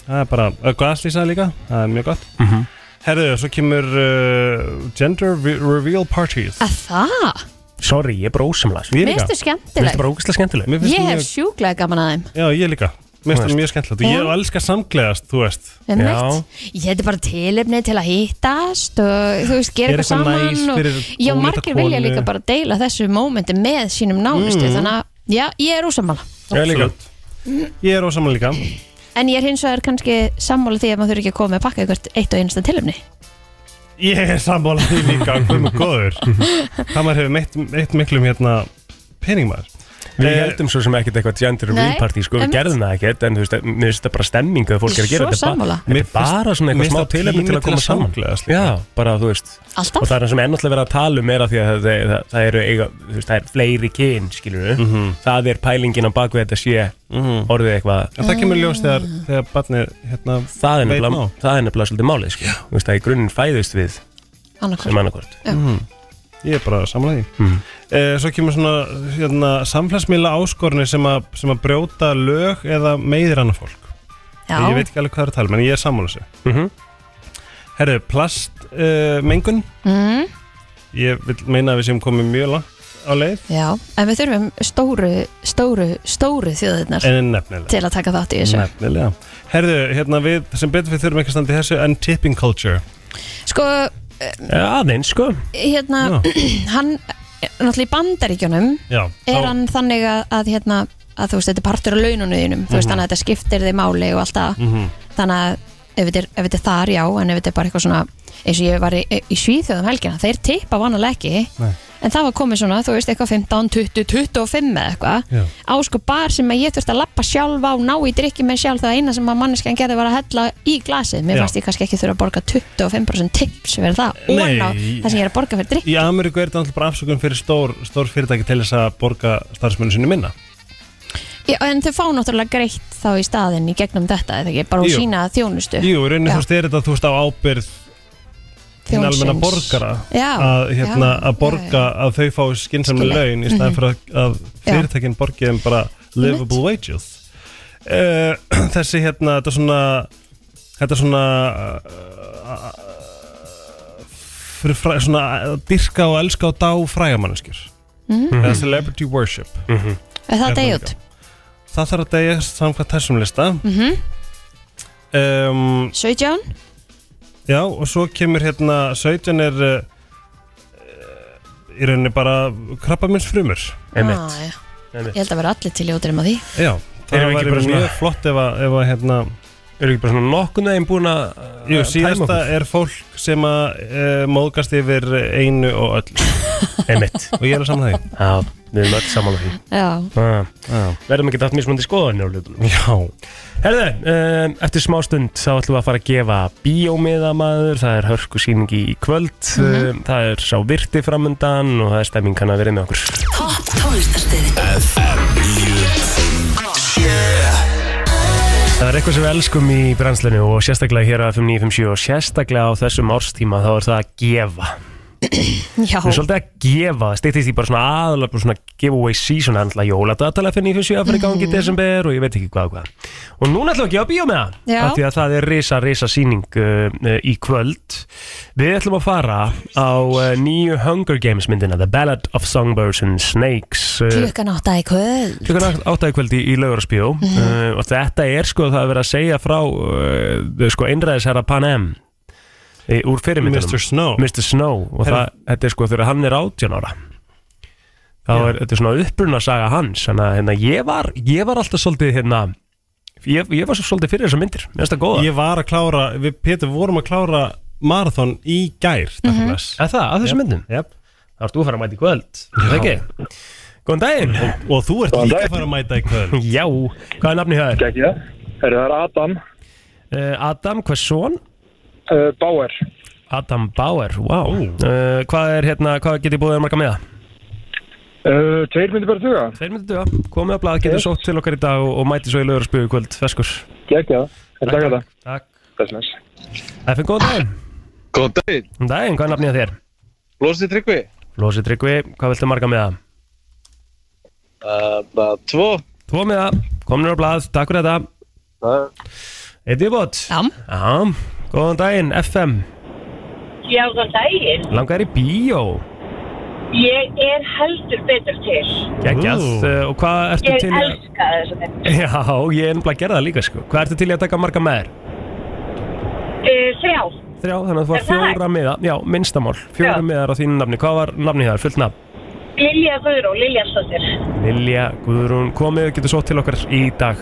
S3: það er bara uh, glaslýsa líka, það er mjög gott
S2: Mhm.
S3: herðu, svo kemur uh, gender re reveal parties
S1: að það
S2: Sorry, ég er bara ósamlega
S3: Ég
S1: Mér finnst þú
S3: líka.
S2: Mér finnst
S1: skemmtileg
S2: bara ógustlega skemmtileg
S3: Mér finnst
S1: Ég
S3: mjög-
S1: hef sjúklega gaman að þeim
S3: Já, ég líka. Mér finnst
S2: Þú
S3: það
S2: veist.
S3: mjög skemmtilegt og ég
S1: Já.
S3: elska samgleðast, þú veist.
S1: Einmitt. Ég heiti bara tilefni til að hittast og þú veist, gera
S3: Gera
S1: eitthvað
S3: eitthvað
S1: saman
S3: næs fyrir
S1: og já,
S3: ólíka
S1: margir vilja
S3: konu. Mm.
S1: líka bara deila þessu mómenti með sínum nánustu þannig að já, ég er ósamála
S2: Ég er líka
S3: Ég er ósaman líka.
S1: en ég er hins vegar kannski sammála því að maður þurfi ekki að koma með að pakka eitthvað eitt og einasta tilefni
S3: Ég er sammála því líka, hvað með góður. Það maður hefur meitt, meitt miklum hérna peningmaður.
S2: Við
S3: Eh,
S2: heldum svo sem ekkert eitthvað gender
S1: Nei,
S2: reveal party sko, við
S1: einmitt.
S2: gerðum það ekkert en þú veist, mér finnst þetta bara stemming að fólk er að gera
S1: Svo
S2: þetta er
S1: sammála.
S2: bara- Þetta er bara
S3: Mér
S2: svona
S3: finnst
S2: eitthvað smá
S3: það
S2: tilefni
S3: tími
S2: til að
S3: til
S2: koma
S3: að
S2: saman
S3: samgleðast líka.
S2: Já, bara þú veist
S1: Alltaf.
S2: Og það er það sem ennáttúrulega verið að tala um er að því að það, það, það eru eiga, þú veist, það er fleiri kyn, skilur við
S3: Mhm.
S2: Það er pælingin á bakvið þetta sé orðið eitthvað
S3: En það kemur ljós þegar, þegar barnið hérna
S2: Það er
S3: veit
S2: nefnilega, sko.
S3: nóg.
S2: það er nefnilega svolítið málið, skilur Þú veist, það í grunninn fæðist við
S1: annarkvöld
S2: sem annarkvort
S1: Já.
S3: ég er bara samanlega því Eh, Svo kemur svona hérna, samfélagsmiðla áskorni sem, að- sem að brjóta lög eða meiðir annað fólk
S16: Já.
S3: Ég veit ekki alveg hvað það er að tala, um, en ég er sammála þessu mm
S1: Mhm.
S3: -hmm. Herru, plastmengun
S1: mm,
S3: Ég vil meina að við séum komið mjög langt á leið
S1: Já, en við þurfum stóru, stóru, stóru þjóðirnar
S3: En nefnilega
S1: til að taka þátt í þessu
S3: Nefnilega Herðu, hérna við, sem betur við þurfum ekki að standa í þessu En tipping culture
S1: Sko, eh,
S3: Aðeins, sko
S1: hérna, [CLEARS THROAT] hann, náttúrulega í bandaríkjunum
S3: Já,
S1: er
S3: þá-
S1: hann þannig að, að hérna, að þú veist, þetta er partur á laununum þínum, þú veist,
S16: Mhm.
S1: þannig að þetta skiptir þig máli og allt það
S16: Mhm.
S1: þannig að ef þetta er, ef þetta er þar, já, en ef þetta er bara eitthvað svona eins og ég var í, í Svíþjóðum helgina þeir tippa vanalega ekki
S3: Nei.
S1: en það var komið svona, þú veist, eitthvað 15, 20, 25 eða eitthvað,
S3: Já.
S1: á sko bar sem að ég þurfti að lappa sjálf á, ná í drikki með sjálf það eina sem að manneskjan gerði var að hella í glasið, mér
S3: Já.
S1: fannst ég kannski ekki þurfa að borga 25% tips fyrir það,
S3: Nei.
S1: ofan á það sem ég er að borga fyrir drikk
S3: Í Ameríku er þetta alltaf bara afsökun fyrir stór, stór fyrirtæki til þess að borga starfsmönu sinni minna
S1: Já, en þau fá náttúrulega greitt þá í staðinn í gegnum þetta, eða ekki, bara úr
S3: Jú.
S1: sína þjónustu.
S3: Jú, í rauninni
S1: Já.
S3: þú veist, er þetta þú veist á ábyrð hinn
S1: Þjónsins.
S3: almenna borgara
S1: Já,
S3: að, hérna,
S1: já,
S3: að borga að þau fái skynsami
S1: Skilja.
S3: laun í staðan
S1: Mhm.
S3: fyrir að, að
S1: Já.
S3: fyrirtækin borgi þeim bara livable wages uh, [CLEARS THROAT] þessi hérna þetta svona þetta svona uh, fyrir fræ, svona uh, dyrka og elska og dá frægamanneskjur
S1: Mhm.
S3: eða celebrity worship mm -hmm.
S1: Er það deyja út?
S3: það þarf að degja samkvæmt þessum lista
S1: Mhm.
S3: um,
S1: 17?
S3: Já, og svo kemur hérna 17 er uh, í rauninni bara krabbamins frumur
S1: Ah, já. Ég held að vera allir til ljótur um að því.
S3: Já, það
S2: Erum við ekki
S3: var
S2: bara
S3: mjög
S2: svona-
S3: flott ef að, ef að hérna
S2: Eru ekki bara svona nokkun aðeim búin að uh,
S3: Jú,
S2: tæma
S3: síðasta
S2: okkur?
S3: er fólk sem að uh, móðgast yfir einu og öll
S2: Einmitt
S3: Og ég er að saman [LAUGHS] því
S2: Já, við erum öll saman á því
S1: Já.
S2: ah, Verðum ekki dætt mismunandi skoðanir á hlutunum Já Herðu, um, eftir smá stund þá ætlum við að fara að gefa bíómiðamaður Það er hörku síningi í kvöld um, Það er sá virti framundan og það er stemming kann að vera með okkur
S10: Topp tónlistarstöðin
S17: FM 957
S2: Það er eitthvað sem við elskum í brennslinu og sérstaklega hér að 5957 og sérstaklega á þessum árstíma þá er það að gefa
S1: Já.
S2: Við erum svolítið að gefa, það stýttist í bara svona aðalega bara svona giveaway season Það er alltaf jóladagalega fyrir 957 að fara í
S1: Mhm.
S2: gangi í desember og ég veit ekki hvað og hvað Og núna ætlum við að gefa bíó með það
S1: Já.
S2: af Því að það er risa, risa síning uh, uh, í kvöld Við ætlum að fara á uh, nýju Hunger Games myndina The Ballad of Songbirds and Snakes uh,
S1: Klukkan átta í kvöld.
S2: klukkan átt- átta í kvöldi í laugararsbjó uh, og þetta er sko það að vera að segja frá uh, sko einræðisherra Pan Am uh, úr fyrirmyndunum
S3: Mr. Snow.
S2: Mr. Snow og
S3: Herra-
S2: það, þetta er sko þegar hann er 18 ára þá er þetta er svona uppruna saga hans þannig að hérna, ég, var, ég var alltaf svolítið hérna ég, ég var svo svolítið fyrir þessar myndir mér finnst það góða
S3: Ég var að klára, við Pétur vorum að klára marathon í gær mm -hmm.
S2: Er það, að þessum
S3: Jep,
S2: myndum? Yep. Þá ert þú að fara að mæta í kvöld, er það ekki? Góðan daginn og,
S3: og þú ert
S2: Góðan
S3: líka
S2: daginn.
S3: að fara að mæta í kvöld
S2: Já, hvað er nafni það er?
S15: Gæti það. Herru, það er Adam.
S2: Eh, Adam, hvers son?
S15: Uh, Bauer.
S2: Adam Bauer, wow. Uh, hvað er hérna, hvað getur búið þér marga með það?
S15: Uh, tveir myndir bara duga.
S2: Tveir myndir duga. Komið að blað, getur sótt til okkar í dag og, og mæti svo í lögur og spjöðu kvöld, feskur.
S15: Gæti það. Takk fyrir það.
S2: Takk.
S15: Þess næst.
S2: FN, góðan daginn.
S18: Góðan daginn.
S2: Góðan daginn, hvað er nafnið á þér?
S18: Lósi Tryggvi.
S2: Lósi Tryggvi, hvað viltu marga með það?
S18: Það er Ehm, tvo.
S2: Tvo með það, komin á blað, takk fyrir þetta. Eitt viðbót. Já. Já, góðan daginn, FM,
S7: Já, góðan daginn.
S2: langar í bíó.
S7: Ég er heldur betur til.
S2: Gægjað, uh, og hvað ertu
S7: Ég
S2: til í að...
S7: elska þessu mynd.
S2: [LAUGHS] Já, ég er nefnilega að gera það líka, sko. Hvað ertu til í að taka marga með þér?
S7: Uh, þrjá,
S2: Þrjá, þannig að þú var
S7: Er það
S2: fjóra miða, já, minnstamál, fjóra miðar á þínu nafni, hvað var nafni þar, fullt nafn?
S7: Lilja Guðrún, Lilja Stóttir.
S2: Lilja Guðrún, komið, getur svo til okkar í dag.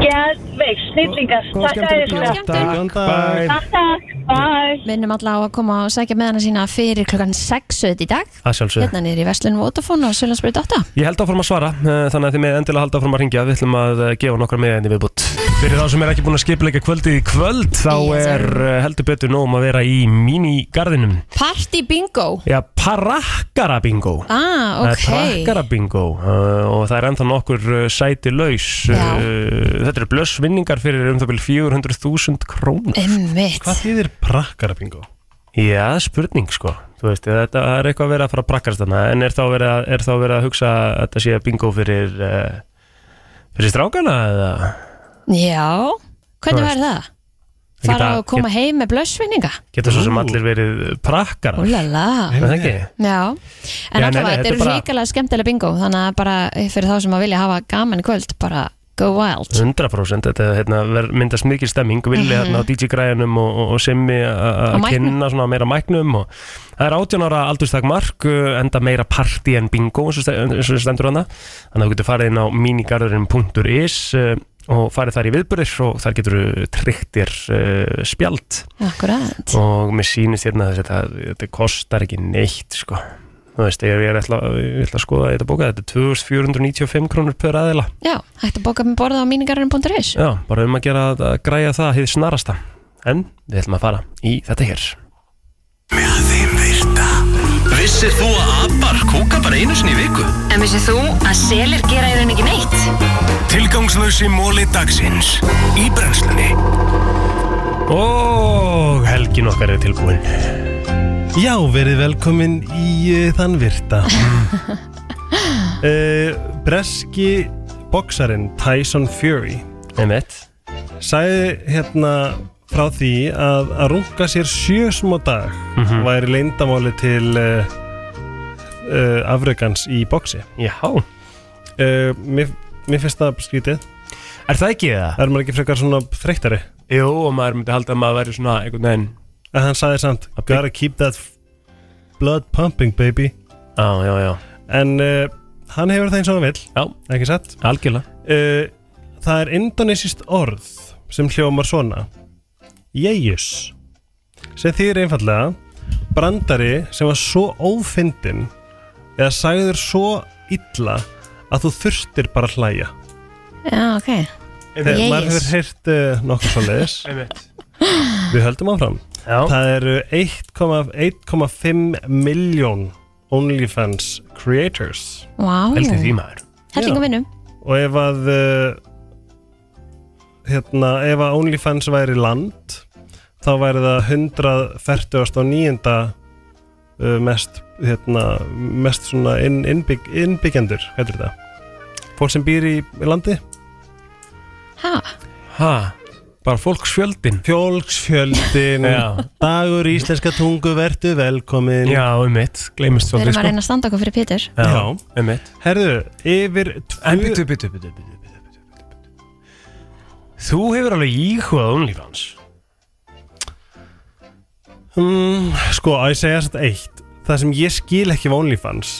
S7: Geðveik, snillingar. Takk að þér fyrir.
S2: Takk, bæ.
S7: Takk, takk. Bye.
S1: Minnum alla á að koma og sækja með hana sína fyrir klukkan 6 auðvitað í dag.
S2: Að sjálfsögðu.
S1: Hérna niður í Vestlunum Votafón og Sjölandsbyrði 8.
S2: Ég held áfram að svara, eh, þannig að þið með endilega halda áfram að ringja, við ætlum að eh, gefa nokkra miða enni viðbútt. Fyrir þá sem er ekki búin að skipleika kvöldið í kvöld, þá er eh, heldur betur nóg um að vera í mínigarðinum.
S1: Party bingo.
S2: Já, parakkara bingo.
S1: Ah, ok.
S2: Það er trakkara bingo uh, og það er ennþá nokkur uh, sæti laus uh, Þetta eru blössvinningar fyrir um það byrjum 400.000 krónur
S1: Einmitt.
S3: Hvað þýðir prakkara bingo?
S2: Já, spurning sko Þú veist, þetta það er eitthvað verið að fara að brakkast þarna En er þá verið að, er þá verið að hugsa að þetta sé bingo fyrir uh, fyrir strákana eða
S1: Já, hvernig
S2: Þú
S1: væri það?
S2: Það
S1: Fara
S2: geta-
S1: og koma heim með blössvinninga
S2: geta svo sem allir verið prakkarar
S1: Úlala
S2: Er það ekki?
S1: Já, en
S2: Já,
S1: allavega,
S2: nei, nei,
S1: þetta
S2: þetta er
S1: eru
S2: bara-
S1: ríkilega skemmtilega bingo þannig að bara eh, fyrir þá sem að vilja hafa gaman í kvöld bara go wild
S2: 100% þetta hérna, ver- myndast mikil stemming villi
S1: Mhm.
S2: mm á DJ Græjanum og, og- og Simmi a- a-
S1: Á
S2: að
S1: mæknum.
S2: kynna svona meira mæknum og það er 18 ára aldurstak mark uh, enda meira party en bingo eins og ste- eins og stendur hana þannig að þú getur farið inn á minigarðurinn.is uh, og farið þar í viðburðir og þar getur þú tryggt þér uh, spjald
S1: Akkurat
S2: og mér sýnist hérna þess að þetta, þetta kostar ekki neitt sko þú veist, ég, ég, ætla, ég ætla að skoða þetta bóka þetta er 2495 krónur per aðila
S1: Já, hægt að bóka með borða á míningarinn.is
S2: Já, bara um að gera að græja það hið snarasta En við ætlum að fara í þetta hér
S19: Vissir þú að abar kúka bara einu sinni í viku?
S10: En vissið þú að selir gera í raun ekki neitt?
S19: Tilgangslösi móli dagsins í brennslunni
S2: Og helgin okkar er tilbúin
S3: Já, verið velkomin í uh, þann virta uh, Breski boksarin Tyson Fury
S2: Einmitt
S3: Sæði hérna frá því að að runga sér sjö smá dag
S2: Mhm.
S3: væri leindamáli til uh, uh, afrögans í boksi
S2: Já
S3: uh, mér, mér finnst það skrítið
S2: Er það ekki það?
S3: Er maður ekki frekar svona þreyttari?
S2: Jú, og maður myndi halda að maður væri svona einhvern veginn
S3: En hann sagði samt Gotta keep that f- blood pumping baby
S2: Já, já, já
S3: En uh, hann hefur það eins og hann vill
S2: Já
S3: Ekki satt?
S2: Algjörlega
S3: uh, Það er indonesist orð sem hljómar svona Jejus sem þýðir einfallega brandari sem var svo ófindin eða sagður svo illa að þú þurftir bara að hlæja
S1: Já, ok
S3: Þegar maður hefur heyrt uh, nokkuð svo leiðis
S2: [LAUGHS]
S3: Við höldum áfram
S2: Já.
S3: Það eru 1,5 miljón OnlyFans creators
S1: Vá. Pældu í því,
S2: maður
S1: Hellingu vinnum
S3: Og ef að uh, hérna, ef að OnlyFans væri land þá væri það 149. Uh, mest hérna, mest svona inn, innbygg, innbyggjendur, hvað er þetta? Fólk sem býr í landi?
S1: Ha,
S2: Ha, bara fólksfjöldin
S3: Fjólksfjöldin
S2: Já.
S3: Dagur í íslenska tungu, verðu velkomin
S2: Já, um mitt, gleymist
S1: við
S2: svolítið sko.
S1: erum að reyna að standa okkur fyrir Pétur
S2: Já, um mitt
S3: Herðu, yfir tvö-
S2: En byttu, byttu, byttu, byttu, byttu Þú hefur alveg íhugað OnlyFans
S3: mm, Sko, að ég segja þetta eitt Það sem ég skil ekki við OnlyFans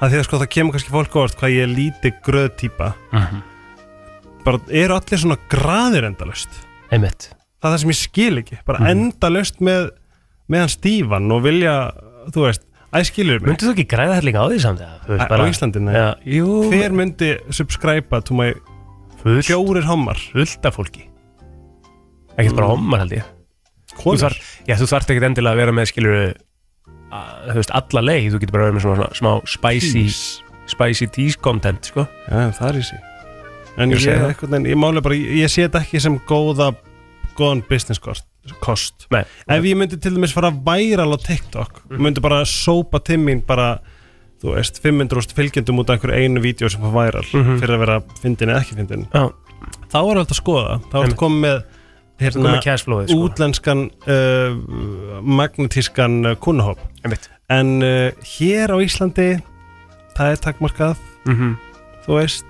S3: Það því að sko, það kemur kannski fólk á orð Hvað ég er lítið gröð típa Bara eru allir svona graðir endalaust
S2: Einmitt
S3: Það er það sem ég skil ekki Bara
S2: Mhm.
S3: endalaust með Með hann stífan og vilja Þú veist, æ skilur mig
S2: Myndið þú ekki græða helling á því samt eða? Þú veist,
S3: Á-
S2: bara-
S3: Á Íslandinu?
S2: Já, jú
S3: Hver myndi subscribe to my
S2: Fullt.
S3: fjórir hommar?
S2: fullt af fólki ekkert bara hommar held ég þú
S3: Konur?
S2: þarf, já, þú þarft ekkert endilega að vera með skilur þú veist, alla leið þú getur bara verið með svona, svona smá spicy
S3: Teas.
S2: spicy tease content sko.
S3: Já, það er í sig En
S2: Ég
S3: ég,
S2: segi
S3: ég,
S2: það.
S3: einhvern veginn, ég máli bara, ég, ég sé þetta ekki sem góða góðan business kost, kost.
S2: Nei,
S3: Ef ég myndi til dæmis fara viral á TikTok
S2: Mhm.
S3: myndi bara sópa til mín bara, þú veist, 500 fylgjendum út af einhverju einu vídeo sem fara viral
S2: Mhm.
S3: fyrir að vera fyndin eða ekki fyndin
S2: já,
S3: þá er alltaf að skoða, þá er
S2: Einmitt.
S3: alltaf komið með
S2: hérna með cash flowið sko.
S3: útlenskan uh, magnetískan uh, kunnahóp
S2: Einmitt.
S3: en uh, hér á Íslandi það er takmarkað,
S2: Mhm.
S3: þú veist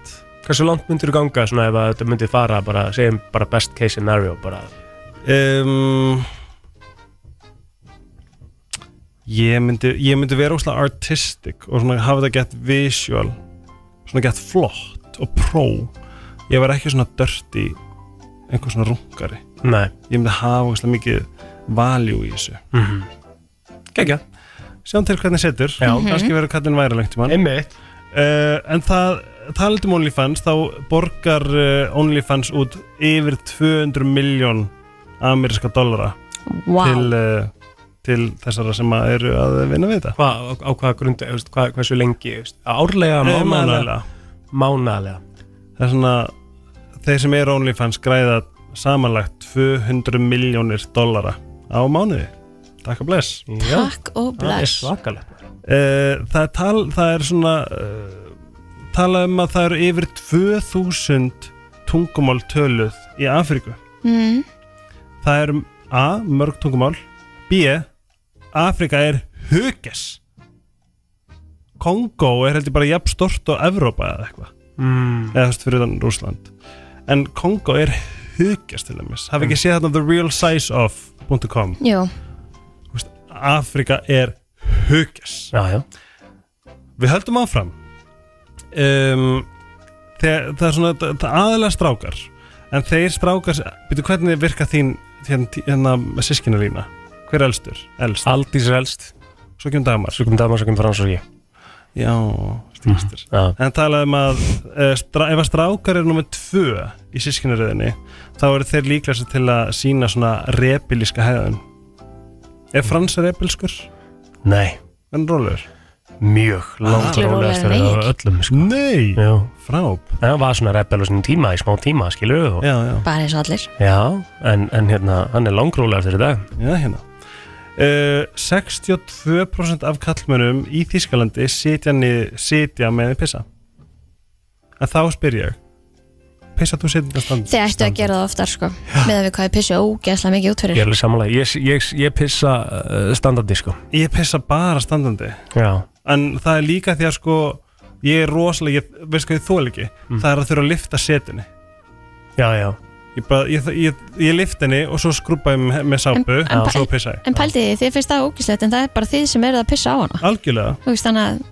S2: hversu langt myndir þú ganga svona ef að þetta myndir fara bara, segjum bara best case scenario bara,
S3: um, ég, myndi, ég myndi vera óslega artistic og svona hafa þetta gett visual svona gett flott og pró ég var ekki svona dirty einhver svona rungari
S2: nei,
S3: ég myndi hafa óslega mikið value í þessu
S2: gegja
S3: sjáum til hvernig setur
S2: Já.
S3: kannski verður kallin væri lengt í mann
S2: einmitt,
S3: uh, en það talað um OnlyFans þá borgar uh, OnlyFans út yfir 200 miljón ameríska dollara
S1: Vá.
S3: til, uh, til þessara sem að eru að vinna við þetta
S2: Hva, á, á hvaða grunda veist, hvað, hversu lengi, veist, árlega
S3: Eh,
S2: mánaðlega,
S3: mánaðarlega.
S2: mánaðlega.
S3: það er svona þeir sem eru OnlyFans græða samanlagt 200 miljónir dollara á mánuði Takk og bless
S2: Já.
S1: Takk og bless.
S2: Það er svakalegt
S3: Eh, það, er tal, það er svona uh, talað um að það eru yfir 2000 tungumál töluð í Afríku
S1: Mm.
S3: það er um A, mörg tungumál B, Afríka er huges Kongo er heldur bara jafn stort og Evrópa eða eitthvað
S2: Mm.
S3: eða þú veist fyrir utan Rúsland en Kongo er huges til dæmis hafi ekki séð þarna therealsizeof.com
S1: Jú,
S3: Afrika er hugis
S2: já, já.
S3: Við höldum áfram um, þegar, Það er svona það er aðalega strákar En þeir strákar Býtu hvernig virka þín hérna, hérna sískina lína Hver er elstur? Elst
S2: Aldís er elst
S3: Svo kemur damar
S2: Svo kom Damar, svo kom Frans og ég
S3: Já, Mhm. stíkstur
S2: Já.
S3: En talaðum að uh, strá, ef að strákar eru nummer tvö í sískinaröðinni þá eru þeir líklegast til að sína svona repilíska hegðun Er Frans repilskur?
S2: Nei,
S3: En rólegur?
S2: mjög langt
S1: Miklu
S2: rólegast
S1: rólegri en
S2: af öllum sko.
S3: Nei,
S2: Já,
S3: fráb
S2: það var svona rebel og svona tíma, í smá tíma, skilur við og...
S3: Já, já
S1: bara eins og allir
S2: Já, en, en hérna, hann er langrólegar fyrir dag
S3: Já, hérna uh, 62% af kallmönnum í Þýskalandi sitja, nið, sitja með pissa En þá spyr ég Pissa þú sitja stand
S1: Þið ættu að gera það oftar sko með að við hvað ég pissi ógeðslega mikið út
S2: Ég er
S1: fyrir
S2: alveg samanlega, ég, ég, ég pissa uh, standardi sko
S3: Ég pissa bara standandi
S2: Já,
S3: En það er líka því að sko Ég er rosalega, ég, veist hvað ég þól ekki Það er að þurfa að lifta setunni
S2: já, já
S3: Ég, bara, ég, ég, ég lift henni og svo skrúpa ég með- með sápu
S1: En- en
S3: og svo
S1: pæl-
S3: pissa ég
S1: En pældi þið, þið finnst það ógeðslegt en það er bara þið sem eruð að pissa á hana
S3: Algjörlega,
S1: Þú veist þannig að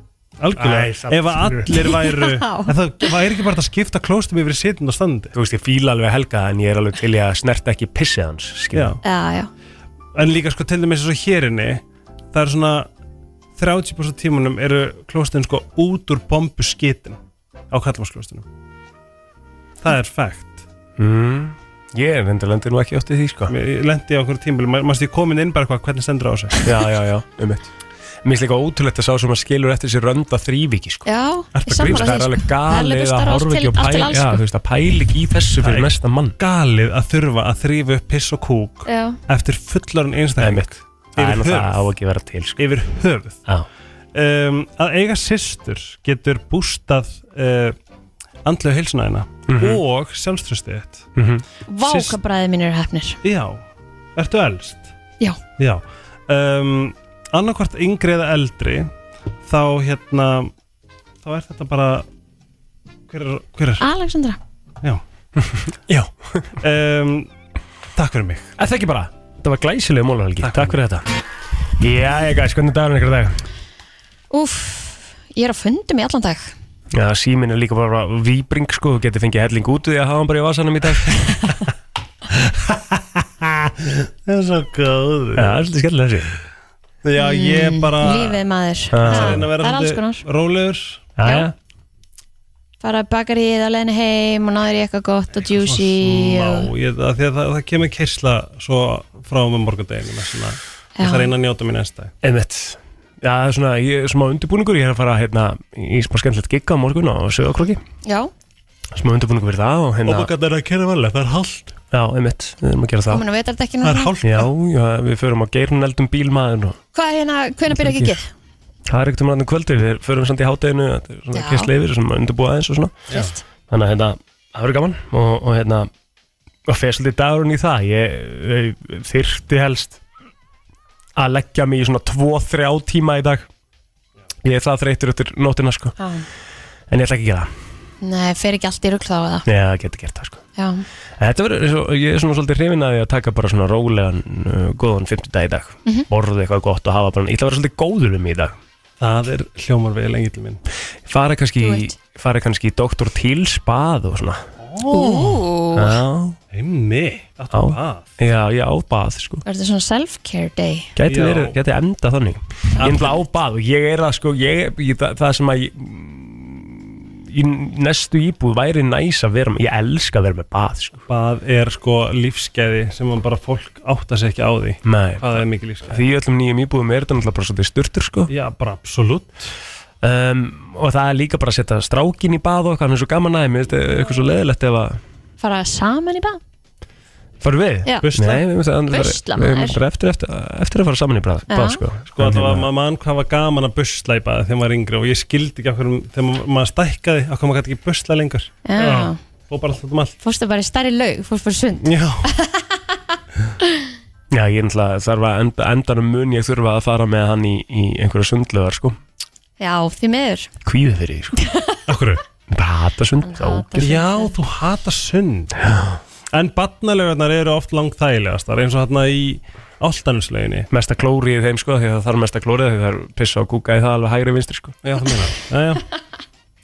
S3: algjörlega
S2: Æ, samt
S3: Ef að allir væru
S1: [LAUGHS] Já.
S3: En það, það er ekki bara hægt að skipta klóstum yfir sitjandi og standandi
S2: Þú veist, ég fíla alveg helga en ég er alveg til í að snerta ekki pissið hans skilur.
S3: Já.
S1: Já, já,
S3: en líka sko til dæmis eins og hérinni það er svona 30% tímanum eru klóstin sko út úr bombu skitin á kallvarsklóstinum það er fægt
S2: mm. Ég er hendur lendir nú ekki átti því sko
S3: ég lendi á okkur tímbil, mannst ég komin inn bara hvað hvernig stendur á þessu
S2: Já, já, já, um eitt Mér finnst líka ótrúlegt að sá sem að skilur eftir sér rönda þrýviki sko
S1: já
S3: Ertu
S1: ég
S3: að
S1: sammála
S3: grínast?
S1: því,
S2: Það er
S1: sko. bara
S2: alveg galið að
S1: starf
S2: horfa
S1: til-
S2: ekki og
S1: allt til
S2: pæla
S1: alls,
S2: Já,
S1: sko.
S2: þú veist, að pæla ekki í þessu
S3: Nei.
S2: fyrir næsta mann
S3: galið að þurfa að þrýfa upp piss og kúk
S1: Já,
S3: eftir fullarinn
S2: Það er
S3: einstakling
S2: mitt Það
S3: Yfir
S2: er nú það á
S3: höfuð.
S2: ekki að vera til sko
S3: yfir höfuð
S2: Já,
S3: um, að eiga systur getur bústað uh, andlega heilsunæðina
S2: Mhm.
S3: og sjálfströstið þitt.
S2: Mhm.
S1: vá
S3: Sist-
S1: hvað bræðið mínir er hefnir
S3: Já, ertu elst?
S1: Já.
S3: Já, um, annarkvart yngri eða eldri þá hérna þá er þetta bara hver er, hver er?
S1: Alexandra Ah.
S2: já
S3: Um, Takk fyrir mig
S2: Er það ekki bara? Það var glæsilega mólarhelgi,
S3: Takk.
S2: takk, fyrir þetta Jæja gæs, hvernig er dagurinn ykkur í dag?
S1: Úff, ég er á fundum í allan dag
S2: Já, síminn er líka bara víbring sko, þú getur fengið helling út úr því að hafa hann bara í vasanum [LAUGHS] í dag Já,
S3: Það er svo góð
S2: það er svolítið skemmtilega þessi
S3: Já, ég bara
S1: Mm, Lífið maður
S2: Ah.
S1: Það
S3: reyna að
S1: það
S3: vera
S1: er alls
S3: svolítið
S1: konar
S3: rólegur
S2: Já, já,
S1: Fara að bakar í það að leiðin heim og náður í eitthvað gott og juicy og...
S3: Smá, ég, að því að það, það kemur kyrsla svo frá með morgundeginu svona,
S1: Já.
S3: ég þarf að reyna að njóta mér næsta dag.
S2: einmitt Já, það er svona, ég er smá undirbúningur, ég er að fara hérna í smá skemmtilegt gigga á morgun á sögokroki
S1: Já,
S2: Smá undirbúningur fyrir það og
S3: Og
S2: hérna
S3: það er að kera valega, það er hald
S2: Já, einmitt, við erum að gera það
S1: komin að veitar þetta ekki
S3: Það er
S1: núna
S3: hald
S2: Já, já, við förum á geirneldum bílmaðin og
S1: Hvað er hérna, hvenær byrja ekki ekki?
S2: það er ekkert um hann kvöldi, við förum samt í hátæðinu, þetta er svona
S1: Já.
S2: kist leifir sem undirbúa aðeins og svona
S1: Fyrst
S2: þannig að hérna, það verður gaman og, og hérna, og fer svolítið dagurinn í það ég, ég þyrfti helst að leggja mig í svona 2-3 tíma í dag ég er það þreytur eftir nótina sko en ég ætla ekki að gera það,
S1: Nei, fer ekki allt í rugl þá eða
S2: Nei, það getur gert það sko
S1: Já,
S2: en þetta verður, eins og- ég er svona svolítið hrifin að ég að taka bara svona rólegan, uh, góðan 50 dag í dag, mm
S1: Mhm.
S2: borða eitthvað gott og hafa bara, ég ætla að vera svolítið góður um mig í dag
S3: Það er hljómar vel lengi til minn
S2: fara kannski,
S1: Þú
S2: í-
S1: ert.
S2: fara kannski í Dr. Teals bað og svona
S1: ú
S2: já,
S3: Heimmi,
S2: Já.
S3: áttu bað
S2: já, já, bað sko
S1: Verður svona self-care day
S2: Gæti
S3: Já.
S2: verið, gæti enda þannig Ég er náttúrulega á bað og ég er að sko ég, ég, það, það sem að ég, í næstu íbúð væri næs að vera með, ég elska að vera með bað sko.
S3: Bað er sko lífskeiði sem man bara fólk átta sig ekki á því
S2: Nei,
S3: Hvað er mikið lífskeiði?
S2: því í öllum nýjum íbúðum er þetta náttúrulega bara svolítið styrtur sko.
S3: Já, bara absolutt
S2: um, og það er líka bara að setja strákin í bað og eitthvað, hann er svo gaman aðeim, eitthvað svo leðilegt ef að
S1: Fara saman í bað
S2: Farum við?
S16: Já.
S2: Busla? Nei, við myndum að
S16: Busla,
S2: við
S16: maður.
S2: myndum eftir, eftir, eftir að fara saman í bræð,
S16: Já.
S2: bræð sko.
S3: Sko alltaf að maður mann hvað var gaman að busla í baði þegar maður var yngri og ég skildi ekki okkur þegar maður- maður stækkaði okkur maður gæti ekki busla lengur
S16: Já.
S3: og bara alltaf um allt
S16: Fórstu bara í stærri laug, fórstu bara í sund
S3: Já
S2: Já, ég er náttúrulega þarf að enda, endanum mun ég þurfa að fara með hann í, í einhverja sundlöðar sko.
S16: Já, því miður
S2: Kvíði fyrir [LAUGHS] því sko. Akkur? Bara hata sund. ógeðslegt.
S3: Já, þú hata sund En barnalögarnar eru oft langt þægilegastar eins og hérna í áltanuslöginni
S2: Mesta klóri í þeim sko, því að það þarf mesta klórið því það er pissa og kúka í það alveg hægri vinstri sko.
S3: Já, það meina Jæja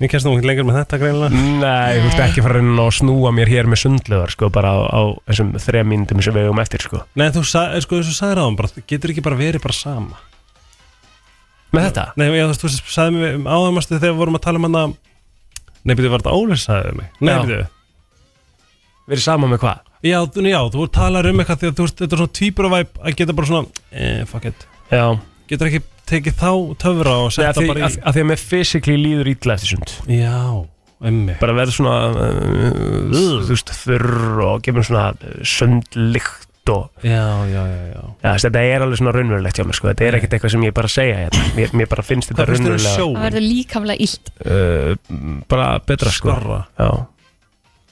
S3: Ég kemst nú ekki lengur með þetta greinlega
S2: Nei, þú ert ekki fara að reyna að snúa mér hér með sundlöðar sko, bara á, á þessum þrejum mínutum sem við eigum eftir sko.
S3: Nei, þú sa, sko, eins og sagði ráðum bara, getur ekki bara verið bara sama
S2: Með þetta?
S3: Nei, ég, þú veist, þú sagði mér áðamastu þegar við vorum að tala um hana Nei, byrju, var þetta Óli sagði við mig Nei,
S2: Já.
S3: byrju
S2: Verið sama með hvað?
S3: Já, þú- já, þú talar um eitthvað því að þú veist, þetta er svona tvíburavæp að geta bara svona, eh, fuck it
S2: Já
S3: Getur ekki tekið þá töfra og
S2: Nei, að
S3: setta
S2: því
S3: bara í
S2: að, að því að mér fysikli líður ítla eftir sund
S3: Já, emmi
S2: Bara verður svona, uh, þú veist, þurr og gefur svona sundlykt og
S3: Já, já, já, já
S2: Já, þessi, þetta er alveg svona raunverulegt hjá mér, sko Þetta er ekkert eitthvað sem ég er bara að segja hérna Mér, mér bara finnst þetta
S3: Hvað finnst þér um
S2: raunverulega
S3: sjóinn?
S16: Það verður líkamlega illt
S2: uh, Bara betra, sko
S3: Skorra.
S2: Já,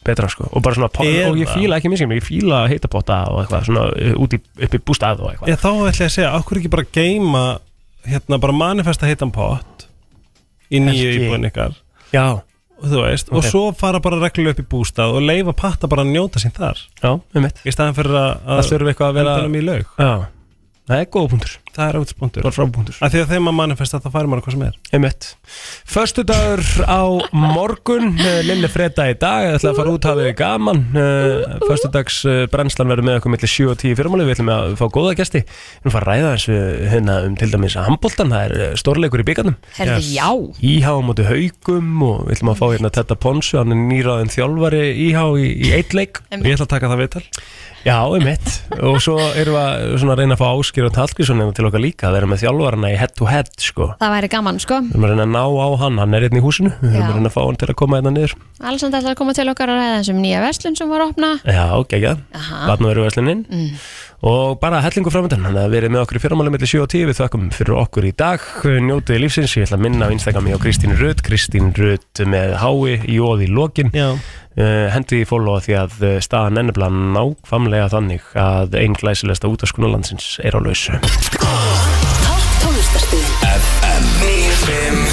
S2: betra, sko Og bara svona, pá-
S3: Eða-
S2: og ég fíla ekki miskjum Ég fíla heita potta og eitthvað Svona uh, út í, upp í bústað og eitthvað
S3: Já, þá ætla ég að segja, okkur ekki bara geima hérna bara manifesta heitan pott í nýju
S2: Helgi.
S3: íbúin ykkar
S2: Já,
S3: og þú veist, og
S2: Ok.
S3: svo fara bara reglulega upp í bústað og leifa patta bara að njóta sín þar
S2: já, um mitt
S3: í staðan fyrir að,
S2: Það þurfi eitthvað að vera
S3: endanum í laug
S2: Já, það er góða punktur
S3: það er útspunktur,
S2: Bara frábúntur
S3: af því að þegar maður manifesta þá færi maður hvað sem er
S2: Einmitt. Föstu dagur á morgun, eh, Lilli Freda í dag, ég ætla að fara út hafið þið gaman. Föstu dags brennslan verður með okkur millir 7 og 10 fyrirmáli, við ætlum að fá góða gæsti. Við ætlum að fara að ræða eins við hérna um til dæmis að handbóltan, það er eh, stórleikur í byggarnum.
S16: Herði, já
S2: Íhá á móti haugum og við ætlum að fá hérna Tetta Ponsu, hann er nýraðin þjálfari Íhá í, í eitt leik.
S3: og ég ætla að taka það viðtal
S2: Já, um Og svo erum við að svona reyna að fá áskýr og talkvísun til okkar líka, að vera með þjálfarana í head to head, sko.
S16: Það væri gaman, sko
S2: Við erum að reyna að ná á hann, hann er hérna í húsinu Við erum
S16: Já.
S2: að reyna að fá hann til að koma hérna niður
S16: Alessandra ætlar að koma til okkar að ræða þessum nýja verslun sem var að opna
S2: Já, geggjað,
S16: Aha. Mm.
S2: vatn og veru verslininn Og bara hellingu framöndan Þannig að verið með okkur í fyrramáli millir 7 og 10 Við þökkum fyrir okkur í dag Njótiði lífsins, ég ætla að minna á Instagrami á Kristín Rut Kristín Rut með hái í óði í lokin
S3: Já.
S2: uh, hendi í follow því að eh, staðan ennabla nákvamlega þannig að einn glæsilegsta útaskunalandsins er á lausu
S10: Topp tónlistarstöðin
S17: FM 957